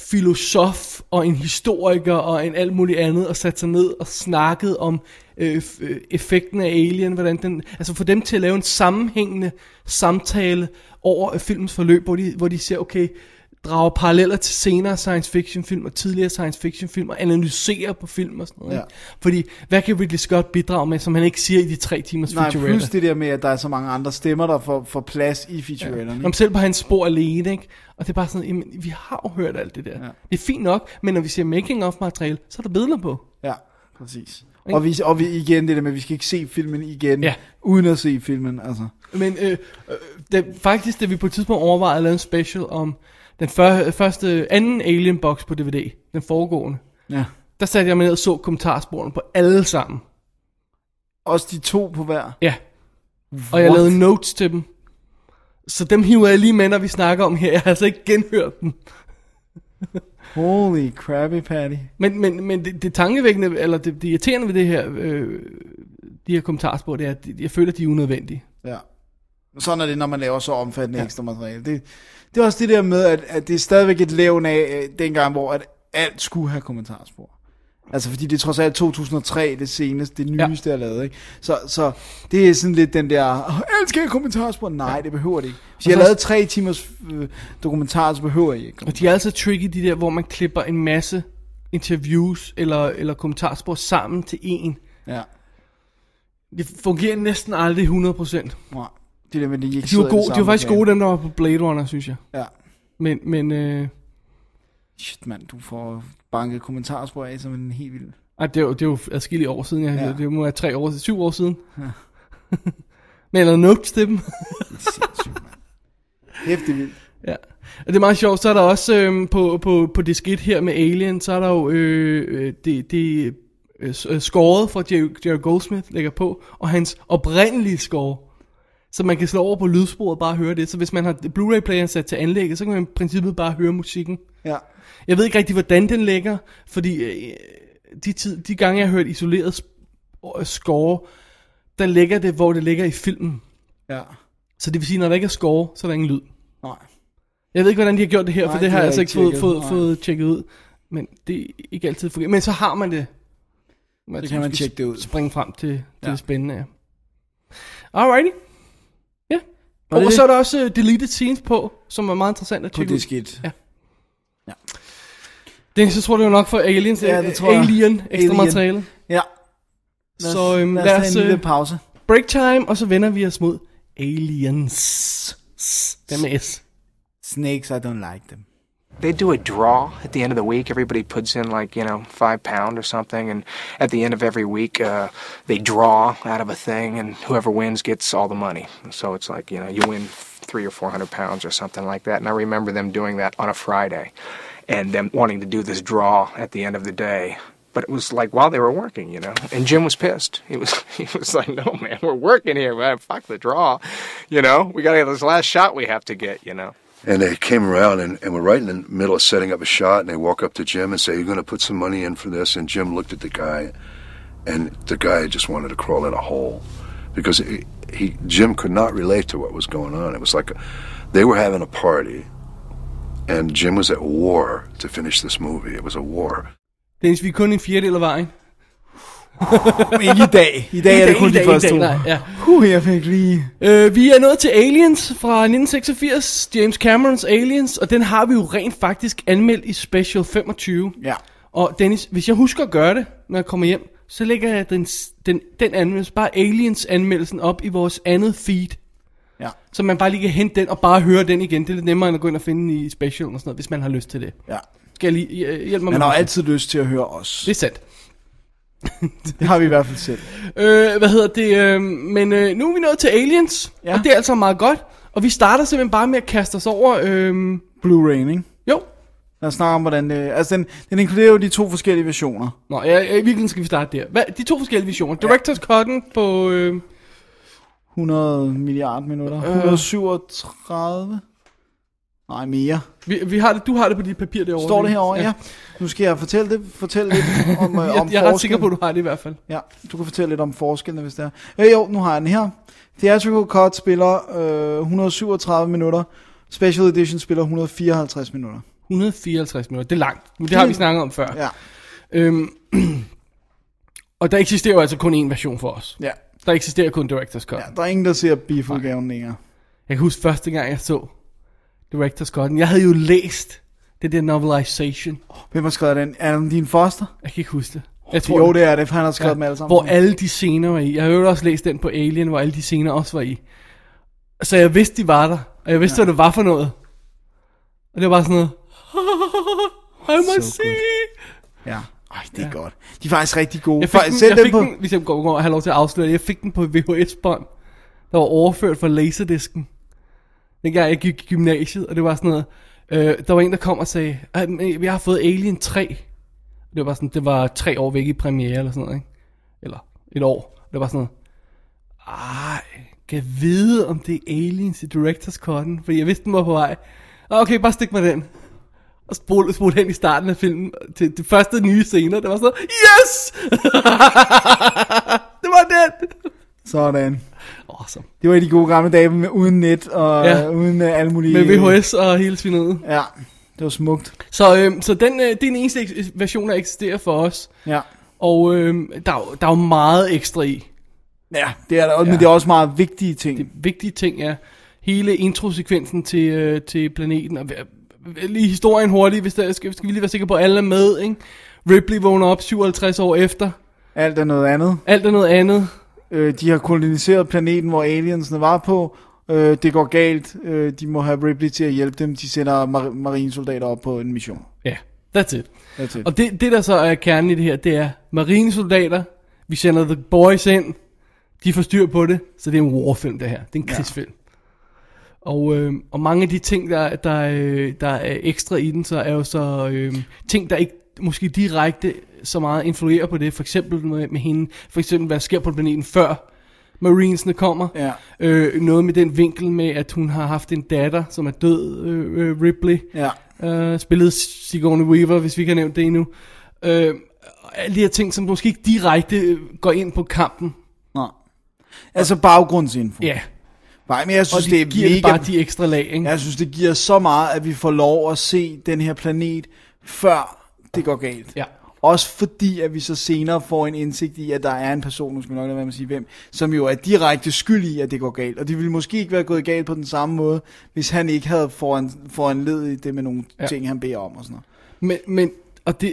Speaker 3: filosof og en historiker og en alt muligt andet og sat sig ned og snakket om øh, f- øh, effekten af Alien, hvordan den, altså få dem til at lave en sammenhængende samtale over øh, filmens forløb, hvor de, hvor de siger, okay, drager paralleller til senere science fiction film og tidligere science fiction film og analyserer på film og sådan noget.
Speaker 4: Ja.
Speaker 3: ikke? Fordi hvad kan Ridley Scott bidrage med, som han ikke siger i de tre timers
Speaker 4: Nej,
Speaker 3: featurette?
Speaker 4: plus det der med, at der er så mange andre stemmer, der får, får plads i featuretterne.
Speaker 3: Om selv på hans spor alene, ikke? Og det er bare sådan, jamen, vi har jo hørt alt det der. Ja. Det er fint nok, men når vi ser making of materiale, så er der billeder på.
Speaker 4: Ja. ja, præcis. Og, vi, og vi, igen det der med, at vi skal ikke se filmen igen,
Speaker 3: Ja.
Speaker 4: uden at se filmen. Altså.
Speaker 3: Men øh, øh, da, faktisk, da vi på et tidspunkt overvejede at lave en special om den før, første, anden Alien Box på DVD, den foregående,
Speaker 4: Ja.
Speaker 3: der satte jeg mig ned og så kommentarsporene på alle sammen.
Speaker 4: Også de to på hver.
Speaker 3: Ja. Og jeg
Speaker 4: What?
Speaker 3: lavede notes til dem. Så dem hiver jeg lige med, når vi snakker om her. Jeg har altså ikke genhørt dem.
Speaker 4: Holy crappy patty.
Speaker 3: Men, men, men det, det tankevækkende, eller det, det irriterende ved det her, øh, de her kommentarspor, det er, at jeg føler, at de er unødvendige.
Speaker 4: Ja. Sådan er det, når man laver så omfattende ja. ekstra materiale. Det, det er også det der med, at, at det er stadigvæk et levn af øh, dengang, hvor at alt skulle have kommentarspor. Altså fordi det er trods alt 2003, det seneste, det
Speaker 3: Ja.
Speaker 4: nyeste, jeg lavede. Ikke? Så, så det er sådan lidt den der, "Åh, alt skal have kommentarspor. Nej, det behøver det ikke. Hvis
Speaker 3: Og
Speaker 4: jeg har
Speaker 3: så-
Speaker 4: lavet tre timers øh, dokumentar, så behøver I ikke.
Speaker 3: Og de er altså tricky, de der, hvor man klipper en masse interviews eller, eller kommentarspor sammen til en.
Speaker 4: Ja.
Speaker 3: Det fungerer næsten aldrig 100%.
Speaker 4: Nej. Det der med, at de ikke
Speaker 3: De var,
Speaker 4: sidder i
Speaker 3: gode,
Speaker 4: det
Speaker 3: de var
Speaker 4: samme
Speaker 3: faktisk
Speaker 4: lokale.
Speaker 3: gode, dem der var på Blade Runner, synes jeg.
Speaker 4: Ja.
Speaker 3: Men, men øh,
Speaker 4: Shit, mand, du får banket kommentarspor af som en helt vild.
Speaker 3: ej, det, er jo, det er jo adskillige år siden, jeg, ja.
Speaker 4: Ja.
Speaker 3: det må være tre år, syv år siden. Ja. men jeg lavede notes til dem.
Speaker 4: Hæftig vildt.
Speaker 3: Ja. Og det er meget sjovt, så er der også øhm, på, på, på det skidt her med Alien, så er der jo øh, øh, det, det øh, s- øh, scoret fra Jerry, Jerry Goldsmith lægger på, og hans oprindelige score. Så man kan slå over på lydsporet og bare høre det. Så hvis man har Blu-ray-playeren sat til anlægget, så kan man i princippet bare høre musikken.
Speaker 4: Ja.
Speaker 3: Jeg ved ikke rigtig, hvordan den ligger, fordi øh, de, tid, de gange, jeg har hørt isoleret sp- øh, score, der ligger det, hvor det ligger i filmen.
Speaker 4: Ja.
Speaker 3: Så det vil sige, når der ikke er score, så er der ingen lyd.
Speaker 4: Nej.
Speaker 3: Jeg ved ikke, hvordan de har gjort det her,
Speaker 4: Nej,
Speaker 3: for det
Speaker 4: det
Speaker 3: har
Speaker 4: har
Speaker 3: jeg
Speaker 4: jeg
Speaker 3: altså ikke
Speaker 4: ikke
Speaker 3: fået,
Speaker 4: tjekket,
Speaker 3: fået,
Speaker 4: nej.
Speaker 3: fået tjekket ud. Men det er ikke altid fungerer. Men så har man det. Man
Speaker 4: Så kan man tjekke det ud.
Speaker 3: Springe frem til, til ja.
Speaker 4: Ja.
Speaker 3: det spændende. ja. Alrighty. Ja.
Speaker 4: Var
Speaker 3: Og
Speaker 4: det det?
Speaker 3: så er der også øh, deleted scenes på, som er meget interessant at
Speaker 4: På
Speaker 3: tjekke
Speaker 4: det
Speaker 3: ud.
Speaker 4: skidt.
Speaker 3: Ja. Dennis, jeg tror, det var nok for Aliens,
Speaker 4: Ja, det tror jeg.
Speaker 3: Alien ekstra
Speaker 4: Alien.
Speaker 3: materiale.
Speaker 4: Ja.
Speaker 3: Så øhm,
Speaker 4: lad os tage en
Speaker 3: øh,
Speaker 4: lille pause.
Speaker 3: break time, og så vender vi os mod Aliens. Den med S.
Speaker 4: Snakes, I don't like them.
Speaker 9: They do a draw at the end of the week. Everybody puts in like you know five pound or something, and at the end of every week, uh, they draw out of a thing, and whoever wins gets all the money. So it's like you know you win three or four hundred pounds or something like that. And I remember them doing that on a Friday, and them wanting to do this draw at the end of the day. But it was like while they were working, you know. And Jim was pissed. He was he was like, "No, man, we're working here, man. Fuck the draw, you know. We got to get this last shot we have to get, you know."
Speaker 10: And they came around and, and were right in the middle of setting up a shot. And they walk up to Jim and say, You're going to put some money in for this. And Jim looked at the guy, and the guy just wanted to crawl in a hole because he, he Jim could not relate to what was going on. It was like they were having a party, and Jim was at war to finish this movie. It was a war.
Speaker 3: Dennis, vi er kun en fjerdedel af vejen.
Speaker 4: Men ikke i dag. I dag er det kun
Speaker 3: Ikke
Speaker 4: de
Speaker 3: i dag,
Speaker 4: første
Speaker 3: ikke i
Speaker 4: to.
Speaker 3: dag, nej, ja.
Speaker 4: Uh, jeg fik lige...
Speaker 3: Øh, vi er nået til Aliens fra 1986, James Camerons Aliens, og den har vi jo rent faktisk anmeldt i Special 25.
Speaker 4: Ja.
Speaker 3: Og Dennis, hvis jeg husker at gøre det, når jeg kommer hjem, så lægger jeg den, den, den anmeldelse, bare Aliens-anmeldelsen op i vores andet feed.
Speaker 4: Ja.
Speaker 3: Så man bare lige kan hente den og bare høre den igen. Det er lidt nemmere end at gå ind og finde den i Special og sådan noget, hvis man har lyst til det.
Speaker 4: Ja.
Speaker 3: Skal jeg lige øh, hjælpe mig
Speaker 4: Man
Speaker 3: med
Speaker 4: har jo
Speaker 3: det?
Speaker 4: altid lyst til at høre os.
Speaker 3: Det er sandt.
Speaker 4: Det har vi i hvert fald selv.
Speaker 3: Øh, hvad hedder det? Øh, men øh, nu er vi nået til Aliens, ja.
Speaker 4: Ja.
Speaker 3: og det er altså meget godt. Og vi starter simpelthen bare med at kaste os over... Øh,
Speaker 4: Blu-ray, ikke?
Speaker 3: jo,
Speaker 4: Lad os snakke om, hvordan det... Altså, den, den inkluderer jo de to forskellige versioner.
Speaker 3: Nå, ja, ja, i virkeligheden skal vi starte der. Hvad, de to forskellige visioner. Directors Cut'en på... Øh,
Speaker 4: 100 milliard minutter. 137? Nej, mere.
Speaker 3: vi, vi har det, du har det på dit papir derovre.
Speaker 4: Står det
Speaker 3: ikke?
Speaker 4: herovre? Ja. Nu skal jeg fortælle, det, fortælle lidt om, øh,
Speaker 3: Jeg,
Speaker 4: om
Speaker 3: jeg er ret
Speaker 4: forskellen.
Speaker 3: sikker på, at du har det i hvert fald.
Speaker 4: Ja, du kan fortælle lidt om forskellene, hvis det er. Øh, jo, nu har jeg den her. Theatrical Cut spiller øh, 137 minutter. Special Edition spiller 154 minutter.
Speaker 3: 154 minutter. Det er langt, men det har vi snakket om før.
Speaker 4: Ja,
Speaker 3: Øhm, og der eksisterer jo altså kun én version for os.
Speaker 4: ja.
Speaker 3: Der eksisterer kun Directors Cut.
Speaker 4: ja der er ingen, der ser bifudgaven længere.
Speaker 3: Jeg kan huske første gang, jeg så Directors Cut'en. Jeg havde jo læst det der novelization.
Speaker 4: Hvem har skrevet den? Er den din foster?
Speaker 3: Jeg kan ikke huske det. Jeg
Speaker 4: Jo, det er det, for han har skrevet dem alle sammen.
Speaker 3: Hvor alle de scener var i. Jeg har jo også læst den på Alien, hvor alle de scener også var i. Så jeg vidste, de var der. Og jeg vidste, ja. hvad det var for noget. Og det var bare sådan noget. I must
Speaker 4: So
Speaker 3: see.
Speaker 4: Ja. Ej, det er ja. godt. De er faktisk rigtig gode.
Speaker 3: Jeg fik,
Speaker 4: Faktisk,
Speaker 3: den,
Speaker 4: selv
Speaker 3: jeg fik
Speaker 4: på...
Speaker 3: den, hvis jeg går, går og har lov til at afsløre det, jeg fik den på VHS-bånd, der var overført fra laserdisken. Dengang jeg gik i gymnasiet, og det var sådan noget, øh, der var en, der kom og sagde, "Ej, men jeg har fået Alien 3. Det var bare sådan, det var tre år væk i premiere, eller sådan noget, ikke? Eller et år. Det var sådan noget, ej, kan jeg vide, om det er Aliens i Directors Cut'en? Fordi jeg vidste, den var på vej. "Ah, Okay, bare stik mig den. Og spol, spol hen i starten af filmen til de første nye scener. Det var sådan, noget, yes! det var den!
Speaker 4: Sådan.
Speaker 3: Awesome.
Speaker 4: Det var i de gode gamle dage med uden net og
Speaker 3: Ja.
Speaker 4: ja. uden uh, alle mulige...
Speaker 3: Med VHS og hele svineriet.
Speaker 4: Ja, det var smukt.
Speaker 3: Så, øhm, så den, øh, det er den eneste eks- version, der eksisterer for os.
Speaker 4: Ja.
Speaker 3: Og øhm, der, er jo- der er jo meget ekstra i.
Speaker 4: Ja, det er der, ja. men det er også meget vigtige ting. Det...
Speaker 3: Vigtige ting er hele introsekvensen til, øh, til planeten. Og, øh, lige historien hurtigt, hvis der, skal, skal vi lige være sikre på, at alle er med. Ikke? Ripley vågner op 57 år efter.
Speaker 4: Alt er noget andet.
Speaker 3: Alt er noget andet.
Speaker 4: Øh, de har koloniseret planeten, hvor aliensene var på. Øh, det går galt. Øh, de må have Ripley til at hjælpe dem. De sender mar- marinesoldater op på en mission.
Speaker 3: Ja, yeah, that's it.
Speaker 4: That's it.
Speaker 3: Og det, det, der så er kernen i det her, det er marinesoldater, vi sender the boys ind, de får styr på det, så det er en warfilm det her, det er en krigsfilm. Og, øh, og mange af de ting, der, der, øh, der er ekstra i den, så er jo så øh, ting, der ikke måske direkte så meget influerer på det. For eksempel med, med hende, for eksempel hvad der sker på planeten før Marinesne kommer.
Speaker 4: Ja.
Speaker 3: Øh, noget med den vinkel med, at hun har haft en datter, som er død, øh, øh, Ripley.
Speaker 4: Ja.
Speaker 3: Øh, spillede Sigourney Weaver, hvis vi ikke har nævnt det endnu. Øh, og alle de her ting, som måske ikke direkte øh, går ind på kampen.
Speaker 4: Nej. Altså baggrundsinfo.
Speaker 3: Ja.
Speaker 4: Nej, men jeg synes,
Speaker 3: Og de
Speaker 4: det er
Speaker 3: giver det
Speaker 4: mega...
Speaker 3: bare de ekstra lag, ikke?
Speaker 4: Jeg synes, det giver så meget, at vi får lov at se den her planet, før det går galt.
Speaker 3: Ja.
Speaker 4: Også fordi, at vi så senere får en indsigt i, at der er en person, nu skal vi nok lade være med at sige hvem, som jo er direkte skyld i, at det går galt. Og det ville måske ikke være gået galt på den samme måde, hvis han ikke havde foran, foranledet i det med nogle
Speaker 3: Ja.
Speaker 4: ja. ting, han beder om og sådan noget.
Speaker 3: Men, men, og det...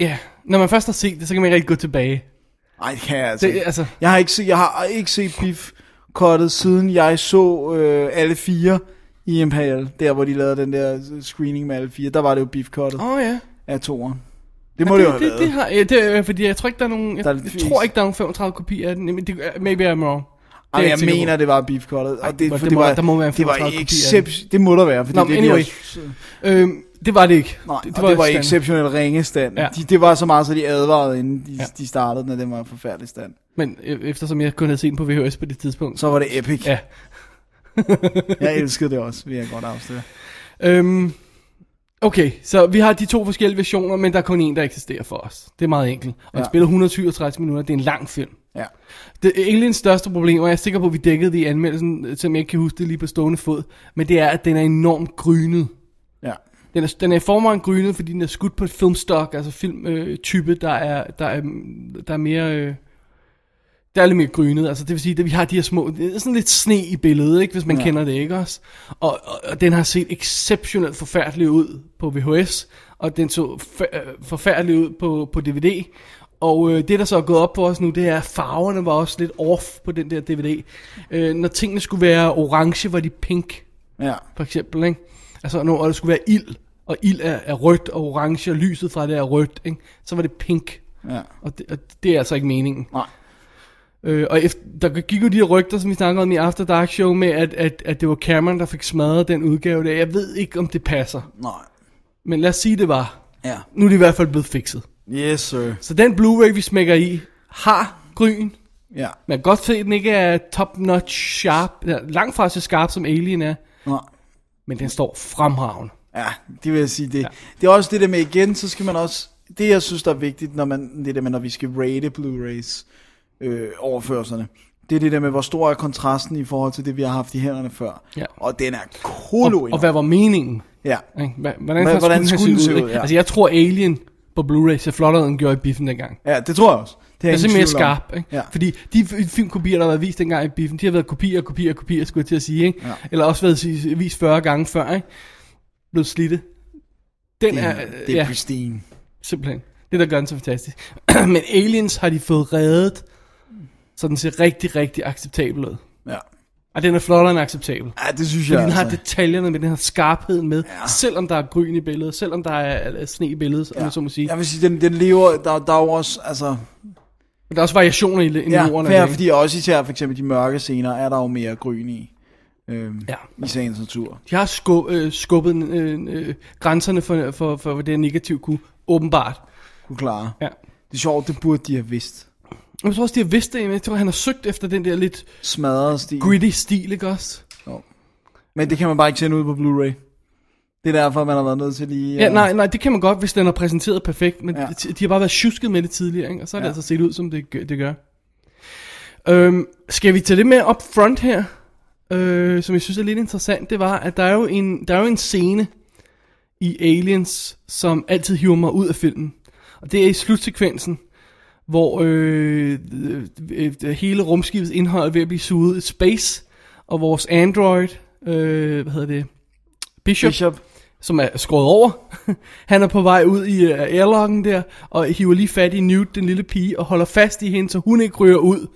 Speaker 3: Ja, når man først har set det, så kan man ikke rigtig gå tilbage.
Speaker 4: Ej, det kan jeg altså,
Speaker 3: Det,
Speaker 4: det,
Speaker 3: altså
Speaker 4: Jeg har ikke set, jeg har ikke set Beef Cuttet, siden jeg så øh, alle fire i Imperial, der hvor de lavede den der screening med alle fire, der var det jo Beef Cuttet
Speaker 3: Åh oh, ja.
Speaker 4: af toeren. Det må det, jo
Speaker 3: det,
Speaker 4: have
Speaker 3: det,
Speaker 4: været.
Speaker 3: det, har, ja, det er, fordi jeg tror ikke, der er nogen... Jeg,
Speaker 4: Der er
Speaker 3: jeg
Speaker 4: lidt
Speaker 3: tror
Speaker 4: fisk.
Speaker 3: ikke, der er nogen 35 kopier af den. Men det, øh, maybe I'm wrong. Det er
Speaker 4: Ej, jeg
Speaker 3: ikke sikker på.
Speaker 4: mener, det var Beef Cuttet.
Speaker 3: Ej,
Speaker 4: Og det,
Speaker 3: hvor-
Speaker 4: for
Speaker 3: det
Speaker 4: det,
Speaker 3: må-
Speaker 4: var,
Speaker 3: der må være en
Speaker 4: det var
Speaker 3: 35 kopi af
Speaker 4: excep- det må der være, fordi
Speaker 3: Nå,
Speaker 4: det,
Speaker 3: men anyway.
Speaker 4: det, bliver-
Speaker 3: Øhm, det var det ikke.
Speaker 4: Nej, det, det, var, det var
Speaker 3: stand.
Speaker 4: exceptionelt ringe stand.
Speaker 3: Ja.
Speaker 4: Ja. De, det var så meget, så de advarede, inden de,
Speaker 3: Ja.
Speaker 4: ja. de startede, når den var en forfærdelig stand.
Speaker 3: Men øh, eftersom jeg kun havde set den på VHS på det tidspunkt. Så,
Speaker 4: Så var det epic.
Speaker 3: ja.
Speaker 4: Ja. jeg elskede det også, vil jeg godt afsløre.
Speaker 3: Øhm, okay, så vi har de to forskellige versioner, men der er kun en, der eksisterer for os. Det er meget enkelt. Og den
Speaker 4: Ja.
Speaker 3: spiller 137 minutter. Det er en lang film.
Speaker 4: Ja.
Speaker 3: Det Aliens største problem, og jeg er sikker på, at vi dækkede det i anmeldelsen, øh, som jeg ikke kan huske det lige på stående fod, men det er, at den er enormt grynet.
Speaker 4: ja.
Speaker 3: Den er, den er i forvejen grynet, fordi den er skudt på et filmstok, altså filmtype, øh, type, der, er, der, er, der er mere... Øh, der er lidt mere grynet, altså det vil sige, at vi har de her små, det er sådan lidt sne i billedet, ikke, hvis man ja. kender det, ikke også? Og, og, og den har set exceptionelt forfærdelig ud på VHS, og den så fa- øh, forfærdelig ud på, på DVD, og øh, det der så er gået op for os nu, det er, at farverne var også lidt off på den der DVD. Øh, når tingene skulle være orange, var de pink
Speaker 4: Ja.
Speaker 3: for eksempel, ikke? Altså, når der skulle være ild, og ild er, er rødt og orange, og lyset fra det er rødt, ikke? Så var det pink,
Speaker 4: ja.
Speaker 3: og det, og det er altså ikke meningen.
Speaker 4: Nej.
Speaker 3: Øh, og efter, der gik jo de her rygter, som vi snakkede om i After Dark Show, med at, at, at det var Cameron, der fik smadret den udgave der. Jeg ved ikke, om det passer,
Speaker 4: Nej.
Speaker 3: men lad os sige, det var.
Speaker 4: Ja.
Speaker 3: Nu er det i hvert fald blevet fikset.
Speaker 4: Yes, sir.
Speaker 3: Så den Blu-ray, vi smækker i, har gryn.
Speaker 4: Ja.
Speaker 3: Man kan godt se, at den ikke er top-notch sharp, ja, langt fra så skarp som Alien er,
Speaker 4: Nej.
Speaker 3: men den står fremragende.
Speaker 4: Ja, det vil jeg sige. Det, ja. det er også det der med igen, så skal man også... Det jeg synes, der er vigtigt, når, man, det der med, når vi skal rate Blu-rays øh, overførserne, det er det der med, hvor stor er kontrasten i forhold til det, vi har haft i hænderne før.
Speaker 3: Ja.
Speaker 4: Og den er
Speaker 3: Og,
Speaker 4: kolo
Speaker 3: og hvad var meningen?
Speaker 4: Ja.
Speaker 3: Ikke? Hva- Hvordan,
Speaker 4: Hva-
Speaker 3: hvordan skulle den se ud? Ja.
Speaker 4: ja.
Speaker 3: Altså, jeg tror Alien på Blu-ray ser flottere ud, end den gjorde i biffen dengang.
Speaker 4: ja, det tror jeg også. Det
Speaker 3: Den
Speaker 4: jeg
Speaker 3: er
Speaker 4: ingen
Speaker 3: simpelthen
Speaker 4: tvivl om.
Speaker 3: skarp. Ikke?
Speaker 4: Ja.
Speaker 3: Fordi de f- filmkopier, der har været vist dengang i biffen, de har været kopier, kopier, kopier, skulle jeg til at sige. Ikke?
Speaker 4: Ja.
Speaker 3: Eller også været si- vist 40 gange før. Ikke? Blevet slidte. Den
Speaker 4: det
Speaker 3: er,
Speaker 4: er, det er
Speaker 3: øh, ja,
Speaker 4: pristine.
Speaker 3: simpelthen. Det, der gør den så fantastisk. Men Aliens har de fået reddet, så den ser rigtig, rigtig acceptabel ud.
Speaker 4: Ja.
Speaker 3: Og den er flottere end acceptabel.
Speaker 4: ja, det synes jeg
Speaker 3: Fordi den har
Speaker 4: altså.
Speaker 3: detaljerne med, den har skarpheden med, ja.
Speaker 4: Ja.
Speaker 3: selvom der er gryn i billedet, selvom der er øh, sne i billedet, ja. om
Speaker 4: Ja.
Speaker 3: jeg så må sige.
Speaker 4: Jeg vil sige, den, den lever, der, der er jo også, altså,
Speaker 3: Men der er også variationer i, i
Speaker 4: ja,
Speaker 3: ordene.
Speaker 4: fair,
Speaker 3: ikke?
Speaker 4: fordi også især for eksempel de mørke scener, er der jo mere grøn i, øhm,
Speaker 3: Ja.
Speaker 4: ja. i sagens natur.
Speaker 3: De har skub, øh, skubbet øh, øh, grænserne for, for, for, hvad det negative kunne, åbenbart.
Speaker 4: Kunne klare.
Speaker 3: Ja.
Speaker 4: Det er sjovt, det burde de have vidst.
Speaker 3: Jeg tror også, de har vidst det, men jeg tror, han har søgt efter den der lidt
Speaker 4: Smadret stil.
Speaker 3: gritty stil, ikke også?
Speaker 4: Men det kan man bare ikke sende ud på Blu-ray. Det er derfor, man har været nødt til lige... øh,
Speaker 3: Ja, nej, nej, det kan man godt, hvis den er præsenteret perfekt, men ja.
Speaker 4: Ja.
Speaker 3: de har bare været tjusket med det tidligere, ikke? og så har ja. det
Speaker 4: Ja.
Speaker 3: altså set ud, som det, gør- det gør. Øhm, skal vi tage det med op front her, øh, som jeg synes er lidt interessant, det var, at der er jo en, der er jo en scene i Aliens, som altid hiver mig ud af filmen. Og det er i slutsekvensen, hvor øh, øh, øh, hele rumskibets indhold er ved at blive suget i space, og vores android, øh, hvad hedder det, Bishop,
Speaker 4: Bishop.
Speaker 3: som er skåret over. Han er på vej ud i øh, airlocken der, og hiver lige fat i Newt, den lille pige, og holder fast i hende, så hun ikke ryger ud.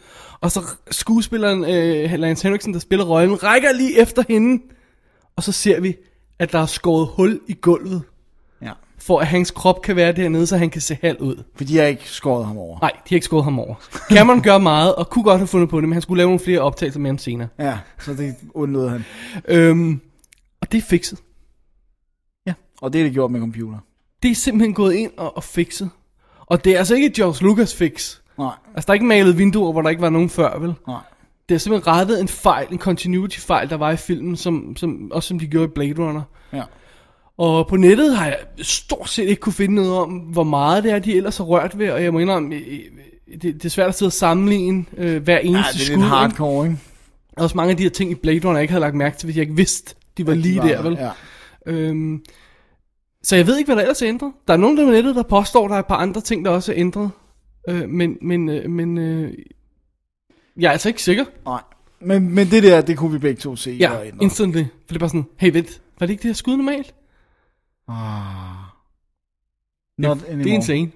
Speaker 3: Og så skuespilleren øh, Lance Henriksen, der spiller rollen, rækker lige efter hende. Og så ser vi, at der er skåret hul i gulvet
Speaker 4: Ja.
Speaker 3: for at hans krop kan være dernede, så han kan se halv ud.
Speaker 4: For de har ikke skåret ham over.
Speaker 3: Nej, de har ikke skåret ham over. Cameron gør meget, og kunne godt have fundet på det, men han skulle lave nogle flere optagelser med ham senere.
Speaker 4: Ja, så det undlod han.
Speaker 3: Øhm, og det er fikset.
Speaker 4: Og det er det gjort med computer.
Speaker 3: Det er simpelthen gået ind og, og fikset. Og det er altså ikke et George Lucas fix.
Speaker 4: Nej.
Speaker 3: Altså, der er ikke malet vinduer, hvor der ikke var nogen før, vel?
Speaker 4: Nej.
Speaker 3: Det er simpelthen rettet en fejl, en continuity-fejl, der var i filmen, som, som, også som de gjorde i Blade Runner.
Speaker 4: Ja.
Speaker 3: Og på nettet har jeg stort set ikke kunne finde noget om, hvor meget det er, de ellers har rørt ved, og jeg må indrømme, øh, øh, det, det er svært at sidde og sammenligne øh, hver eneste skud.
Speaker 4: Ja, det er lidt
Speaker 3: ikke?
Speaker 4: hardcore, ikke?
Speaker 3: Der er også mange af de her ting i Blade Runner, jeg ikke havde lagt mærke til, hvis jeg ikke vidste, de var
Speaker 4: At de
Speaker 3: lige
Speaker 4: var
Speaker 3: der,
Speaker 4: der,
Speaker 3: vel?
Speaker 4: ja.
Speaker 3: Øhm, så jeg ved ikke, hvad der ellers er ændret. Der er nogen der på nettet, der påstår, der er et par andre ting, der også er ændret. Øh, men men, øh, men øh, jeg er altså ikke sikker.
Speaker 4: Nej. Men, men det der, det kunne vi begge to se.
Speaker 3: Ja,
Speaker 4: og ændre.
Speaker 3: instantly. For det er bare sådan, hey, vent, var det ikke det her skud normalt?
Speaker 4: Ah. Not
Speaker 3: Det er
Speaker 4: anymore.
Speaker 3: insane.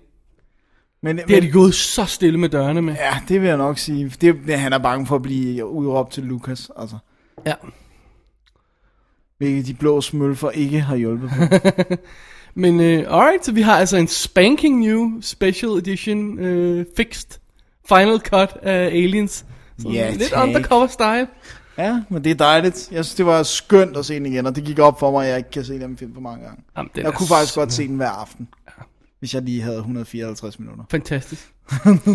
Speaker 4: Men,
Speaker 3: Det er
Speaker 4: men-
Speaker 3: de gået så stille med dørene med.
Speaker 4: Ja, det vil jeg nok sige. Det, ja, han er bange for at blive udråbt til Lukas, altså.
Speaker 3: Ja.
Speaker 4: Hvilket de blå smølfer ikke har hjulpet på.
Speaker 3: Men øh, alright, så vi har altså en spanking new special edition øh, fixed final cut af Aliens. Sådan
Speaker 4: Ja,
Speaker 3: lidt
Speaker 4: tak.
Speaker 3: undercover style.
Speaker 4: ja, men det er dejligt. Jeg synes, det var skønt at se den igen, og det gik op for mig, at jeg ikke kan se den film for mange gange.
Speaker 3: Jamen, den
Speaker 4: Jeg
Speaker 3: er
Speaker 4: kunne faktisk godt
Speaker 3: så
Speaker 4: se den hver aften. Hvis jeg lige havde 154 minutter.
Speaker 3: Fantastisk.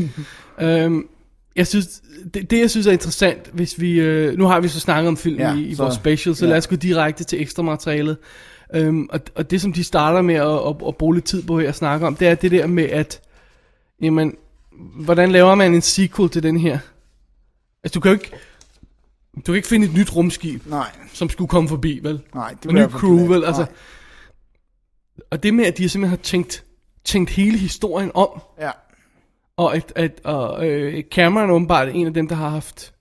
Speaker 3: øhm, jeg synes, det, det jeg synes er interessant, hvis vi, øh, nu har vi så snakket om film
Speaker 4: Ja,
Speaker 3: ja, i, i
Speaker 4: så-
Speaker 3: vores special, så ja.
Speaker 4: ja.
Speaker 3: lad os gå direkte til ekstra materialet. Øhm, og, og det som de starter med at, at, at bruge lidt tid på her at snakke om, det er det der med at, jamen, hvordan laver man en sequel til den her? Altså du kan jo ikke, du kan ikke finde et nyt rumskib,
Speaker 4: Nej,
Speaker 3: som skulle komme forbi, vel?
Speaker 4: nej. Det
Speaker 3: og
Speaker 4: vil
Speaker 3: ny
Speaker 4: jeg for
Speaker 3: crew,
Speaker 4: glad.
Speaker 3: vel? Altså,
Speaker 4: Nej.
Speaker 3: og det med, at de simpelthen har tænkt, tænkt hele historien om,
Speaker 4: Ja,
Speaker 3: og at, at og, øh, Cameron åbenbart er en af dem, der har haft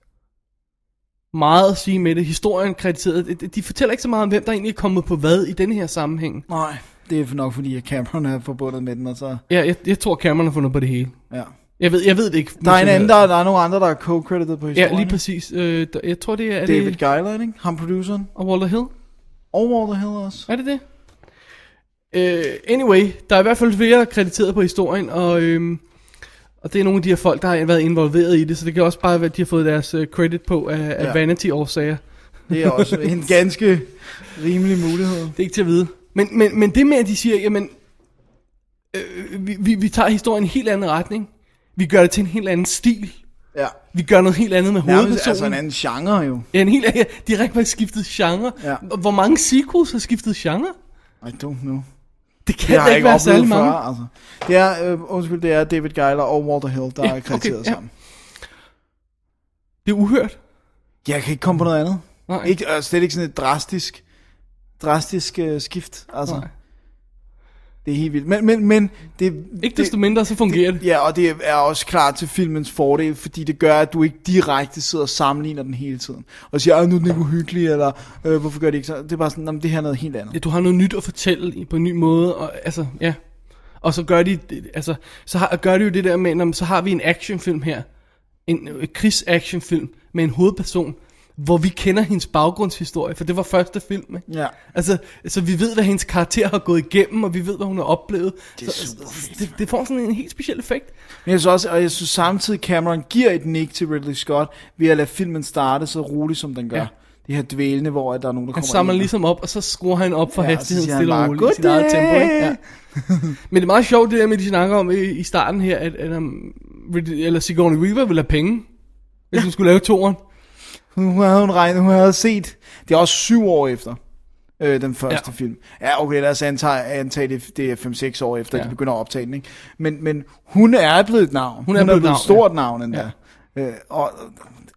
Speaker 3: meget at sige med det. Historien krediteret. De- De fortæller ikke så meget om, hvem der egentlig er kommet på hvad i den her sammenhæng.
Speaker 4: nej. Det er nok fordi, at Cameron er forbundet med den, og så...
Speaker 3: Ja, jeg, jeg tror, Cameron har fundet på det hele.
Speaker 4: Ja.
Speaker 3: Jeg ved, jeg ved det ikke.
Speaker 4: Der er en anden, der, der er nogle andre, der er co-credited på historien.
Speaker 3: Ja, lige
Speaker 4: ikke?
Speaker 3: præcis. Øh, der, jeg tror, det er... er
Speaker 4: David
Speaker 3: det,
Speaker 4: Geiler, ikke? Ham produceren.
Speaker 3: og Walter Hill?
Speaker 4: Og Walter Hill også.
Speaker 3: Er det det? Øh, anyway, der er i hvert fald flere der er krediteret på historien, og, øhm, og det er nogle af de her folk, der har været involveret i det, så det kan også bare være, at de har fået deres øh, credit på af, af
Speaker 4: Ja.
Speaker 3: vanity-årsager.
Speaker 4: Det er også en ganske rimelig mulighed.
Speaker 3: Det er ikke til at vide. Men, men, men det med, at de siger, jamen, øh, vi, vi, vi tager historien i en helt anden retning. Vi gør det til en helt anden stil.
Speaker 4: Ja.
Speaker 3: Vi gør noget helt andet med
Speaker 4: Nærmest
Speaker 3: hovedpersonen.
Speaker 4: altså en anden genre jo.
Speaker 3: ja, en helt, ja, de har rigtig faktisk skiftet genre.
Speaker 4: Ja.
Speaker 3: Og Hvor mange sequels har skiftet genre?
Speaker 4: I don't know.
Speaker 3: Det kan
Speaker 4: Det har
Speaker 3: da
Speaker 4: jeg
Speaker 3: ikke
Speaker 4: ikke
Speaker 3: være særlig
Speaker 4: oplevet
Speaker 3: mange.
Speaker 4: før, altså. Det er, øh, undskyld, det er David Geiler og Walter Hill, der
Speaker 3: Ja,
Speaker 4: er krediteret
Speaker 3: okay, ja.
Speaker 4: sammen.
Speaker 3: Det er uhørt.
Speaker 4: Jeg kan ikke komme på noget andet.
Speaker 3: Nej.
Speaker 4: Ikke, øh, slet ikke sådan et drastisk, drastisk øh, skift, altså.
Speaker 3: Nej.
Speaker 4: Det er helt vildt. Men, men, men det,
Speaker 3: Ikke desto mindre, så fungerer det.
Speaker 4: Ja, og det er også klart til filmens fordel, fordi det gør, at du ikke direkte sidder og sammenligner den hele tiden. Og siger, "Ej, nu er den ikke uhyggelig, eller øh, hvorfor gør de ikke så? Det er bare sådan, "Nå, men det her er noget helt andet.
Speaker 3: Ja, du har noget nyt at fortælle i- på en ny måde, og altså, ja. Og så gør de, det- altså, så har, gør de jo det der med, "Nå, men så har vi en actionfilm her, en, øh, krigs-actionfilm med en hovedperson, hvor vi kender hendes baggrundshistorie, for det var første film, ikke?
Speaker 4: Ja.
Speaker 3: Altså, så vi ved, hvad hendes karakter har gået igennem, og vi ved, hvad hun har oplevet. Det, så, altså, det, det får sådan en helt speciel effekt.
Speaker 4: Men jeg synes også, og jeg synes samtidig, Cameron giver et nik til Ridley Scott, ved at lade filmen starte så roligt, som den gør.
Speaker 3: Ja.
Speaker 4: Ja. Det her dvælende, hvor at der er nogen, der
Speaker 3: Han
Speaker 4: kommer
Speaker 3: samler
Speaker 4: ind.
Speaker 3: ligesom op, og så skruer han op for
Speaker 4: Ja,
Speaker 3: ja,
Speaker 4: og så
Speaker 3: hastigheden
Speaker 4: siger han
Speaker 3: stille og
Speaker 4: bare,
Speaker 3: roligt i sit eget
Speaker 4: "Goddag!"
Speaker 3: tempo. Ikke? Ja. Men det er meget sjovt, det der med, de snakker om i, i starten her, at, at um, Rid- eller Sigourney Weaver ville have penge, hvis ja. hun skulle lave toren.
Speaker 4: Hun hun havde, hun, regnet, hun havde set. Det er også syv år efter. Øh, den første
Speaker 3: Ja.
Speaker 4: ja. film. Ja, okay, lad os antage, antage det, det er 5-6 år efter,
Speaker 3: Ja.
Speaker 4: ja. de begynder at optage den, ikke? Men, men hun er blevet et navn.
Speaker 3: Hun er blevet et navn,
Speaker 4: et stort
Speaker 3: ja.
Speaker 4: navn, endda. Øh, og,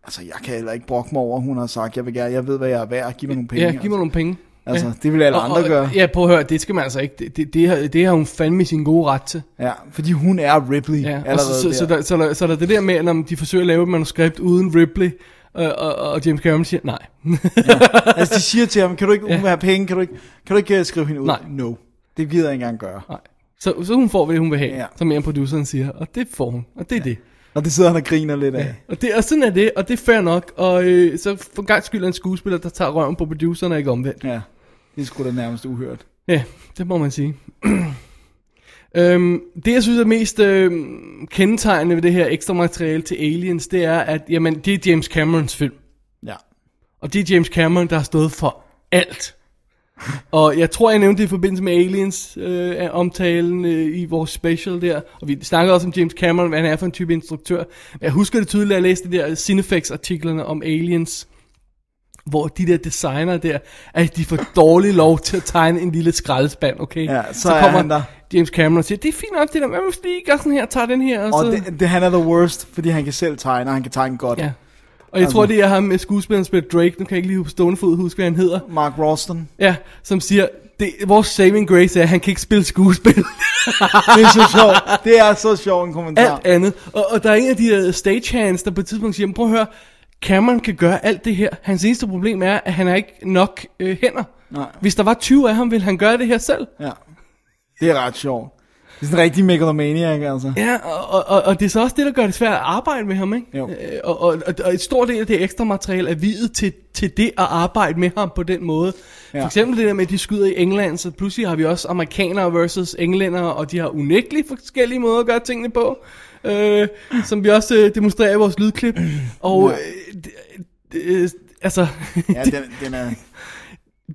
Speaker 4: altså, jeg kan heller ikke brokke mig over, at hun har sagt, jeg vil gerne, jeg ved, hvad jeg er værd, giv mig nogle penge.
Speaker 3: ja, giv mig nogle penge.
Speaker 4: Altså,
Speaker 3: ja.
Speaker 4: altså det vil alle
Speaker 3: Og-
Speaker 4: andre
Speaker 3: og-
Speaker 4: gøre.
Speaker 3: Ja, prøv at høre, det skal man altså ikke. Det, det, det, har, det har hun fandme sin gode ret til.
Speaker 4: Ja, fordi hun er Ripley ja,
Speaker 3: Ja, og så,
Speaker 4: allerede
Speaker 3: så, så,
Speaker 4: der.
Speaker 3: der, så, der, så der er det der med, at om de forsøger at lave et manuskript uden Ripley, øh, og, og James Cameron siger, nej.
Speaker 4: Altså, de siger til ham, kan du ikke, hun
Speaker 3: Ja.
Speaker 4: vil have penge, kan du ikke, kan du ikke øh, skrive hende ud?
Speaker 3: Nej.
Speaker 4: No, det gider jeg ikke engang gøre.
Speaker 3: nej. Så, så hun får, hvad hun vil have, ja.
Speaker 4: Ja.
Speaker 3: som en produceren siger, og det får hun, og det er ja. det.
Speaker 4: Og det sidder han og griner lidt af.
Speaker 3: Og, det, og sådan er det, og det er fair nok, og øh, så for gang skyld er en skuespiller, der tager røven på produceren og ikke omvendt.
Speaker 4: Ja, det er sgu da nærmest uhørt.
Speaker 3: Ja, det må man sige. Øhm, det jeg synes er mest øhm, kendetegnende ved det her ekstra materiale til Aliens, det er, at jamen, det er James Camerons film.
Speaker 4: Ja.
Speaker 3: Og det er James Cameron, der har stået for alt. og jeg tror, jeg nævnte det i forbindelse med Aliens øh, omtalen øh, i vores special der. Og vi snakkede også om James Cameron, hvad han er for en type instruktør. Men jeg husker det tydeligt, at jeg læste de der Cinefix-artiklerne om Aliens. Hvor de der designer der, at de får dårlig lov til at tegne en lille skraldespand, okay?
Speaker 4: Ja, så er han der.
Speaker 3: James Cameron og siger, det er fint nok det der, men hvis lige gør sådan her, tager den her. Og,
Speaker 4: Og
Speaker 3: så...
Speaker 4: det, det, han er the worst, fordi han kan selv tegne, og han kan tegne godt.
Speaker 3: Ja. Og jeg tror, det er ham med skuespilleren, der spiller Drake, nu kan jeg ikke lige på stående fod huske, hvad han hedder.
Speaker 4: Mark Ralston.
Speaker 3: Ja, som siger, det, vores saving grace er, at han kan ikke spille skuespil.
Speaker 4: Det er så sjovt. Det er så sjov en kommentar.
Speaker 3: alt andet. Og, og der er en af de der stagehands, der på et tidspunkt siger, "Men prøv at høre, Cameron kan gøre alt det her. Hans eneste problem er, at han har ikke nok øh, hænder.
Speaker 4: Nej.
Speaker 3: Hvis der var 20 af ham, ville han gøre det her selv.
Speaker 4: Ja. Det er ret sjovt. Det er sådan en rigtig megalomaniac, altså.
Speaker 3: Ja, og, og- og, og det er så også det, der gør det svært at arbejde med ham, ikke?
Speaker 4: Jo.
Speaker 3: Øh, Og, og, og, og et stor del af det ekstra materiale er videt til, til det at arbejde med ham på den måde. Ja.
Speaker 4: Ja.
Speaker 3: For eksempel det der med, at de skyder i England, så pludselig har vi også amerikanere versus englændere, og de har unægteligt forskellige måder at gøre tingene på, øh, som vi også øh, demonstrerer i vores lydklip. Og øh, det, det, altså,
Speaker 4: Ja,
Speaker 3: det,
Speaker 4: den, den er...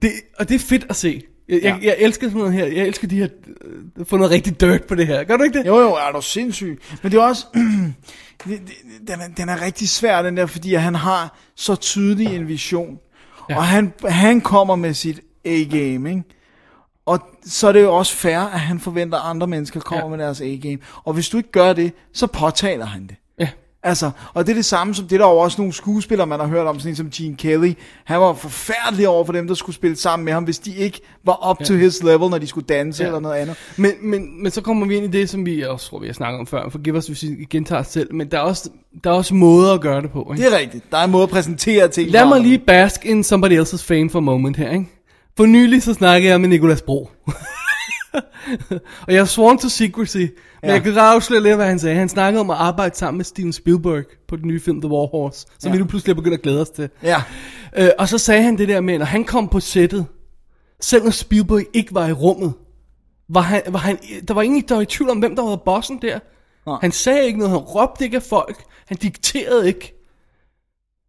Speaker 3: det, og det er fedt at se. Jeg, jeg, jeg elsker sådan noget her. Jeg elsker de her, øh, få noget rigtig dirt på det her. Gør du ikke det?
Speaker 4: Jo, jo, er du sindssyg. Men det er også... det, det, den, er, den er rigtig svær, den der, fordi han har så tydelig en vision. Ja. Og han, han kommer med sit A-game, ikke? Og så er det jo også fair, at han forventer, at andre mennesker kommer
Speaker 3: Ja.
Speaker 4: ja. med deres A-game. Og hvis du ikke gør det, så påtaler han det.
Speaker 3: Ja.
Speaker 4: Altså, og det er det samme som det, der er jo også nogle skuespillere, man har hørt om, sådan en som Gene Kelly. Han var forfærdelig over for dem, der skulle spille sammen med ham, hvis de ikke var up ja. to his level, når de skulle danse
Speaker 3: Ja.
Speaker 4: ja. eller noget andet.
Speaker 3: Men, men, men så kommer vi ind i det, som vi også tror, vi har snakket om før. Forgive os, hvis vi gentager os selv. Men der er også, der er også måder at gøre det på. Ikke?
Speaker 4: Det er rigtigt. Der er en måde at præsentere ting.
Speaker 3: Lad
Speaker 4: på.
Speaker 3: mig lige bask in somebody else's fame for a moment her. Ikke? For nylig så snakkede jeg med Nicolas Bro. og jeg har sworn to secrecy. Men ja.
Speaker 4: Ja.
Speaker 3: jeg kan godt afsløre lidt, hvad han sagde. Han snakkede om at arbejde sammen med Steven Spielberg på den nye film The War Horse. Som ja.
Speaker 4: Ja.
Speaker 3: vi nu pludselig er begyndt at glæde os til.
Speaker 4: Ja.
Speaker 3: Øh, og så sagde han det der med, når han kom på sættet, selvom Spielberg ikke var i rummet, var han, var han, der var ingen, der var i tvivl om, hvem der var bossen der. Nej.
Speaker 4: Nej.
Speaker 3: Han sagde ikke noget, han råbte ikke af folk, han dikterede ikke.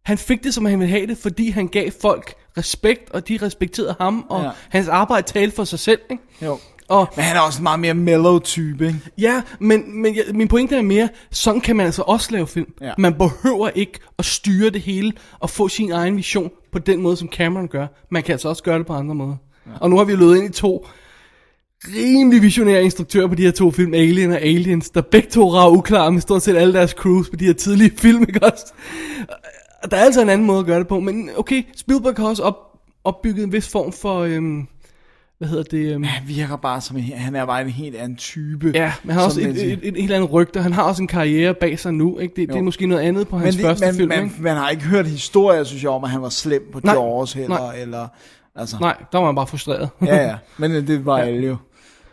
Speaker 3: Han fik det, som han ville have det, fordi han gav folk respekt, og de respekterede ham, og ja.
Speaker 4: Ja.
Speaker 3: hans arbejde talte for sig selv. Ikke?
Speaker 4: Jo.
Speaker 3: Og
Speaker 4: Men han er også en meget mere mellow type, ikke?
Speaker 3: ja, men, men jeg, min pointe er mere, sådan kan man altså også lave film.
Speaker 4: Ja.
Speaker 3: Man behøver ikke at styre det hele og få sin egen vision på den måde, som Cameron gør. Man kan altså også gøre det på andre måder. Ja. Og nu har vi jo løbet ind i to rimelig visionære instruktører på de her to film, Alien og Aliens, der begge to rager uklare med stort set alle deres crews på de her tidlige film, ikke også? Og der er altså en anden måde at gøre det på, men okay, Spielberg har også op, opbygget en vis form for, øhm, hvad hedder det? Øhm,
Speaker 4: Han virker bare som en, han er bare en helt anden type.
Speaker 3: Ja, men han har også
Speaker 4: som
Speaker 3: et,
Speaker 4: man
Speaker 3: et,
Speaker 4: siger.
Speaker 3: et, et helt andet rygte. Han har også en karriere bag sig nu. Ikke? Det, det er
Speaker 4: Jo.
Speaker 3: måske noget andet på
Speaker 4: men
Speaker 3: hans
Speaker 4: det,
Speaker 3: første
Speaker 4: man,
Speaker 3: film.
Speaker 4: man,
Speaker 3: ikke?
Speaker 4: man, har ikke hørt historier, synes jeg, om at han var slem på
Speaker 3: Nej.
Speaker 4: Jaws heller,
Speaker 3: Nej.
Speaker 4: eller... Altså,
Speaker 3: Nej, der var han bare frustreret.
Speaker 4: ja, ja. Men øh, det var alle jo.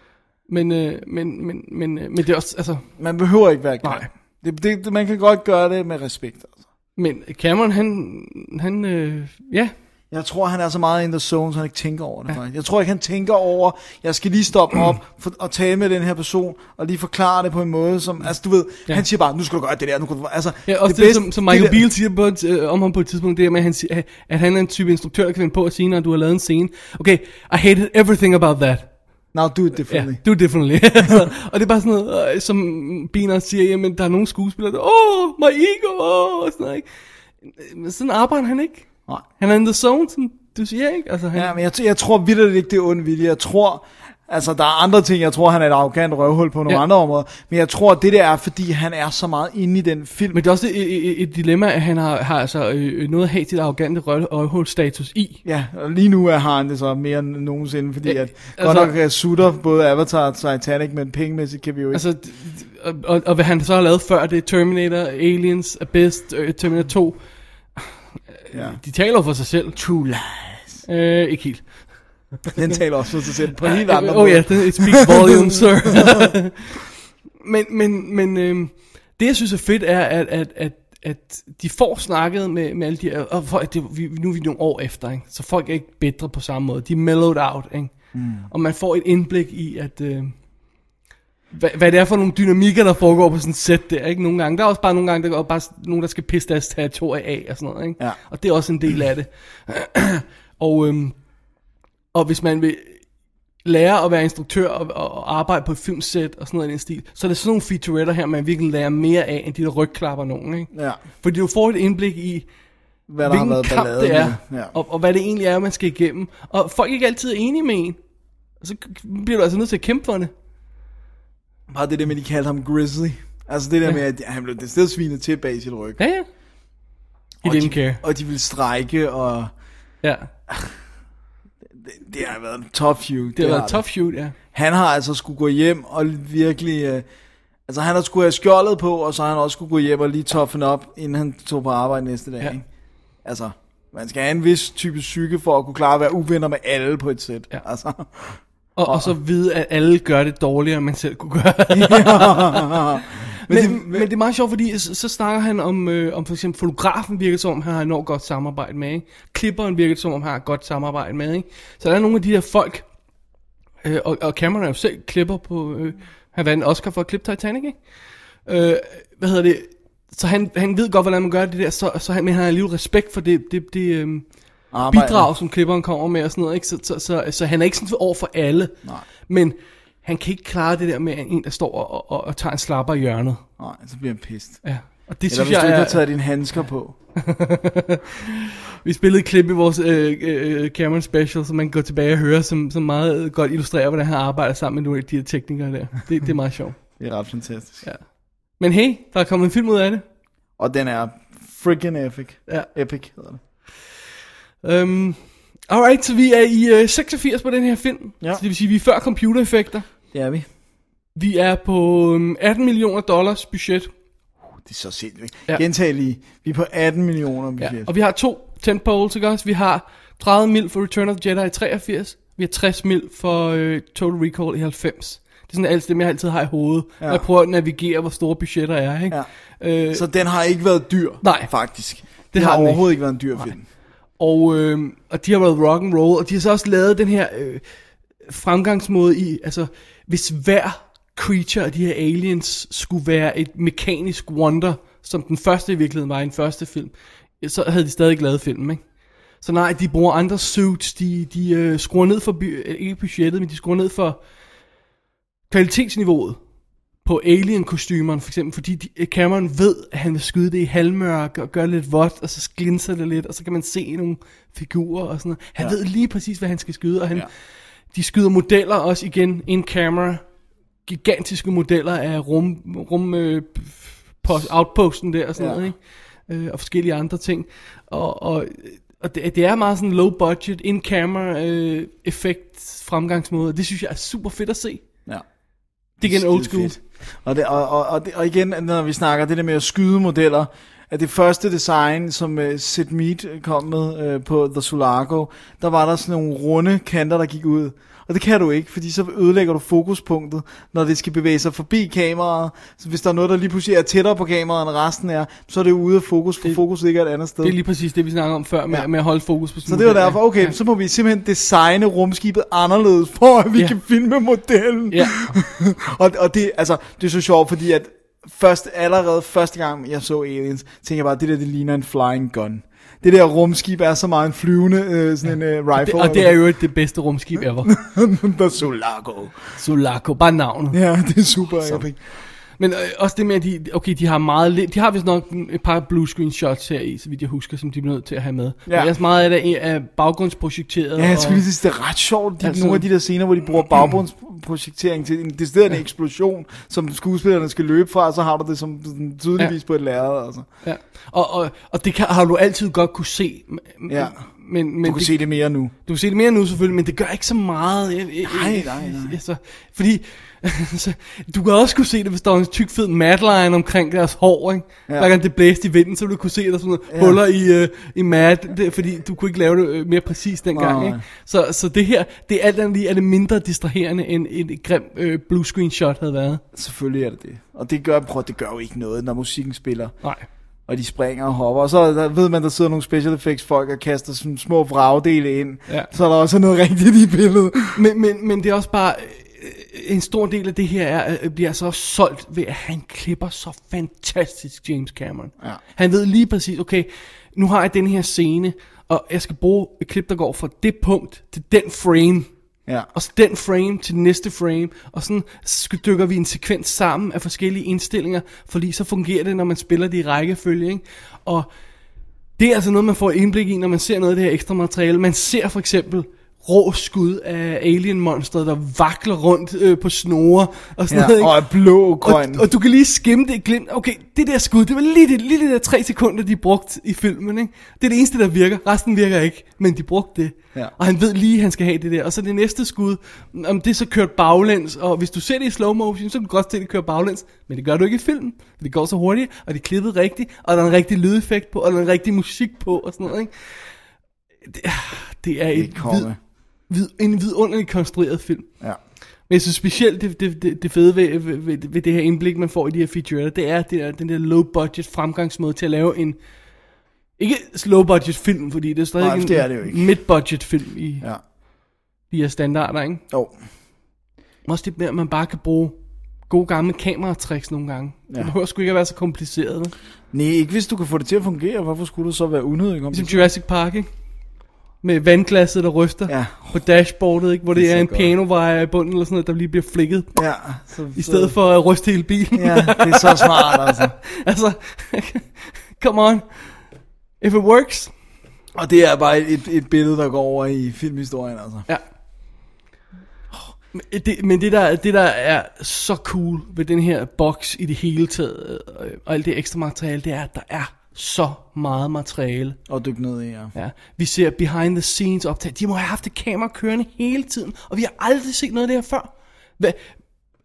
Speaker 3: men, øh, men, men, men, øh, men det er også, altså...
Speaker 4: Man behøver ikke være
Speaker 3: Nej.
Speaker 4: grim. Det, det, det, man kan godt gøre det med respekt. Altså.
Speaker 3: Men Cameron, han, han øh, ja,
Speaker 4: Jeg tror, han er så meget in the zone, så han ikke tænker over det. Ja. Jeg tror ikke, han tænker over, jeg skal lige stoppe op for, og tale med den her person, og lige forklare det på en måde, som... Altså, du ved,
Speaker 3: Ja.
Speaker 4: ja. han siger bare, nu skal du gøre det der, nu skal du... Altså,
Speaker 3: Ja, også det, det som, som Michael Biel siger på, et- øh, om ham på et tidspunkt, det er med, at han, siger, at- at han er en type instruktør, der kan finde på at sige, når du har lavet en scene, okay, I hated everything about that.
Speaker 4: Now do it
Speaker 3: Ja,
Speaker 4: differently.
Speaker 3: do definitely. altså, og det er bare sådan noget, øh, som Biner siger, jamen der er nogle skuespillere, der, åh, oh, my ego, åh, oh, og sådan noget, ikke? Men sådan arbejder han ikke.
Speaker 4: Nej.
Speaker 3: Han er in the zone, som du siger, ikke? Altså, han,
Speaker 4: Ja, men jeg, jeg tror vildt ikke, det er ond vilje. Jeg tror, altså der er andre ting, jeg tror, han er et arrogant røvhul på nogle
Speaker 3: Ja.
Speaker 4: ja. andre områder, men jeg tror, det der er, fordi han er så meget inde i den film.
Speaker 3: men det er også et, et, et dilemma, at han har, har altså øh, noget at have sit arrogante røvhul-status i.
Speaker 4: Ja, og lige nu er har han det så mere end nogensinde, fordi
Speaker 3: Ja,
Speaker 4: at altså,
Speaker 3: altså-
Speaker 4: godt nok øh, sutter både Avatar og Titanic, men pengemæssigt kan vi jo ikke.
Speaker 3: Altså, d- d- og, og, og hvad han så har lavet før, det er Terminator, Aliens, Abyss, øh, Terminator 2.
Speaker 4: ja.
Speaker 3: De taler jo for sig selv.
Speaker 4: True lies.
Speaker 3: Øh, ikke helt.
Speaker 4: Den taler også for sig selv på en helt anden
Speaker 3: Øh,
Speaker 4: måde.
Speaker 3: Oh ja, yeah, it speaks volumes, sir. men men, men øhm, det, jeg synes er fedt, er, at, at, at, at de får snakket med, med alle de her, og folk, det, vi, nu er vi nogle år efter, ikke? så folk er ikke bedre på samme måde. De er mellowed out, ikke? Mm. og man får et indblik i, at... Øh, hvad, hvad det er for nogle dynamikker, der foregår på sådan et sæt der, ikke? Nogle gange. Der er også bare nogle gange, der er bare s- nogen, der skal pisse deres territorie af og sådan noget, ikke? Ja. Og det er også en del af det. og, øhm, og hvis man vil lære at være instruktør og, og, og arbejde på et filmsæt og sådan noget i den stil, så er det sådan nogle featuretter her, man virkelig lærer mere af, end de der rygklapper nogen, ikke?
Speaker 4: Ja.
Speaker 3: Fordi du får et indblik i,
Speaker 4: Hvad der
Speaker 3: hvilken
Speaker 4: har været
Speaker 3: kamp
Speaker 4: ballade
Speaker 3: det er,
Speaker 4: med. Ja.
Speaker 3: og, og hvad det egentlig er, man skal igennem. Og folk er ikke altid enige med en. Og så bliver du altså nødt til at kæmpe for det.
Speaker 4: Bare det der med, at de kaldte ham Grizzly. Altså det der
Speaker 3: Ja.
Speaker 4: med, at han blev det svinet til bag i sit ryg.
Speaker 3: Ja, ja. He
Speaker 4: Og
Speaker 3: didn't
Speaker 4: de,
Speaker 3: care.
Speaker 4: Og de ville strejke, og
Speaker 3: Ja,
Speaker 4: det, det har været en tough feud.
Speaker 3: det har været tough shoot, ja.
Speaker 4: Han har altså skulle gå hjem og virkelig... Øh, altså han har skulle have skjoldet på, og så har han også skulle gå hjem og lige toughen op, inden han tog på arbejde næste dag.
Speaker 3: Ja.
Speaker 4: Ja. Ikke? Altså, man skal have en vis type psyke for at kunne klare at være uvenner med alle på et sæt. Ja. Altså.
Speaker 3: Og, og så vide, at alle gør det dårligere, end man selv kunne gøre det. men, men, det, men det er meget sjovt, fordi så, så snakker han om, øh, om for eksempel fotografen virker som om, han har enormt godt samarbejde med. Ikke? Klipperen virker som om, han har et godt samarbejde med. Ikke? Så der er nogle af de her folk, øh, og, og Cameron er jo selv klipper på, øh, han vandt en Oscar for at klippe Titanic, ikke? Øh, hvad hedder det? Så han, han ved godt, hvordan man gør det der, så, så han, men han har alligevel respekt for det, det, det øhm,
Speaker 4: Arbejde.
Speaker 3: bidrag, som klipperen kommer med og sådan noget, ikke? Så, så, så, så han er ikke sådan over for alle, Nej. men han kan ikke klare det der med en, der står og, og, og tager en slapper i hjørnet.
Speaker 4: Nej, så bliver han pissed.
Speaker 3: Ja. Og det
Speaker 4: Eller
Speaker 3: synes
Speaker 4: hvis du
Speaker 3: jeg
Speaker 4: ikke har
Speaker 3: er,
Speaker 4: taget dine handsker på.
Speaker 3: Vi spillede et klip i vores øh, øh, Cameron Special, som man kan gå tilbage og høre, som, som meget øh, godt illustrerer, hvordan han arbejder sammen med nogle af de her teknikere der. Det, det er meget sjovt.
Speaker 4: Det er ret fantastisk.
Speaker 3: Ja. Men hey, der er kommet en film ud af det.
Speaker 4: Og den er freaking epic.
Speaker 3: Ja.
Speaker 4: Epic hedder det.
Speaker 3: Um, alright, så vi er i øh, 86 på den her film.
Speaker 4: Ja.
Speaker 3: Så det vil sige, vi er før computereffekter.
Speaker 4: Det er vi.
Speaker 3: Vi er på øhm, 18 millioner dollars budget.
Speaker 4: Det er så sindssygt.
Speaker 3: Ja.
Speaker 4: Ja. Gentag lige. Vi er på 18 millioner budget.
Speaker 3: Ja.
Speaker 4: Ja,
Speaker 3: Og vi har to tentpoles, ikke også? Vi har 30 mil for Return of the Jedi i 83. Vi har 60 mil for øh, Total Recall i 90. Det er sådan alt det, jeg altid har i hovedet. Ja.
Speaker 4: Ja.
Speaker 3: Når jeg prøver at navigere, hvor store budgetter er, ikke?
Speaker 4: Ja.
Speaker 3: Øh,
Speaker 4: Så den har ikke været dyr,
Speaker 3: Nej.
Speaker 4: faktisk. Det,
Speaker 3: har
Speaker 4: har,
Speaker 3: den
Speaker 4: overhovedet ikke været en dyr film.
Speaker 3: Og, øh, og de har været rock and roll, og de har så også lavet den her øh, fremgangsmåde i, altså hvis hver creature af de her aliens skulle være et mekanisk wonder, som den første i virkeligheden var i den første film, så havde de stadig ikke lavet filmen, ikke? Så nej, de bruger andre suits, de, de øh, skruer ned for, by, øh, ikke budgettet, men de skruer ned for kvalitetsniveauet på alien-kostymerne for eksempel, fordi de, eh, Cameron ved, at han vil skyde det i halvmørke og gøre det lidt vådt, og så glinser det lidt, og så kan man se nogle figurer og sådan noget. Han ja. ved lige præcis, hvad han skal skyde, og han, ja. de skyder modeller også igen in camera, gigantiske modeller af rum, rum øh, post, outposten der og sådan ja.
Speaker 4: Ja.
Speaker 3: noget, ikke? Øh, og forskellige andre ting. Og, og, og det, det er meget sådan low budget, in camera øh, effekt fremgangsmåde, og det synes jeg er super fedt at se.
Speaker 4: Ja.
Speaker 3: Det er igen old school.
Speaker 4: Skide fedt. Og, det, og, og, og, det, og igen, når vi snakker det der med at skyde modeller, at det første design, som uh, Sid Mead kom med uh, på The Sulaco, der var der sådan nogle runde kanter, der gik ud. Og det kan du ikke, fordi så ødelægger du fokuspunktet, når det skal bevæge sig forbi kameraet. Så hvis der er noget, der lige pludselig er tættere på kameraet, end resten er, så er det ude af fokus, for
Speaker 3: Det-
Speaker 4: det, fokus ligger et andet sted.
Speaker 3: Det er lige præcis det, vi snakker om før, med, ja.
Speaker 4: Ja.
Speaker 3: med at holde fokus på
Speaker 4: Så det var
Speaker 3: modeller.
Speaker 4: derfor, okay,
Speaker 3: Ja.
Speaker 4: så må vi simpelthen designe rumskibet anderledes, for at vi
Speaker 3: Ja.
Speaker 4: ja. kan filme modellen.
Speaker 3: Ja.
Speaker 4: og, og det, altså, det er så sjovt, fordi at først, allerede første gang, jeg så Aliens, tænkte jeg bare, det der, det ligner en flying gun. Det der rumskib er så meget en flyvende, øh, sådan en øh,
Speaker 3: Det,
Speaker 4: rifle.
Speaker 3: og det er jo det bedste rumskib ever.
Speaker 4: Der er Sulaco.
Speaker 3: Sulaco, bare navnet.
Speaker 4: Ja, det er super epic.
Speaker 3: Men øh, også det med, at de, okay, de har meget lidt, de har vist nok en- et par blue screen shots her i, så vidt jeg husker, som de bliver nødt til at have med. Ja. Men ellers meget af det er baggrundsprojekteret.
Speaker 4: Ja, jeg skulle
Speaker 3: og-
Speaker 4: lige sige, det er ret sjovt, de,
Speaker 3: Altså-
Speaker 4: altså, nogle af de der scener, hvor de bruger baggrundsprojektering til en decideret eksplosion, som skuespillerne skal løbe fra, og så har du det som sådan, tydeligvis ja. på et lærred. Altså.
Speaker 3: ja. Og, og, og det kan, har du altid godt kunne se. m-
Speaker 4: Ja.
Speaker 3: Men, men
Speaker 4: Du kan
Speaker 3: det,
Speaker 4: se det mere nu.
Speaker 3: Du kan se det mere nu selvfølgelig, men det gør ikke så meget. Jeg- jeg-
Speaker 4: Nej,
Speaker 3: jeg-
Speaker 4: nej, nej.
Speaker 3: Altså, fordi altså, du kan også kunne se det, hvis der var en tyk fed matline omkring deres hår. Ikke? Ja.
Speaker 4: Ja.
Speaker 3: Hver gang det blæste i vinden, så ville du kunne se, at der sådan ja.
Speaker 4: Ja.
Speaker 3: huller i, øh, i mat, det, fordi du kunne ikke lave det øh, mere præcis dengang.
Speaker 4: Nej.
Speaker 3: Ikke? Så, så det her, det er alt andet lige, er det mindre distraherende, end et grim øh, blue screen shot havde været.
Speaker 4: Selvfølgelig er det det. Og det gør, prøv, det gør jo ikke noget, når musikken spiller,
Speaker 3: Nej.
Speaker 4: og de springer og hopper. Og så er der, ved man, der sidder nogle special effects folk og kaster sådan små vragdele ind.
Speaker 3: Ja.
Speaker 4: Så er der også noget rigtigt i billedet.
Speaker 3: Men, men, men det er også bare... øh, en stor del af det her er, øh, bliver så solgt ved, at han klipper så fantastisk James Cameron.
Speaker 4: Ja.
Speaker 3: Han ved lige præcis, okay, nu har jeg den her scene, og jeg skal bruge et klip, der går fra det punkt til den frame.
Speaker 4: Ja.
Speaker 3: Og så den frame til den næste frame, og sådan sk- dykker vi en sekvens sammen af forskellige indstillinger, for lige så fungerer det, når man spiller det i rækkefølge. Ikke? Og det er altså noget, man får indblik i, når man ser noget af det her ekstra materiale. Man ser for eksempel rå skud af alien monster der vakler rundt øh, på snore og sådan
Speaker 4: Ja,
Speaker 3: noget. Ikke?
Speaker 4: og er blå og grøn.
Speaker 3: Og, og du kan lige skimme det, glem, okay, det der skud, det var lige det, lige det der tre sekunder, de brugte i filmen, ikke? Det er det eneste, der virker. Resten virker ikke, men de brugte det.
Speaker 4: Ja.
Speaker 3: Og han ved lige, han skal have det der. Og så det næste skud, om det er så kørt baglæns, og hvis du ser det i slow motion, så kan du godt se det kører baglæns, men det gør du ikke i filmen. For det går så hurtigt, og det er klippet rigtigt, og der er en rigtig lydeffekt på, og der er en rigtig musik på, og sådan noget, ikke? Det, det er
Speaker 4: Det er
Speaker 3: et vid,
Speaker 4: konge.
Speaker 3: vid, en vidunderligt konstrueret film.
Speaker 4: Ja.
Speaker 3: Men jeg synes specielt det, det, det, det fede ved, ved, ved, ved det her indblik, man får i de her featuretter, det er, det er den der low-budget fremgangsmåde til at lave en... Ikke low-budget film, fordi det er stadig
Speaker 4: Nej,
Speaker 3: en
Speaker 4: det er det jo ikke.
Speaker 3: mid-budget film i ja.
Speaker 4: Ja.
Speaker 3: de her standarder, ikke?
Speaker 4: Jo.
Speaker 3: Også det med, at man bare kan bruge gode gamle kameratricks nogle gange. Ja. Det behøver sgu ikke at være så kompliceret. vel?
Speaker 4: Nej, ikke hvis du kan få det til at fungere. Hvorfor skulle du så være unødig om
Speaker 3: Ligesom Jurassic Park, ikke? Med vandglasset, der ryster
Speaker 4: Ja.
Speaker 3: på dashboardet, ikke? Hvor det,
Speaker 4: Det er
Speaker 3: det er,
Speaker 4: så
Speaker 3: en
Speaker 4: godt.
Speaker 3: pianovejer i bunden eller sådan noget, der lige bliver flikket.
Speaker 4: Ja, så,
Speaker 3: I stedet for at ryste hele bilen.
Speaker 4: Ja, det er så smart, altså.
Speaker 3: Altså, come on. If it works.
Speaker 4: Og det er bare et, et billede, der går over i filmhistorien, altså.
Speaker 3: Ja. Men Det, men det der, det der er så cool ved den her boks i det hele taget, øh, og alt det ekstra materiale, det er, at der er så meget materiale.
Speaker 4: Og dykke ned i, ja.
Speaker 3: Ja. Vi ser behind the scenes optag. De må have haft et kamera kørende hele tiden, og vi har aldrig set noget af det her før. Hvad?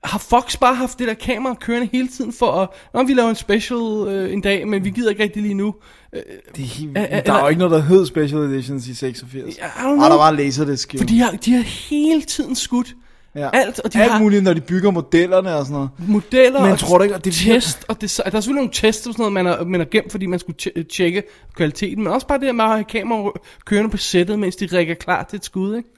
Speaker 3: Har Fox bare haft det der kamera kørende hele tiden for at... Nå, vi laver en special øh, en dag, men vi gider ikke rigtig lige nu.
Speaker 4: Det er helt,
Speaker 3: Æ, æ,
Speaker 4: der er
Speaker 3: eller-
Speaker 4: jo ikke noget, der hed Special Editions i 86.
Speaker 3: I don't
Speaker 4: Ah,
Speaker 3: know.
Speaker 4: der var laserdisk. jo.
Speaker 3: For de har, de har hele tiden skudt
Speaker 4: ja.
Speaker 3: alt, og de
Speaker 4: alt
Speaker 3: har-
Speaker 4: muligt, når de bygger modellerne og sådan noget.
Speaker 3: modeller
Speaker 4: Men
Speaker 3: og
Speaker 4: tror du ikke, at det-
Speaker 3: test. Og det, der er selvfølgelig nogle tests og sådan noget, man har, man har gemt, fordi man skulle tje- tjekke kvaliteten. Men også bare det der med at have kamera kørende på sættet, mens de rækker klar til et skud. Ikke?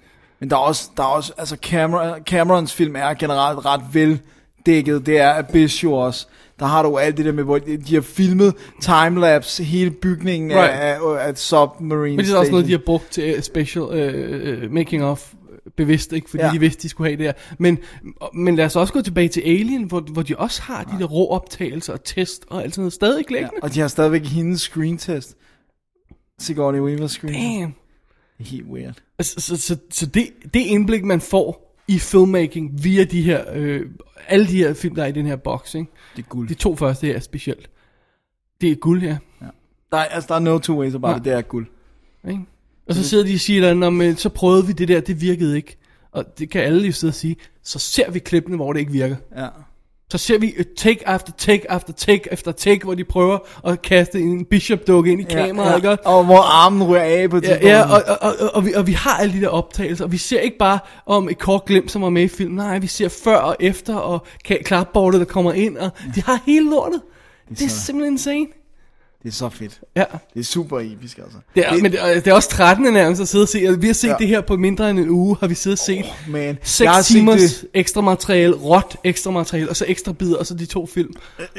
Speaker 4: Men der er også, der er også altså Cameron, Camerons film er generelt ret vel dækket. Det er Abyss jo også. Der har du alt det der med, hvor de de har filmet timelapse, hele bygningen right.
Speaker 3: Right.
Speaker 4: af, af, af, Submarine
Speaker 3: Men det er også
Speaker 4: Station.
Speaker 3: noget, de har brugt til øh, special øh, øh, making of øh, bevidst, ikke? fordi
Speaker 4: Ja.
Speaker 3: ja. de vidste, de skulle have det her. Men, og- men lad os også gå tilbage til Alien, hvor, hvor de også har de der rå optagelser og test og alt sådan noget stadig liggende.
Speaker 4: Og de har stadigvæk hendes screen test. Sigourney Weaver screen test.
Speaker 3: Damn. Altså,
Speaker 4: Det er helt weird.
Speaker 3: Så, så, så, så det, det indblik, man får i filmmaking via de her, øh, alle de her film, der er i den her boks, ikke?
Speaker 4: Det er guld.
Speaker 3: De to første her specielt. Det er guld her.
Speaker 4: Der er, altså, der er no two ways about it.
Speaker 3: Nej.
Speaker 4: Det er guld.
Speaker 3: Ikke? Og så sidder de og siger, Nå, men "Øh, så prøvede vi det der, det virkede ikke. Og det kan alle jo sidde og sige. Så ser vi klippene, hvor det ikke virker.
Speaker 4: Ja.
Speaker 3: Så ser vi øh, take after take after take after take, hvor de prøver at kaste en bishop-dukke ind i kameraet.
Speaker 4: ja,
Speaker 3: ikke?
Speaker 4: ja. Og hvor armen ryger af på et
Speaker 3: Ja, ja og, og, og, og, vi, og vi har alle de der optagelser, og vi ser ikke bare om et kort glimt, som var med i filmen. Nej, vi ser før og efter, og ka- klapbordet, der kommer ind, og de har hele lortet. Det er simpelthen insane.
Speaker 4: Det er så fedt.
Speaker 3: Ja.
Speaker 4: Det er super episk, altså.
Speaker 3: Det er, men det, er- det er også 13. nærmest at sidde og se, og vi har set
Speaker 4: Ja.
Speaker 3: ja. det her på mindre end en uge, har vi siddet og set.
Speaker 4: Oh, man. Jeg har
Speaker 3: 6
Speaker 4: set
Speaker 3: timers
Speaker 4: det.
Speaker 3: ekstra materiale, råt ekstra materiale, og så ekstra bidder, og så de to film.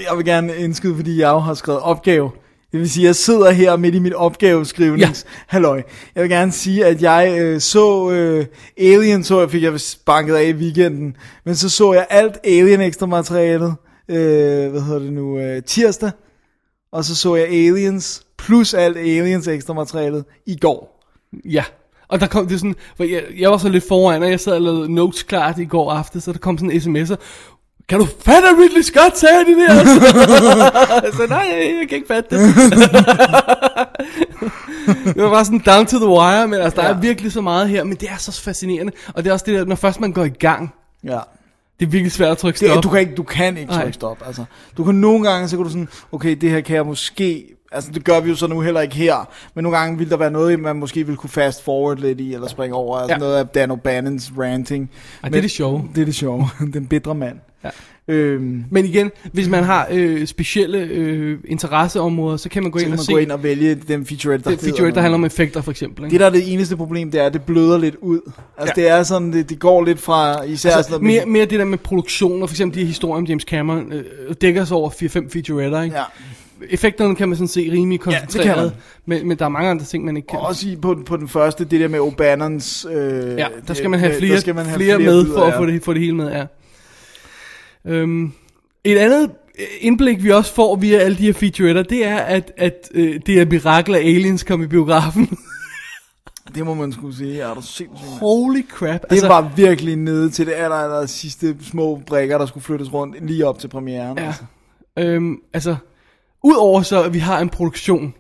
Speaker 4: Jeg vil gerne indskyde, fordi jeg jo har skrevet opgave. Det vil sige, jeg sidder her midt i mit opgaveskrivnings. Ja. Halløj. Jeg vil gerne sige, at jeg øh, så øh, Alien, så jeg fik jeg banket af i weekenden. Men så så jeg alt Alien ekstra materialet. Øh, hvad hedder det nu? Øh, tirsdag. Og så så jeg Aliens, plus alt Aliens ekstra materialet i går.
Speaker 3: Ja. Og der kom det sådan, for jeg, jeg var så lidt foran, og jeg sad og lavede notes klart i går aftes, så der kom sådan en sms'er. Kan du fatte, at Ridley Scott sagde det der? jeg sagde, nej, jeg, jeg kan ikke fatte det. det var bare sådan down to the wire, men altså, der ja. er virkelig så meget her, men det er så fascinerende. Og det er også det der, når først man går i gang,
Speaker 4: Ja.
Speaker 3: det er virkelig svært at trykke stop.
Speaker 4: Det, du kan ikke, du kan ikke
Speaker 3: Nej.
Speaker 4: trykke stop. Altså, du kan nogle gange, så kan du sådan, okay, det her kan jeg måske, altså det gør vi jo så nu heller ikke her, men nogle gange vil der være noget, man måske vil kunne fast forward lidt i, eller springe over, altså ja.
Speaker 3: Ja.
Speaker 4: noget af Dan O'Bannons ranting.
Speaker 3: Ej, det er
Speaker 4: Men-
Speaker 3: det sjove.
Speaker 4: Det er det sjove, den bedre mand.
Speaker 3: Ja.
Speaker 4: Øhm,
Speaker 3: Men igen, hvis man har øh, specielle øh, interesseområder, så kan man gå
Speaker 4: så
Speaker 3: ind
Speaker 4: kan
Speaker 3: og
Speaker 4: man
Speaker 3: se
Speaker 4: gå ind og vælge den featurette, der
Speaker 3: det
Speaker 4: hedder
Speaker 3: feature, der
Speaker 4: noget.
Speaker 3: handler om effekter for eksempel. Ikke?
Speaker 4: Det der er det eneste problem, det er, at det bløder lidt ud. Altså
Speaker 3: Ja.
Speaker 4: ja. det er sådan, det, det går lidt fra især altså,
Speaker 3: Altså,
Speaker 4: sådan
Speaker 3: mere,
Speaker 4: noget,
Speaker 3: mere det der med produktioner, for eksempel de her historier om James Cameron, øh, dækker sig over 4-5 featuretter, ikke?
Speaker 4: Ja.
Speaker 3: Effekterne kan man sådan se rimelig
Speaker 4: kan man.
Speaker 3: koncentreret, men, men der er mange andre ting, man ikke kan.
Speaker 4: Og også i, på, den- på den første, det der med O'Bannons... Øh,
Speaker 3: ja, der skal man have
Speaker 4: øh,
Speaker 3: flere,
Speaker 4: der skal man have
Speaker 3: flere, med
Speaker 4: bidder,
Speaker 3: for at
Speaker 4: ja.
Speaker 3: få det, få det hele med, ja. Øhm, et andet øh, indblik, vi også får via alle de her featuretter, det er, at, at øh, det er mirakel, at Aliens kom i biografen.
Speaker 4: Det må man skulle sige, ja, er du sindssygt. mand.
Speaker 3: Holy crap.
Speaker 4: Det altså, var virkelig nede til det aller, aller sidste små brækker, der skulle flyttes rundt lige op til premieren.
Speaker 3: Ja.
Speaker 4: Altså.
Speaker 3: Øhm, altså, udover så, at vi har en produktion,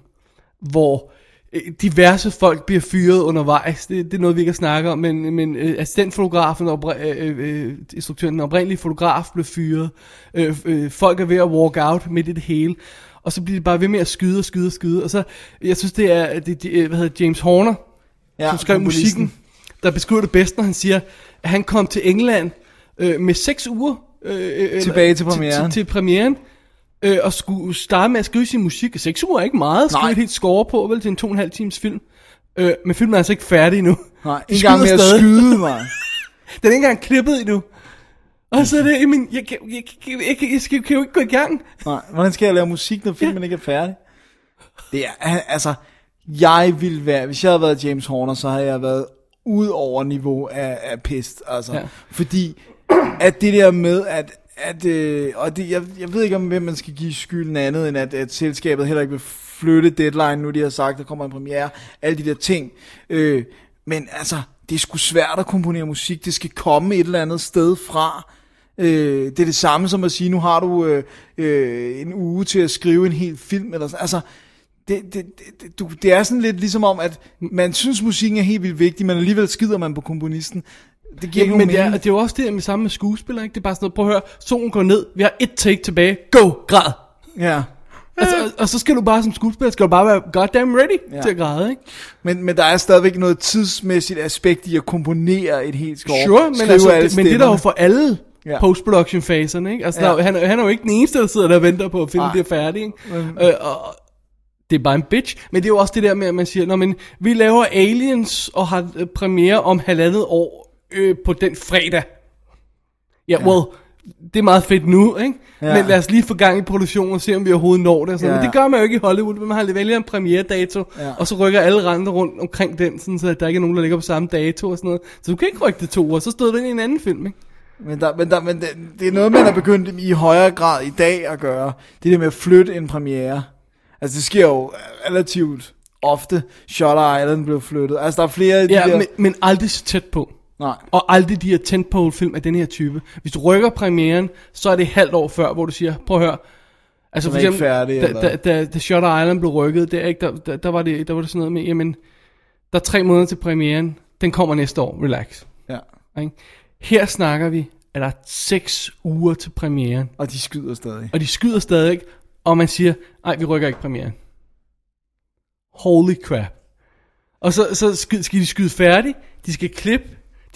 Speaker 3: hvor øh, diverse folk bliver fyret undervejs, det, det er noget, vi ikke snakker om, men, men øh, assistentfotografen, og opri- øh, øh, instruktøren, den oprindelige fotograf blev fyret, øh, øh, folk er ved at walk out midt i det hele, og så bliver det bare ved med at skyde og skyde og skyde, og så, jeg synes, det er, det, det, øh, hvad hedder det, James Horner, ja, som skrev
Speaker 4: komponisten.
Speaker 3: musikken, der beskriver det bedst, når han siger, at han kom til England øh, med seks uger øh, øh,
Speaker 4: Tilbage til
Speaker 3: eller-
Speaker 4: premieren.
Speaker 3: Til, til premieren øh, og skulle starte med at skrive sin musik. Seks uger er ikke meget. Skrive
Speaker 4: Nej.
Speaker 3: et helt score på, vel, til en to og en halv times film. Øh, men filmen er altså ikke færdig endnu.
Speaker 4: Nej,
Speaker 3: De
Speaker 4: en gang
Speaker 3: skyder
Speaker 4: med at
Speaker 3: stadig.
Speaker 4: skyde mig.
Speaker 3: Den er ikke engang klippet endnu. Og så er det, jamen, jeg, kan- jeg, jeg, jeg, jeg, jeg, skal- jeg kan jo ikke gå i gang.
Speaker 4: Nej, hvordan skal jeg lave musik, når filmen ikke er færdig? Det er, al- altså, jeg ville være, hvis jeg havde været James Horner, så havde jeg været ud over niveau af, af pist, altså.
Speaker 3: Ja.
Speaker 4: Ja. Fordi, at det der med, at, at øh, og det, jeg, jeg ved ikke, om hvem man skal give skylden andet, end at, at selskabet heller ikke vil flytte deadline, nu de har sagt, der kommer en premiere, alle de der ting. Øh, men altså, det er sgu svært at komponere musik, det skal komme et eller andet sted fra. Øh, det er det samme som at sige, nu har du øh, øh, en uge til at skrive en hel film. Eller sådan. Altså, det, det, det, det, du- det er sådan lidt ligesom om, at man synes, musikken er helt vildt vigtig, men alligevel skider man på komponisten. Det giver ikke
Speaker 3: men
Speaker 4: nogen
Speaker 3: det er,
Speaker 4: mening.
Speaker 3: det er jo også det der med samme med skuespillere, ikke? Det er bare sådan noget, prøv at høre, solen går ned, vi har et take tilbage, go, græd.
Speaker 4: Ja.
Speaker 3: Altså, og, og, så skal du bare som skuespiller, skal du bare være goddamn ready ja.
Speaker 4: Øh. Ja.
Speaker 3: til at græde, ikke?
Speaker 4: Men, men der er stadigvæk noget tidsmæssigt aspekt i at komponere et helt score.
Speaker 3: Sure, men,
Speaker 4: Skrive
Speaker 3: altså,
Speaker 4: alle
Speaker 3: det, men det er der jo
Speaker 4: stemmerne.
Speaker 3: for alle ja.
Speaker 4: Ja.
Speaker 3: post-production faserne, ikke? Altså, ja.
Speaker 4: Ja.
Speaker 3: der, er jo- han, er- han er jo ikke den eneste, der sidder der og venter på, at filmen
Speaker 4: Nej.
Speaker 3: bliver færdig, ikke? Øh, og, og det er bare en bitch. Men det er jo også det der med, at man siger, Nå, men vi laver Aliens og har øh, premiere om halvandet år øh, på den fredag. Ja, yeah, well, det er meget fedt nu, ikke? Ja.
Speaker 4: Ja.
Speaker 3: Men lad os lige få gang i produktionen og se, om vi overhovedet når det. Og sådan. Ja.
Speaker 4: Ja.
Speaker 3: Men det gør man jo ikke i Hollywood. Man har vælger en premieredato, ja.
Speaker 4: Ja.
Speaker 3: og så rykker alle renter rundt omkring den, sådan, så der ikke er nogen, der ligger på samme dato og sådan noget. Så du kan ikke rykke det to uger, så stod det ind i en anden film, ikke?
Speaker 4: Men, der, men, der, men det, det er noget, man er begyndt i højere grad i dag at gøre. Det der med at flytte en premiere. Altså det sker jo relativt ofte. Shutter Island blev flyttet. Altså der er flere af de
Speaker 3: Ja,
Speaker 4: der...
Speaker 3: men, men aldrig så tæt på.
Speaker 4: Nej.
Speaker 3: Og aldrig de her tentpole-film af den her type. Hvis du rykker premieren, så er det et halvt år før, hvor du siger, prøv at høre, altså
Speaker 4: Den er ikke færdig,
Speaker 3: da,
Speaker 4: eller?
Speaker 3: da, da, da Shutter Island blev rykket, det er ikke, der, der, der, var det, der var det sådan noget med, jamen, der er tre måneder til premieren, den kommer næste år, relax.
Speaker 4: Ja.
Speaker 3: Ikke? Her snakker vi, at der er seks uger til premieren,
Speaker 4: Og de skyder stadig.
Speaker 3: og de skyder stadig, og man siger, nej, vi rykker ikke premieren. Holy crap. Og så, så skal, skal de skyde færdig, de skal klippe,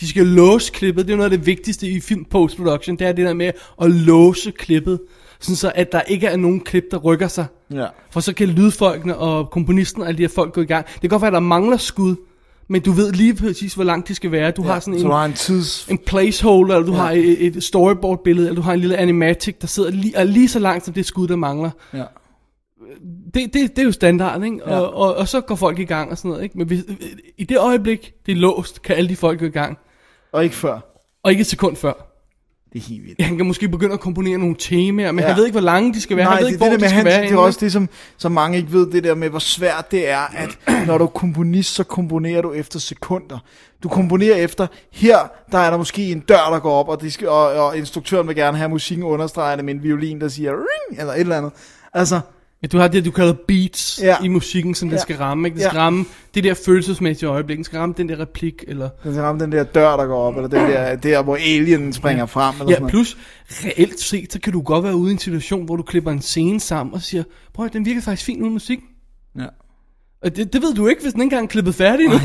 Speaker 3: de skal låse klippet, det er jo noget af det vigtigste i film post-production, det er det der med at låse klippet, sådan så at der ikke er nogen klip, der rykker sig.
Speaker 4: Ja.
Speaker 3: For så kan lydfolkene og komponisten og alle de her folk gå i gang. Det kan godt være, at der mangler skud, men du ved lige præcis, hvor langt de skal være. Du ja, har sådan en,
Speaker 4: Så du har en tids...
Speaker 3: en placeholder, eller du ja. har et, et storyboard-billede, eller du har en lille animatic, der sidder lige, er lige så langt, som det skud, der mangler.
Speaker 4: Ja.
Speaker 3: Det, det, det er jo standard, ikke? Ja.
Speaker 4: Ja.
Speaker 3: Og, og, og så går folk i gang og sådan noget, ikke? Men hvis, i det øjeblik, det er låst, kan alle de folk gå i gang.
Speaker 4: Og ikke før.
Speaker 3: Og ikke et sekund før.
Speaker 4: Det er helt vildt.
Speaker 3: Ja, Han kan måske begynde at komponere nogle temaer, men ja.
Speaker 4: Ja.
Speaker 3: han ved ikke, hvor lange de skal være.
Speaker 4: Nej,
Speaker 3: han ved
Speaker 4: det,
Speaker 3: ikke,
Speaker 4: er
Speaker 3: hvor
Speaker 4: det, der
Speaker 3: de
Speaker 4: med
Speaker 3: skal
Speaker 4: Hans,
Speaker 3: være.
Speaker 4: det er
Speaker 3: henne,
Speaker 4: også det, som, som mange ikke ved, det der med, hvor svært det er, at når du er komponist, så komponerer du efter sekunder. Du komponerer efter, her der er der måske en dør, der går op, og, det skal, og, og instruktøren vil gerne have musikken understreget med en violin, der siger ring, eller et eller andet. Altså,
Speaker 3: Ja, du har det, du kalder beats ja.
Speaker 4: Ja.
Speaker 3: i musikken, som ja. den
Speaker 4: Ja.
Speaker 3: skal ramme. Ikke? Den skal
Speaker 4: Ja.
Speaker 3: ramme det der følelsesmæssige øjeblik. Den skal ramme den der replik. Eller...
Speaker 4: den skal ramme den der dør, der går op, eller den der, der hvor alienen springer frem, eller
Speaker 3: Ja,
Speaker 4: sådan
Speaker 3: plus reelt set, så kan du godt være ude i en situation, hvor du klipper en scene sammen og siger, prøv at høre, den virker faktisk fint uden musik.
Speaker 4: noget.
Speaker 3: Og det, det ved du ikke, hvis den ikke engang er klippet færdig nu.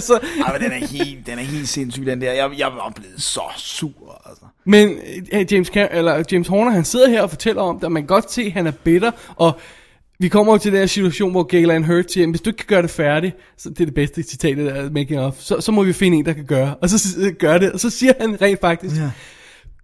Speaker 3: så,
Speaker 4: Ja. Ej, men den er helt, den er helt sindssyg, den der. Jeg, jeg var blevet så sur, altså.
Speaker 3: Men øh, James, Cam- eller James Horner, han sidder her og fortæller om det, og man kan godt se, at han er bitter, og vi kommer jo til den her situation, hvor Galen Hurt siger, hvis du ikke kan gøre det færdigt, så det er det bedste citat, det der making of, så, så må vi finde en, der kan gøre. Og så s- øh, gør det, og så siger han rent faktisk, ja.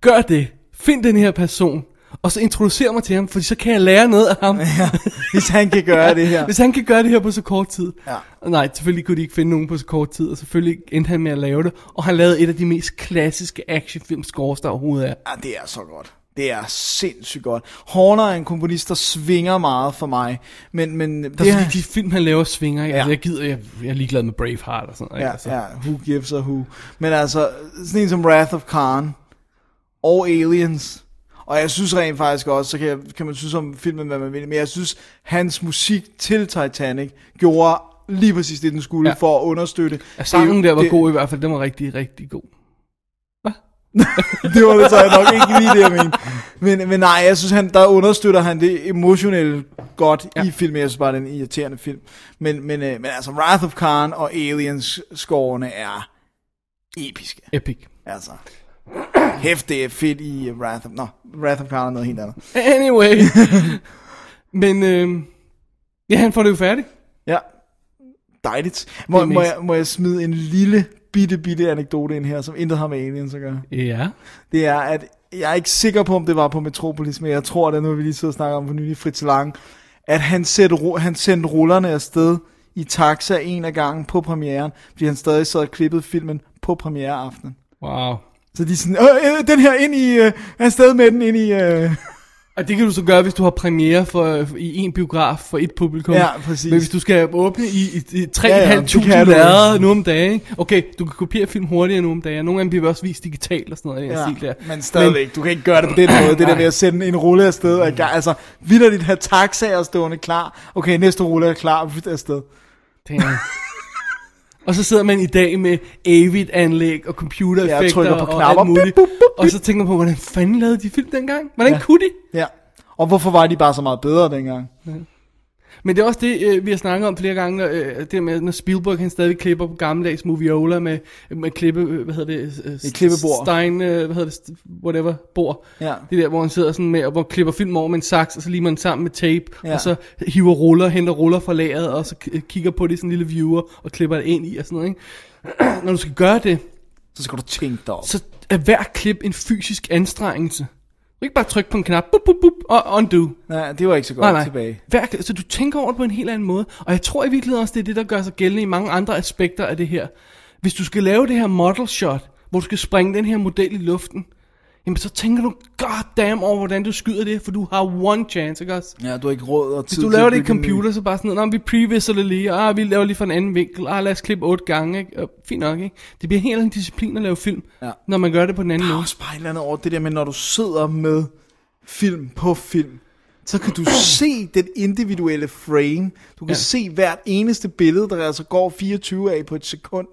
Speaker 3: gør det, find den her person, og så introducer mig til ham, for så kan jeg lære noget af ham. Ja,
Speaker 4: hvis han kan gøre det her.
Speaker 3: Hvis han kan gøre det her på så kort tid.
Speaker 4: Ja.
Speaker 3: Og nej, selvfølgelig kunne de ikke finde nogen på så kort tid, og selvfølgelig endte han med at lave det. Og han lavede et af de mest klassiske actionfilm scores, der overhovedet er.
Speaker 4: Ja, det er så godt. Det er sindssygt godt. Horner er en komponist, der svinger meget for mig. Men, men
Speaker 3: Der er fordi, Altså, de film, han laver, svinger. Ja. Altså, jeg gider, jeg, jeg er ligeglad med Braveheart og sådan noget.
Speaker 4: Ja,
Speaker 3: ikke? altså.
Speaker 4: ja, who gives a who. Men altså, sådan en som Wrath of Khan og Aliens, og jeg synes rent faktisk også, så kan, jeg, kan man synes om filmen, hvad man vil, men jeg synes, hans musik til Titanic gjorde lige præcis det, den skulle
Speaker 3: Ja.
Speaker 4: ja. for at understøtte.
Speaker 3: Ja, sangen
Speaker 4: Det-
Speaker 3: der var
Speaker 4: det,
Speaker 3: god i hvert fald, den var rigtig, rigtig god.
Speaker 4: det var det så jeg nok ikke lige det, jeg mente. Men, men nej, jeg synes, han, der understøtter han det emotionelle godt ja. i filmen. Jeg synes bare, det er en irriterende film. Men, men, øh, men altså, Wrath of Khan og Aliens-scorene er episke.
Speaker 3: Epic.
Speaker 4: Altså, hæft, det er fedt i Wrath of... Nå, Wrath of Khan er noget helt andet.
Speaker 3: Anyway. Men øh, ja, han får det jo færdigt.
Speaker 4: Ja, dejligt. Må,
Speaker 3: Det er
Speaker 4: må,
Speaker 3: mest-
Speaker 4: jeg, må jeg smide en lille, bitte, bitte anekdote ind her, som intet har med Aliens at gøre?
Speaker 3: Ja.
Speaker 4: det er, at jeg er ikke sikker på, om det var på Metropolis, men jeg tror, det er noget, vi lige sidder og snakker om for nylig, Fritz Lang, at han, sætte, ru- han sendte rullerne afsted i taxa en af gangen på premieren, fordi han stadig sad og klippede filmen på premiereaftenen.
Speaker 3: Wow.
Speaker 4: Så de er sådan, øh, øh, den her ind i, øh, afsted med den ind i... Øh.
Speaker 3: Og det kan du så gøre, hvis du har premiere for, i en biograf for et publikum.
Speaker 4: Ja, præcis.
Speaker 3: Men hvis du skal åbne i, i, i
Speaker 4: Ja,
Speaker 3: 3.500
Speaker 4: ja, det
Speaker 3: ja,
Speaker 4: kan du.
Speaker 3: lærreder nu om dagen. ikke? Okay, du kan kopiere film hurtigere nu om dagen. Nogle af dem bliver også vist digitalt og sådan noget.
Speaker 4: Ja,
Speaker 3: Ja, der.
Speaker 4: men stadigvæk, du kan ikke gøre det på den måde, det der
Speaker 3: Nej.
Speaker 4: med at sende en rulle afsted, og i gang, altså vildt have taxaer stående klar, okay, næste rulle er klar, og flyt afsted.
Speaker 3: Men, damn. og så sidder man i dag med Avid-anlæg og
Speaker 4: Ja,
Speaker 3: computereffekter
Speaker 4: trykker på
Speaker 3: og
Speaker 4: knapper.
Speaker 3: alt muligt.
Speaker 4: Bip, bup, bup,
Speaker 3: Og så tænker man på, hvordan fanden lavede de film dengang? Hvordan
Speaker 4: Ja.
Speaker 3: kunne de?
Speaker 4: Ja, og hvorfor var de bare så meget bedre dengang?
Speaker 3: Men det er også det, øh, vi har snakket om flere gange, øh, det der med, når Spielberg han stadig klipper på gammeldags moviola med, med klippe, øh, hvad hedder det? Øh,
Speaker 4: Et klippebord.
Speaker 3: Stein, øh, hvad hedder det? st- Whatever, bord.
Speaker 4: Ja.
Speaker 3: Det der, hvor han sidder sådan med, og hvor han klipper film over med en saks, og så limer han sammen med tape,
Speaker 4: Ja.
Speaker 3: og så hiver ruller, henter ruller fra lageret, og så k- kigger på det i sådan en lille viewer, og klipper det ind i, og sådan noget, ikke? når du skal gøre det,
Speaker 4: Så skal du tænke dig om.
Speaker 3: så er hver klip en fysisk anstrengelse. Du kan ikke bare trykke på en knap, bup, bup, bup, og undo.
Speaker 4: Nej, det var ikke så godt tilbage.
Speaker 3: Hver, så du tænker over det på en helt anden måde. Og jeg tror i virkeligheden også, det er det, der gør sig gældende i mange andre aspekter af det her. Hvis du skal lave det her model shot, hvor du skal springe den her model i luften, jamen så tænker du goddamn over, hvordan du skyder det, for du har one chance, ikke også?
Speaker 4: Ja, du har ikke råd og tid
Speaker 3: Hvis du
Speaker 4: til at
Speaker 3: laver det i
Speaker 4: bygge en ny.
Speaker 3: computer, så bare sådan noget, "Nå, vi previser det lige, og ah, vi laver lige fra en anden vinkel, ah, lad os klippe otte gange, ikke? Og, fint nok, ikke? Det bliver en helt anden disciplin at lave film,
Speaker 4: Ja.
Speaker 3: ja. når man gør det på den anden
Speaker 4: Der er
Speaker 3: måde.
Speaker 4: også bare et eller andet over det der med, når du sidder med film på film, så kan du se den individuelle frame. Du kan ja.
Speaker 3: Ja.
Speaker 4: se hvert eneste billede, der altså går 24 af på et sekund.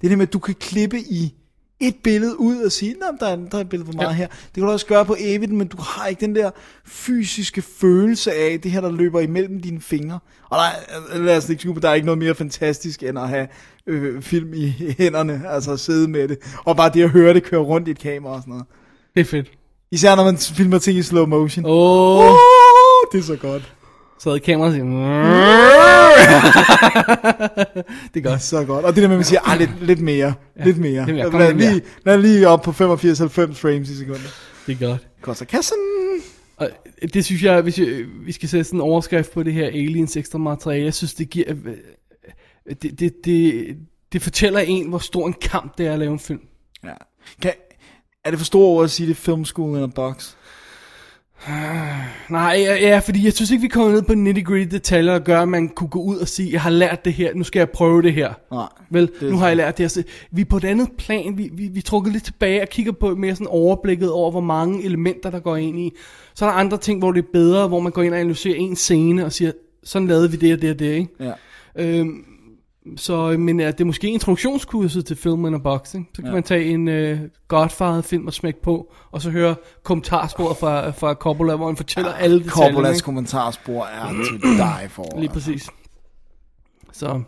Speaker 4: Det der med, at du kan klippe i et billede ud og sige, at der, er- der er et billede for meget ja.
Speaker 3: Ja.
Speaker 4: her. Det kan du også gøre på evigt, men du har ikke den der fysiske følelse af det her, der løber imellem dine fingre. Og der, er- øh, lad os ikke skue på, der er ikke noget mere fantastisk end at have øh, film i hænderne, altså at sidde med det. Og bare det at høre det køre rundt i et kamera og sådan noget.
Speaker 3: Det er fedt.
Speaker 4: Især når man filmer ting i slow motion.
Speaker 3: Åh, oh,
Speaker 4: Åh, det er så godt.
Speaker 3: så havde kameraet og siger, det er godt.
Speaker 4: Så godt. Og det der med, at man siger, ah, lidt, lidt mere, lidt mere.
Speaker 3: lidt mere. Kom
Speaker 4: Lad,
Speaker 3: lidt mere.
Speaker 4: lige, lad lige op på 85-90 frames i sekundet.
Speaker 3: Det er godt.
Speaker 4: Koster kassen.
Speaker 3: Og det synes jeg, hvis jeg, vi skal sætte sådan en overskrift på det her aliens ekstra materiale, jeg synes det giver, øh, det, det, det, det fortæller en, hvor stor en kamp det er at lave en film.
Speaker 4: Ja. Kan, er det for store ord at sige, det er film school in a box?
Speaker 3: Nej, ja, ja, fordi jeg synes ikke, vi kommer ned på nitty-gritty detaljer, der gør, at man kunne gå ud og sige, jeg har lært det her, nu skal jeg prøve det her.
Speaker 4: Nej.
Speaker 3: Vel,
Speaker 4: er
Speaker 3: nu har jeg lært det her. Så vi er på et andet plan, vi, vi, vi er trukket lidt tilbage og kigger på mere sådan overblikket over, hvor mange elementer, der går ind i. Så er der andre ting, hvor det er bedre, hvor man går ind og analyserer en scene og siger, sådan lavede vi det og det og det, ikke?
Speaker 4: Ja.
Speaker 3: Øhm, så, øh, men er det er måske introduktionskurset til film and boxing. Så kan
Speaker 4: Ja.
Speaker 3: ja. man tage en øh, Godfather-film og smække på, og så høre kommentarsporet fra, fra Coppola, hvor han fortæller
Speaker 4: Ah,
Speaker 3: ja, alle detaljerne.
Speaker 4: Coppolas
Speaker 3: ikke?
Speaker 4: kommentarspor er til dig for.
Speaker 3: Lige præcis. Så,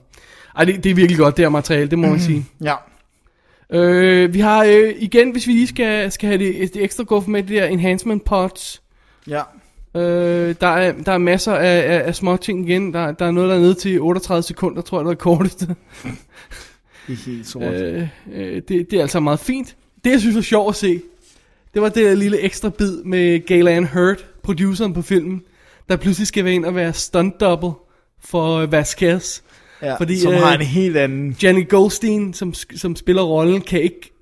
Speaker 3: ej, det, det er virkelig godt, det her materiale, det må man sige.
Speaker 4: Ja.
Speaker 3: Øh, vi har øh, igen, hvis vi lige skal, skal have det, det ekstra guf med, det der enhancement pots.
Speaker 4: Ja.
Speaker 3: Øh, der, er, der er masser af, af, af små ting igen. Der, der er noget, der er nede til 38 sekunder, tror jeg, der er korteste.
Speaker 4: Det er helt sort.
Speaker 3: øh, øh, det, det er altså meget fint. Det, jeg synes var sjovt at se, det var det der lille ekstra bid med Galan Hurt, produceren på filmen, der pludselig skal være ind og være stunt double for øh, Vasquez.
Speaker 4: Ja, som
Speaker 3: øh,
Speaker 4: har en helt anden...
Speaker 3: Janet Goldstein, som, sk- som spiller rollen, kan ikke...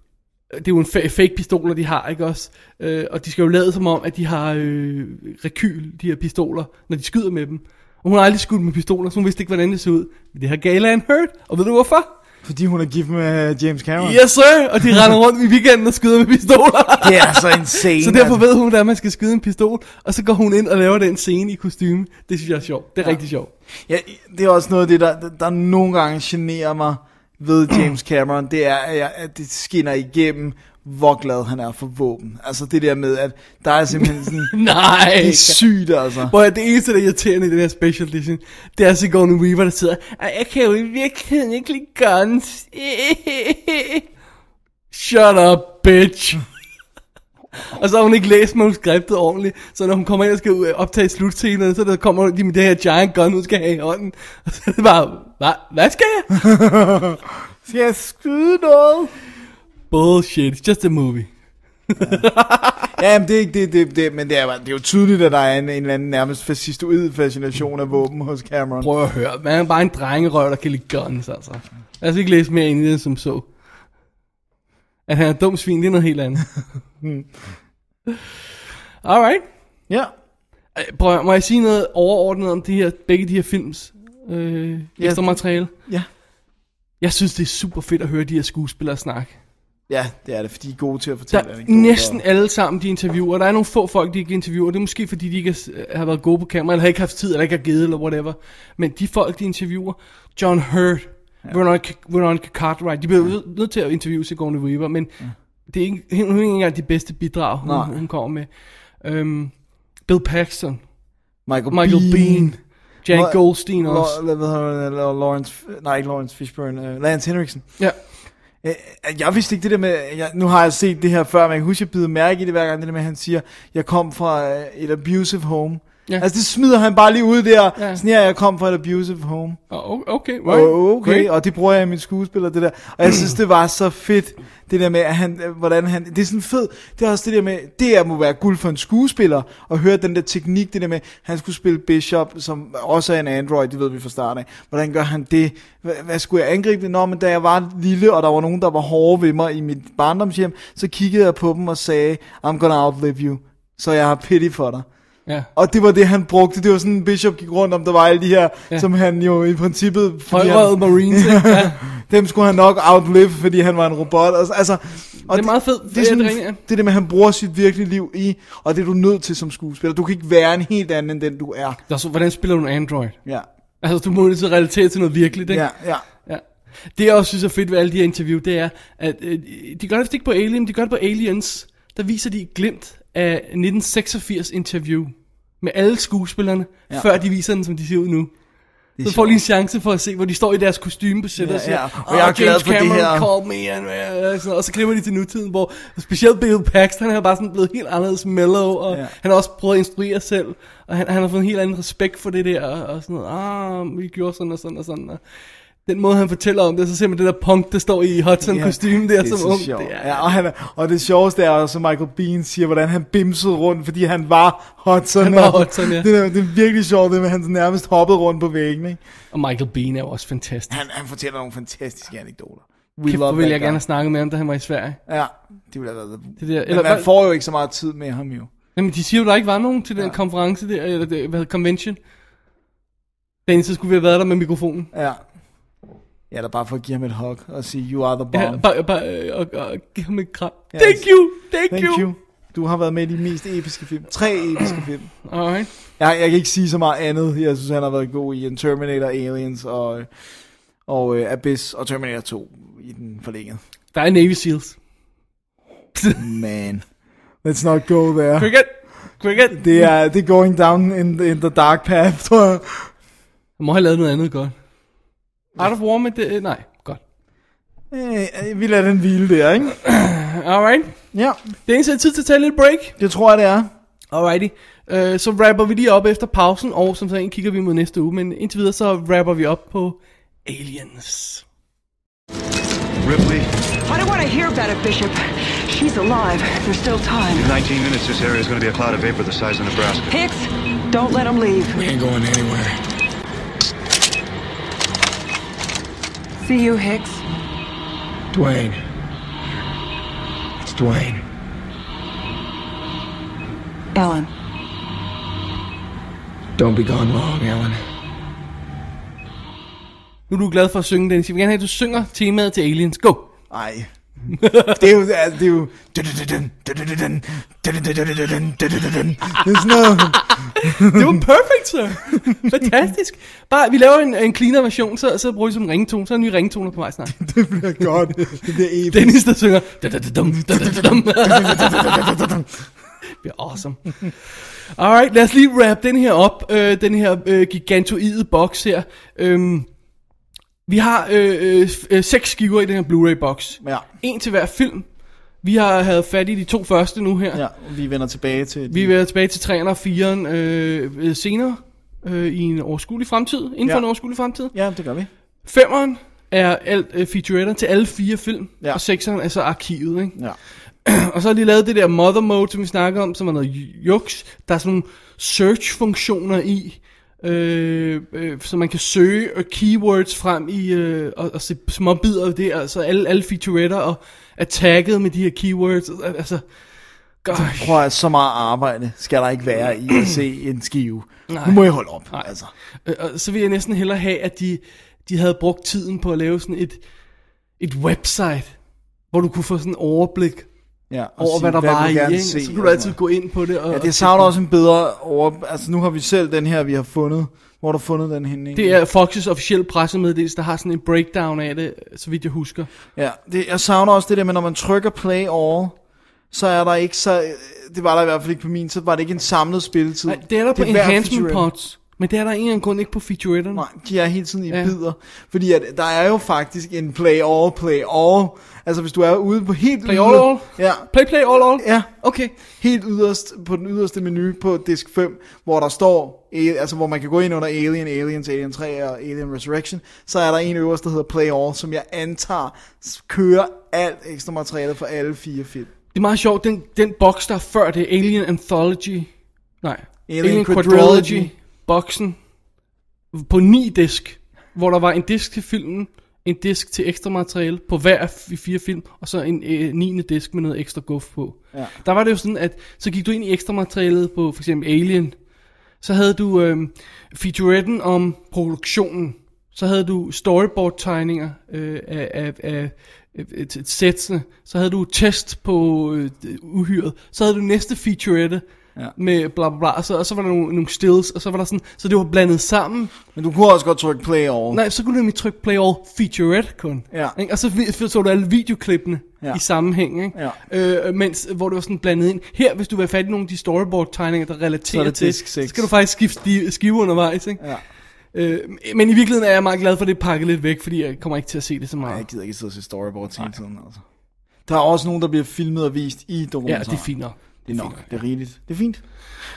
Speaker 3: øh, Det er jo en fa- fake pistoler, de har, ikke også? Øh, og de skal jo lade som om, at de har øh, rekyl, de her pistoler, når de skyder med dem. Og hun har aldrig skudt med pistoler, så hun vidste ikke, hvordan det så ud. Men det har Galan hørt, og ved du hvorfor?
Speaker 4: Fordi hun er gift med James Cameron.
Speaker 3: Yes, sir! Og de render rundt i weekenden og skyder med pistoler.
Speaker 4: Det er så en scene.
Speaker 3: så
Speaker 4: altså.
Speaker 3: derfor ved hun, at man skal skyde en pistol, og så går hun ind og laver den scene i kostume. Det synes jeg er sjovt. Det er ja. rigtig sjovt.
Speaker 4: Ja, det er også noget af det, der, der nogle gange generer mig ved James Cameron, det er, at, jeg, at det skinner igennem, hvor glad han er for våben. Altså det der med, at der er simpelthen sådan...
Speaker 3: Nej.
Speaker 4: Det er sygt, altså.
Speaker 3: Hvor det eneste, der er irriterende i den her special edition, det er Sigourney Weaver, der sidder, "Ej, jeg kan jo i virkeligheden ikke lide guns. Shut up, bitch. og så har hun ikke læst manuskriptet ordentligt, så når hun kommer ind og skal ud- optage slutscenen, så der kommer de med det her giant gun, hun skal have i hånden. Og så er det bare, hvad, hvad skal jeg?
Speaker 4: Skal jeg skyde noget?
Speaker 3: Bullshit, it's just a movie.
Speaker 4: Ja, men det er ikke det, det, det men det er, bare- det er jo tydeligt, at der er en, en eller anden nærmest fascistoid fascination af våben hos Cameron.
Speaker 3: Prøv at høre, man er bare en drengerøv, der kan lide guns, altså. Lad os ikke læse mere ind i det, som så. At han er dum svin, det er noget helt andet. Alright.
Speaker 4: Ja,
Speaker 3: Øh, Prøv, at- må jeg sige noget overordnet om de her, begge de her films øh,
Speaker 4: Ja.
Speaker 3: ekstra materiale?
Speaker 4: Ja.
Speaker 3: Jeg synes, det er super fedt at høre de her skuespillere snakke.
Speaker 4: ja, det er det, fordi de er gode til at
Speaker 3: Der
Speaker 4: fortælle
Speaker 3: er
Speaker 4: anekdoter.
Speaker 3: næsten alle sammen de interviewer. Der er nogle få folk, de ikke interviewer. Det er måske fordi, de ikke er s- øh, har været gode på kamera, eller har ikke haft tid, eller ikke har givet, eller whatever. Men de folk, de interviewer, John Hurt, ja. Veronica, Veronica Cartwright, de bliver nød- nødt til at interviewe Sigourney Weaver, men ja. det er ikke, hun er ikke engang de bedste bidrag, hun,
Speaker 4: Nej.
Speaker 3: hun kommer med. Øhm, Bill Paxton,
Speaker 4: Michael,
Speaker 3: Michael Bean, Bean Jan
Speaker 4: Lo-
Speaker 3: Goldstein
Speaker 4: Lo-
Speaker 3: også.
Speaker 4: hvad hedder han, øh, Lawrence, nej ikke Lawrence Fishburne, uh, Lance Henriksen.
Speaker 3: Ja.
Speaker 4: Øh, Jeg vidste ikke det der med, jeg, nu har jeg set det her før, men jeg kan huske, jeg bider mærke i det hver gang, det der med, at han siger, jeg kom fra øh, et abusive home.
Speaker 3: Ja.
Speaker 4: Ja. Altså det smider han bare lige ud der,
Speaker 3: Ja.
Speaker 4: ja. sådan her, jeg kom fra et abusive home.
Speaker 3: Oh, okay, right.
Speaker 4: Oh, okay,
Speaker 3: great.
Speaker 4: og det bruger jeg i min skuespiller, det der. Og jeg synes, det var så fedt, det der med, at han, øh, hvordan han, det er sådan fedt, det er også det der med, det er, må være guld for en skuespiller, at høre den der teknik, det der med, han skulle spille Bishop, som også er en android, det ved vi fra starten af. Hvordan gør han det? Hvad, hvad skulle jeg angribe det? Nå, men da jeg var lille, og der var nogen, der var hårde ved mig i mit barndomshjem, så kiggede jeg på dem og sagde, I'm gonna outlive you, så jeg har pity for dig.
Speaker 3: Ja.
Speaker 4: Og det var det, han brugte. Det var sådan, Bishop gik rundt om, der var alle de her,
Speaker 3: Ja.
Speaker 4: ja. som han jo i princippet... fordi han-
Speaker 3: Højrøget Marines, ikke? ja.
Speaker 4: dem skulle han nok outlive, fordi han var en robot. Og, altså, og
Speaker 3: er meget fedt. Ja,
Speaker 4: Det, det,
Speaker 3: det
Speaker 4: er sådan,
Speaker 3: ringer, ja.
Speaker 4: det er det med, at han bruger sit virkelige liv i, og det er du nødt til som skuespiller. Du kan ikke være en helt anden, end den du er.
Speaker 3: Der er så, hvordan spiller du en Android?
Speaker 4: Ja,
Speaker 3: Altså, du må jo til at relatere til noget virkeligt, ikke?
Speaker 4: ja, ja.
Speaker 3: Ja. Det jeg også synes er fedt ved alle de her interview, det er, at øh, de gør det vist ikke på Alien, de gør det på Aliens. Der viser de et glimt af 1986 interview med alle skuespillerne, ja.
Speaker 4: Ja.
Speaker 3: før de viser den, som de ser ud nu. Så får
Speaker 4: sjovt.
Speaker 3: lige en chance for at se, hvor de står i deres kostume på sættet
Speaker 4: Ja,
Speaker 3: og siger,
Speaker 4: ja. Og
Speaker 3: "Åh,
Speaker 4: jeg er glad
Speaker 3: James
Speaker 4: for det
Speaker 3: Cameron
Speaker 4: her."
Speaker 3: called me, and, uh, sådan, noget. og så klipper de til nutiden, hvor specielt Bill Paxton, han er bare sådan blevet helt anderledes mellow, og ja.
Speaker 4: Ja.
Speaker 3: han har også prøvet at instruere selv, og han, han har fået en helt anden respekt for det der, og, og sådan noget, ah, vi gjorde sådan og sådan og sådan, og den måde, han fortæller om det, så ser man det der punk, der står i hudson kostume der
Speaker 4: det er
Speaker 3: som
Speaker 4: så
Speaker 3: ung.
Speaker 4: sjovt.
Speaker 3: Det er,
Speaker 4: Ja, og, han, er- og det sjoveste er også, at Michael Bean siger, hvordan han bimsede rundt, fordi han var Hudson.
Speaker 3: Han var
Speaker 4: Og
Speaker 3: Hudson, ja.
Speaker 4: Det, er, det er virkelig sjovt, det med, at han nærmest hoppede rundt på væggen. Ikke?
Speaker 3: Og Michael Bean er jo også fantastisk.
Speaker 4: Han, han fortæller nogle fantastiske anekdoter. We
Speaker 3: Kæft, hvor ville
Speaker 4: that
Speaker 3: jeg
Speaker 4: guy.
Speaker 3: gerne have snakket med ham, da han var i Sverige.
Speaker 4: Ja, det ville have været...
Speaker 3: Det der, eller
Speaker 4: Eller,
Speaker 3: hvad-
Speaker 4: man får jo ikke så meget tid med ham jo.
Speaker 3: Jamen, de siger jo, der ikke var nogen til den ja. konference der, eller det, hvad hedder convention. Dennis, så skulle vi have været der med mikrofonen.
Speaker 4: Ja. Ja, der bare for at give ham et hug og sige, you are the bomb.
Speaker 3: Ja, bare, bare, øh, og, og, og give ham et kram.
Speaker 4: Ja,
Speaker 3: thank
Speaker 4: altså.
Speaker 3: you, thank,
Speaker 4: Thank you. Du har været med i de mest episke film. Tre episke film.
Speaker 3: Alright.
Speaker 4: Jeg, jeg kan ikke sige så meget andet. Jeg synes, han har været god i en Terminator, Aliens og, og øh, Abyss og Terminator 2 i den forlængede.
Speaker 3: Der er Navy Seals.
Speaker 4: Man. Let's not go there.
Speaker 3: Cricket, cricket.
Speaker 4: Det er, det er going down in, in the dark path, tror jeg.
Speaker 3: Jeg må have lavet noget andet godt. Art of War med det, øh, nej, godt.
Speaker 4: Øh, vi lader den hvile der, ikke?
Speaker 3: Alright.
Speaker 4: Ja.
Speaker 3: Det eneste er tid til at tage lidt break.
Speaker 4: Det tror jeg, det er.
Speaker 3: Alrighty. Øh, så rapper vi lige op efter pausen, og som sagt kigger vi mod næste uge. Men indtil videre, så rapper vi op på Aliens.
Speaker 11: Ripley,
Speaker 12: I don't want to hear about it, Bishop. She's alive. There's still time.
Speaker 11: in 19 minutes, this area is going to be a cloud of vapor the size of Nebraska.
Speaker 12: Hicks, don't let him leave.
Speaker 11: We ain't going anywhere.
Speaker 12: See you, Hicks.
Speaker 11: Dwayne. It's Dwayne.
Speaker 12: Ellen.
Speaker 11: Don't be gone long, Alan.
Speaker 3: Nu er du glad for at synge, Dennis. Jeg vil gerne have, at du synger temaet til Aliens. Go!
Speaker 4: Ej. det er jo, altså, det er jo... Det er sådan noget...
Speaker 3: det var perfekt, så. Fantastisk. Bare, vi laver en, en cleaner version, så, så bruger vi som ringtone. Så er nye ringtoner på vej snart.
Speaker 4: det bliver godt. Det bliver episk.
Speaker 3: Dennis, der synger. Da-da-da-dum, da-da-da-dum. Det bliver awesome. Alright, lad os lige wrap den her op. Øh, den her øh, gigantoide boks her. Øhm, vi har øh, øh, øh, seks skiver i den her Blu-ray boks.
Speaker 4: Ja.
Speaker 3: En til hver film. Vi har havde fat i de to første nu her.
Speaker 4: Ja, vi vender tilbage til...
Speaker 3: Vi vender tilbage til 304'eren øh, øh, senere, øh, i en overskuelig fremtid, inden ja. for en overskuelig fremtid.
Speaker 4: Ja, det gør vi.
Speaker 3: Femeren er alt, øh, featuretter til alle fire film,
Speaker 4: Ja.
Speaker 3: ja. og sekseren er så arkivet, ikke?
Speaker 4: Ja.
Speaker 3: og så har de lavet det der mother mode, som vi snakker om, som er noget juks. Der er sådan nogle search-funktioner i, øh, øh, så man kan søge øh, keywords frem i, øh, og, og se små bidder af det, altså alle, alle featuretter, og er tagget med de her keywords, altså... God,
Speaker 4: Prøv at så meget arbejde skal der ikke være i at se en skive. Nej. Nu må jeg holde op. Nej. Altså.
Speaker 3: Øh, og så vil jeg næsten hellere have, at de, de havde brugt tiden på at lave sådan et, et website, hvor du kunne få sådan en overblik
Speaker 4: Ja, og
Speaker 3: over,
Speaker 4: sige,
Speaker 3: hvad der
Speaker 4: hvad
Speaker 3: var i.
Speaker 4: vil du gerne
Speaker 3: Ikke?
Speaker 4: se,
Speaker 3: Så
Speaker 4: og
Speaker 3: kunne du
Speaker 4: sådan
Speaker 3: altid gå ind på det. Og,
Speaker 4: Ja,
Speaker 3: og
Speaker 4: det savner
Speaker 3: kigge
Speaker 4: også en bedre over... Altså, nu har vi selv den her, vi har fundet. Hvor har du fundet den henne?
Speaker 3: på.
Speaker 4: egentlig?
Speaker 3: Det er Foxes officielle pressemeddelelse, der har sådan en breakdown af det, så vidt jeg husker.
Speaker 4: Ja, det, jeg savner også det der med, når man trykker play all, så er der ikke så... Det var der i hvert fald ikke på min, så var det ikke en samlet spilletid.
Speaker 3: Nej, det er der på
Speaker 4: hver
Speaker 3: enhancement
Speaker 4: featurette.
Speaker 3: pods, men det er der en eller anden grund ikke på featuretterne.
Speaker 4: Nej, de er hele tiden i
Speaker 3: Ja.
Speaker 4: ja. bidder. Fordi at, der er jo faktisk en play all, play all. Altså hvis du er ude på helt
Speaker 3: Play all, all?
Speaker 4: Ja.
Speaker 3: Play, play all all?
Speaker 4: Ja.
Speaker 3: Okay.
Speaker 4: Helt yderst, på den yderste menu på disk 5, hvor der står, eh, altså hvor man kan gå ind under Alien, Aliens, Alien 3 og Alien Resurrection, så er der en øverst, der hedder Play All, som jeg antager s- kører alt ekstra materiale for alle fire film.
Speaker 3: Det er meget sjovt, den, den box, der er før det, Alien Anthology, nej,
Speaker 4: Alien
Speaker 3: Alien, Alien
Speaker 4: Quadrilogy.
Speaker 3: Quadrilogy, boksen, på ni disk, hvor der var en disk til filmen, en disk til ekstra materiale på hver af de fire film, og så en øh, niende disk med noget ekstra guf på.
Speaker 4: Ja.
Speaker 3: Der var det jo sådan, at så gik du ind i ekstra materialet på for eksempel Alien, så havde du øh, featuretten om produktionen, så havde du storyboard-tegninger øh, af, af, af af- til sætsene, så havde du test på øh, uhyret, så havde du næste featurette
Speaker 4: Ja.
Speaker 3: ja. med bla bla bla, og så, og så var der nogle, nogle stills, og så var der sådan, så det var blandet sammen.
Speaker 4: Men du kunne også godt trykke Play All.
Speaker 3: Nej, så kunne du nemlig trykke play all featurette kun.
Speaker 4: Ja.
Speaker 3: Ikke? Og så vi- så du alle videoklippene
Speaker 4: Ja.
Speaker 3: ja. i sammenhæng, ikke? Ja. Øh, mens, hvor det var sådan blandet ind. Her, hvis du vil have fat i nogle af de storyboard-tegninger, der
Speaker 4: Så er
Speaker 3: relaterer
Speaker 4: det
Speaker 3: til,
Speaker 4: disk
Speaker 3: så
Speaker 4: seks.
Speaker 3: skal du faktisk skifte de, skive undervejs, ikke?
Speaker 4: Ja.
Speaker 3: Øh, men i virkeligheden er jeg meget glad for, at det er pakket lidt væk, fordi jeg kommer ikke til at se det så meget.
Speaker 4: Jeg gider ikke sidde og se storyboards hele tiden, altså. Der er også nogen, der bliver filmet og vist i
Speaker 3: Ja,
Speaker 4: dokumentarer.
Speaker 3: det er fint nok.
Speaker 4: Det er
Speaker 3: fint
Speaker 4: nok, det er rigeligt. Det er fint.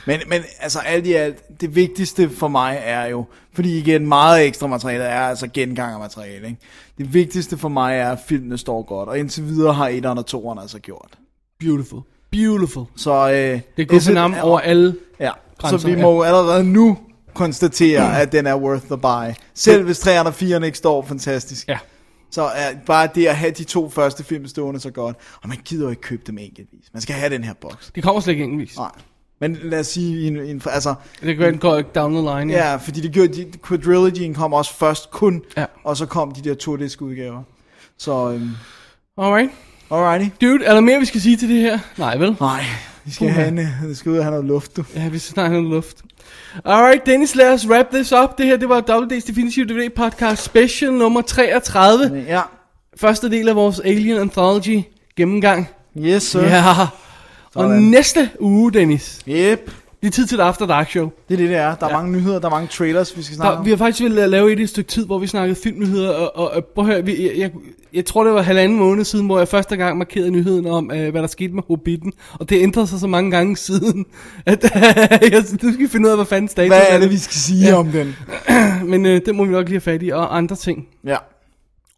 Speaker 4: Men, men altså alt i alt, det vigtigste for mig er jo, fordi igen, meget ekstra materiale er altså gengang af materiale. Ikke? Det vigtigste for mig er, at filmene står godt, og indtil videre har 1'eren og 2'eren altså gjort.
Speaker 3: Beautiful. Beautiful.
Speaker 4: Så øh,
Speaker 3: Det er gået for navn over alle
Speaker 4: Ja, så
Speaker 3: grænser,
Speaker 4: vi
Speaker 3: ja.
Speaker 4: må jo allerede nu konstatere, at den er worth the buy. Selv hvis 3'eren og 4'eren ikke står fantastisk.
Speaker 3: Ja.
Speaker 4: Så er bare det at have de to første film stående så godt, og man gider jo ikke købe dem enkeltvis. Man skal have den her boks.
Speaker 3: Det kommer slet ikke engelsk.
Speaker 4: Nej. Men lad os sige, i en, i en, altså,
Speaker 3: Det kan gå down the line.
Speaker 4: Ja, fordi det gjorde, de, Quadrilogyen kom også først kun,
Speaker 3: Ja.
Speaker 4: og så kom de der turdisk udgaver. Så, øhm,
Speaker 3: Alright.
Speaker 4: alrighty.
Speaker 3: Dude, er der mere, vi skal sige til det her? Nej, vel?
Speaker 4: Nej, vi skal,
Speaker 3: Puha.
Speaker 4: have en, øh, vi skal ud og have noget luft, du.
Speaker 3: Ja, vi skal snart have noget luft. Alright, Dennis, lad os wrap this up. Det her, det var WD's Definitive DVD Podcast Special nummer 33.
Speaker 4: Ja.
Speaker 3: Første del af vores Alien Anthology gennemgang.
Speaker 4: Yes, sir.
Speaker 3: Ja. Og
Speaker 4: Sådan.
Speaker 3: næste uge, Dennis,
Speaker 4: Yep.
Speaker 3: Det er tid til et After Dark Show.
Speaker 4: Det er det, det er. Der er mange nyheder, der er mange trailers, vi skal snakke
Speaker 3: Der,
Speaker 4: om.
Speaker 3: vi har faktisk ville lave et i et stykke tid, hvor vi snakkede filmnyheder, og, og, og prøv at høre, vi, jeg, jeg, jeg tror det var halvanden måned siden, hvor jeg første gang markerede nyheden om, øh, hvad der skete med Hobbiten, og det ændrede sig så mange gange siden, at jeg, nu skal vi finde ud af, hvad fanden status
Speaker 4: Hvad er det, vi skal sige
Speaker 3: Ja.
Speaker 4: ja. om den?
Speaker 3: Men øh, det må vi nok lige have fat i, og andre ting.
Speaker 4: Ja.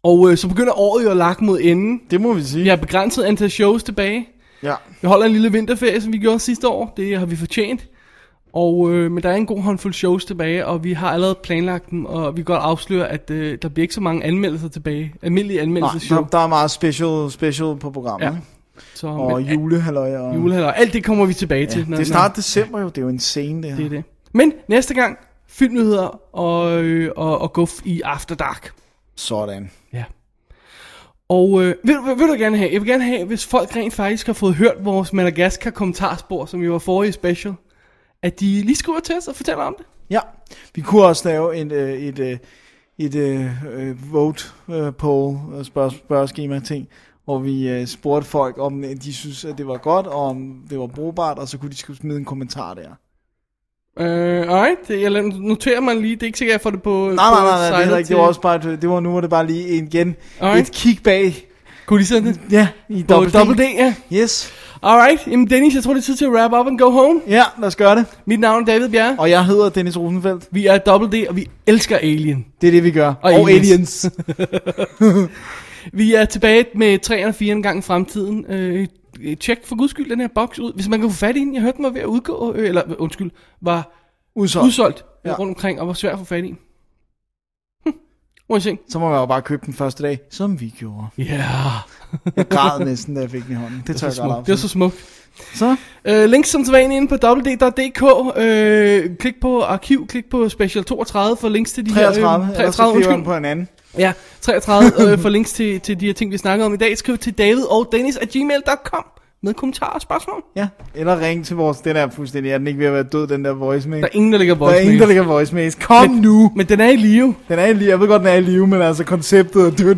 Speaker 3: Og øh, så begynder året jo at lakke mod enden.
Speaker 4: Det må vi sige.
Speaker 3: Vi har begrænset antal shows tilbage.
Speaker 4: Ja.
Speaker 3: Vi holder en lille vinterferie, som vi gjorde sidste år. Det har vi fortjent. Og, øh, men der er en god håndfuld shows tilbage, og vi har allerede planlagt dem, og vi kan godt afsløre, at øh, der bliver ikke så mange anmeldelser tilbage. Almindelige
Speaker 4: Nej,
Speaker 3: anmeldelser
Speaker 4: der, der er meget special, special på programmet.
Speaker 3: Ja.
Speaker 4: Ja.
Speaker 3: Så,
Speaker 4: og
Speaker 3: men-
Speaker 4: julehalløj. Og...
Speaker 3: Julehalløj. Alt det kommer vi tilbage til, når-
Speaker 4: Det er
Speaker 3: når-
Speaker 4: snart december jo. Det er jo insane, det her.
Speaker 3: Det er det. Men næste gang, filmnyheder og, øh, og, og guf i After Dark.
Speaker 4: Sådan.
Speaker 3: Ja. Og øh, vil, vil, vil du gerne have? Jeg vil gerne have, hvis folk rent faktisk har fået hørt vores Madagaskar kommentarspor, som jo var forrige special, at de lige skriver til os og fortæller om det.
Speaker 4: Ja, vi kunne også lave en, øh, et, øh, et, øh, øh, vote øh, poll øh, spørg, spørgeskema ting, hvor vi øh, spurgte folk, om øh, de synes, at det var godt, og om det var brugbart, og så kunne de skulle smide en kommentar der.
Speaker 3: Øh, alright, det- jeg la- noterer mig lige, det er ikke sikkert, jeg får det på
Speaker 4: Nej, nej, nej, nej det, er heller ikke, det var også bare, et- det var nu var det bare lige en, igen
Speaker 3: Alright.
Speaker 4: et kig bag.
Speaker 3: Kunne de sende det?
Speaker 4: Ja, i
Speaker 3: På
Speaker 4: dobbelt D.
Speaker 3: Double D, ja.
Speaker 4: Yes.
Speaker 3: Alright, jamen Dennis, jeg tror det er tid til at wrap up and go home.
Speaker 4: Ja, lad os gøre det.
Speaker 3: Mit navn er David Bjerre.
Speaker 4: Og jeg hedder Dennis Rosenfeldt.
Speaker 3: Vi er Double D, og vi elsker Alien.
Speaker 4: Det er det, vi gør. Og, aliens.
Speaker 3: vi er tilbage med 3 og 4 en gang i fremtiden. Øh, tjek for guds skyld den her boks ud. Hvis man kan få fat i den, jeg hørte den var ved at udgå, øh, eller undskyld, var
Speaker 4: Udsolgt.
Speaker 3: udsolgt ja.
Speaker 4: Ja.
Speaker 3: rundt omkring, og var svær at få fat i. Hm. Må jeg se.
Speaker 4: Så må man jo bare købe den første dag, som vi gjorde.
Speaker 3: Ja. Yeah.
Speaker 4: Jeg græd næsten, da jeg fik den i hånden. Det,
Speaker 3: Det
Speaker 4: tør
Speaker 3: var
Speaker 4: jeg
Speaker 3: så
Speaker 4: godt
Speaker 3: smukt. Det var så smukt.
Speaker 4: Så?
Speaker 3: Øh, links som sædvanligt inde på www.dk. Øh, klik på arkiv, klik på special 32 for links til de her...
Speaker 4: 33,
Speaker 3: Øh,
Speaker 4: øh, 33 eller så
Speaker 3: undskyld.
Speaker 4: på en anden.
Speaker 3: Ja, 33 øh, for links til, til de her ting, vi snakkede om i dag. Skriv til david og dennis at gmail.com med kommentarer og spørgsmål.
Speaker 4: Ja. Eller ring til vores, den er fuldstændig, er den ikke ved at være død, den der voicemail?
Speaker 3: Der er ingen, der ligger
Speaker 4: Der er ingen, der ligger voicemails. Kom
Speaker 3: Men-
Speaker 4: nu!
Speaker 3: Men den er i live.
Speaker 4: Den er i live, jeg ved godt, den er i live, men altså konceptet er dødt.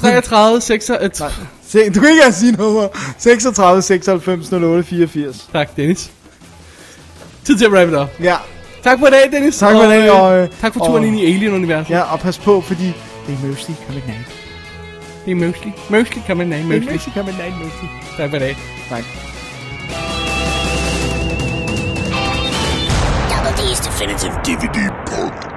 Speaker 3: 33, 36... Nej.
Speaker 4: Se, du kan ikke engang sige nummer. 36, 96, 08, 84.
Speaker 3: Tak, Dennis. Tid til at wrap it up.
Speaker 4: Ja.
Speaker 3: Tak for i dag, Dennis.
Speaker 4: Tak for i
Speaker 3: og,
Speaker 4: dag,
Speaker 3: øh,
Speaker 4: og, øh,
Speaker 3: tak for turen
Speaker 4: og-
Speaker 3: ind i Alien-universet.
Speaker 4: Ja, og pas på, fordi det er mostly coming night.
Speaker 3: Det er mostly. Mostly kan man nej,
Speaker 4: Det er
Speaker 3: mostly.
Speaker 4: mostly coming night, mostly.
Speaker 3: Tak for i dag.
Speaker 4: Tak.
Speaker 2: Double D's Definitive DVD Podcast.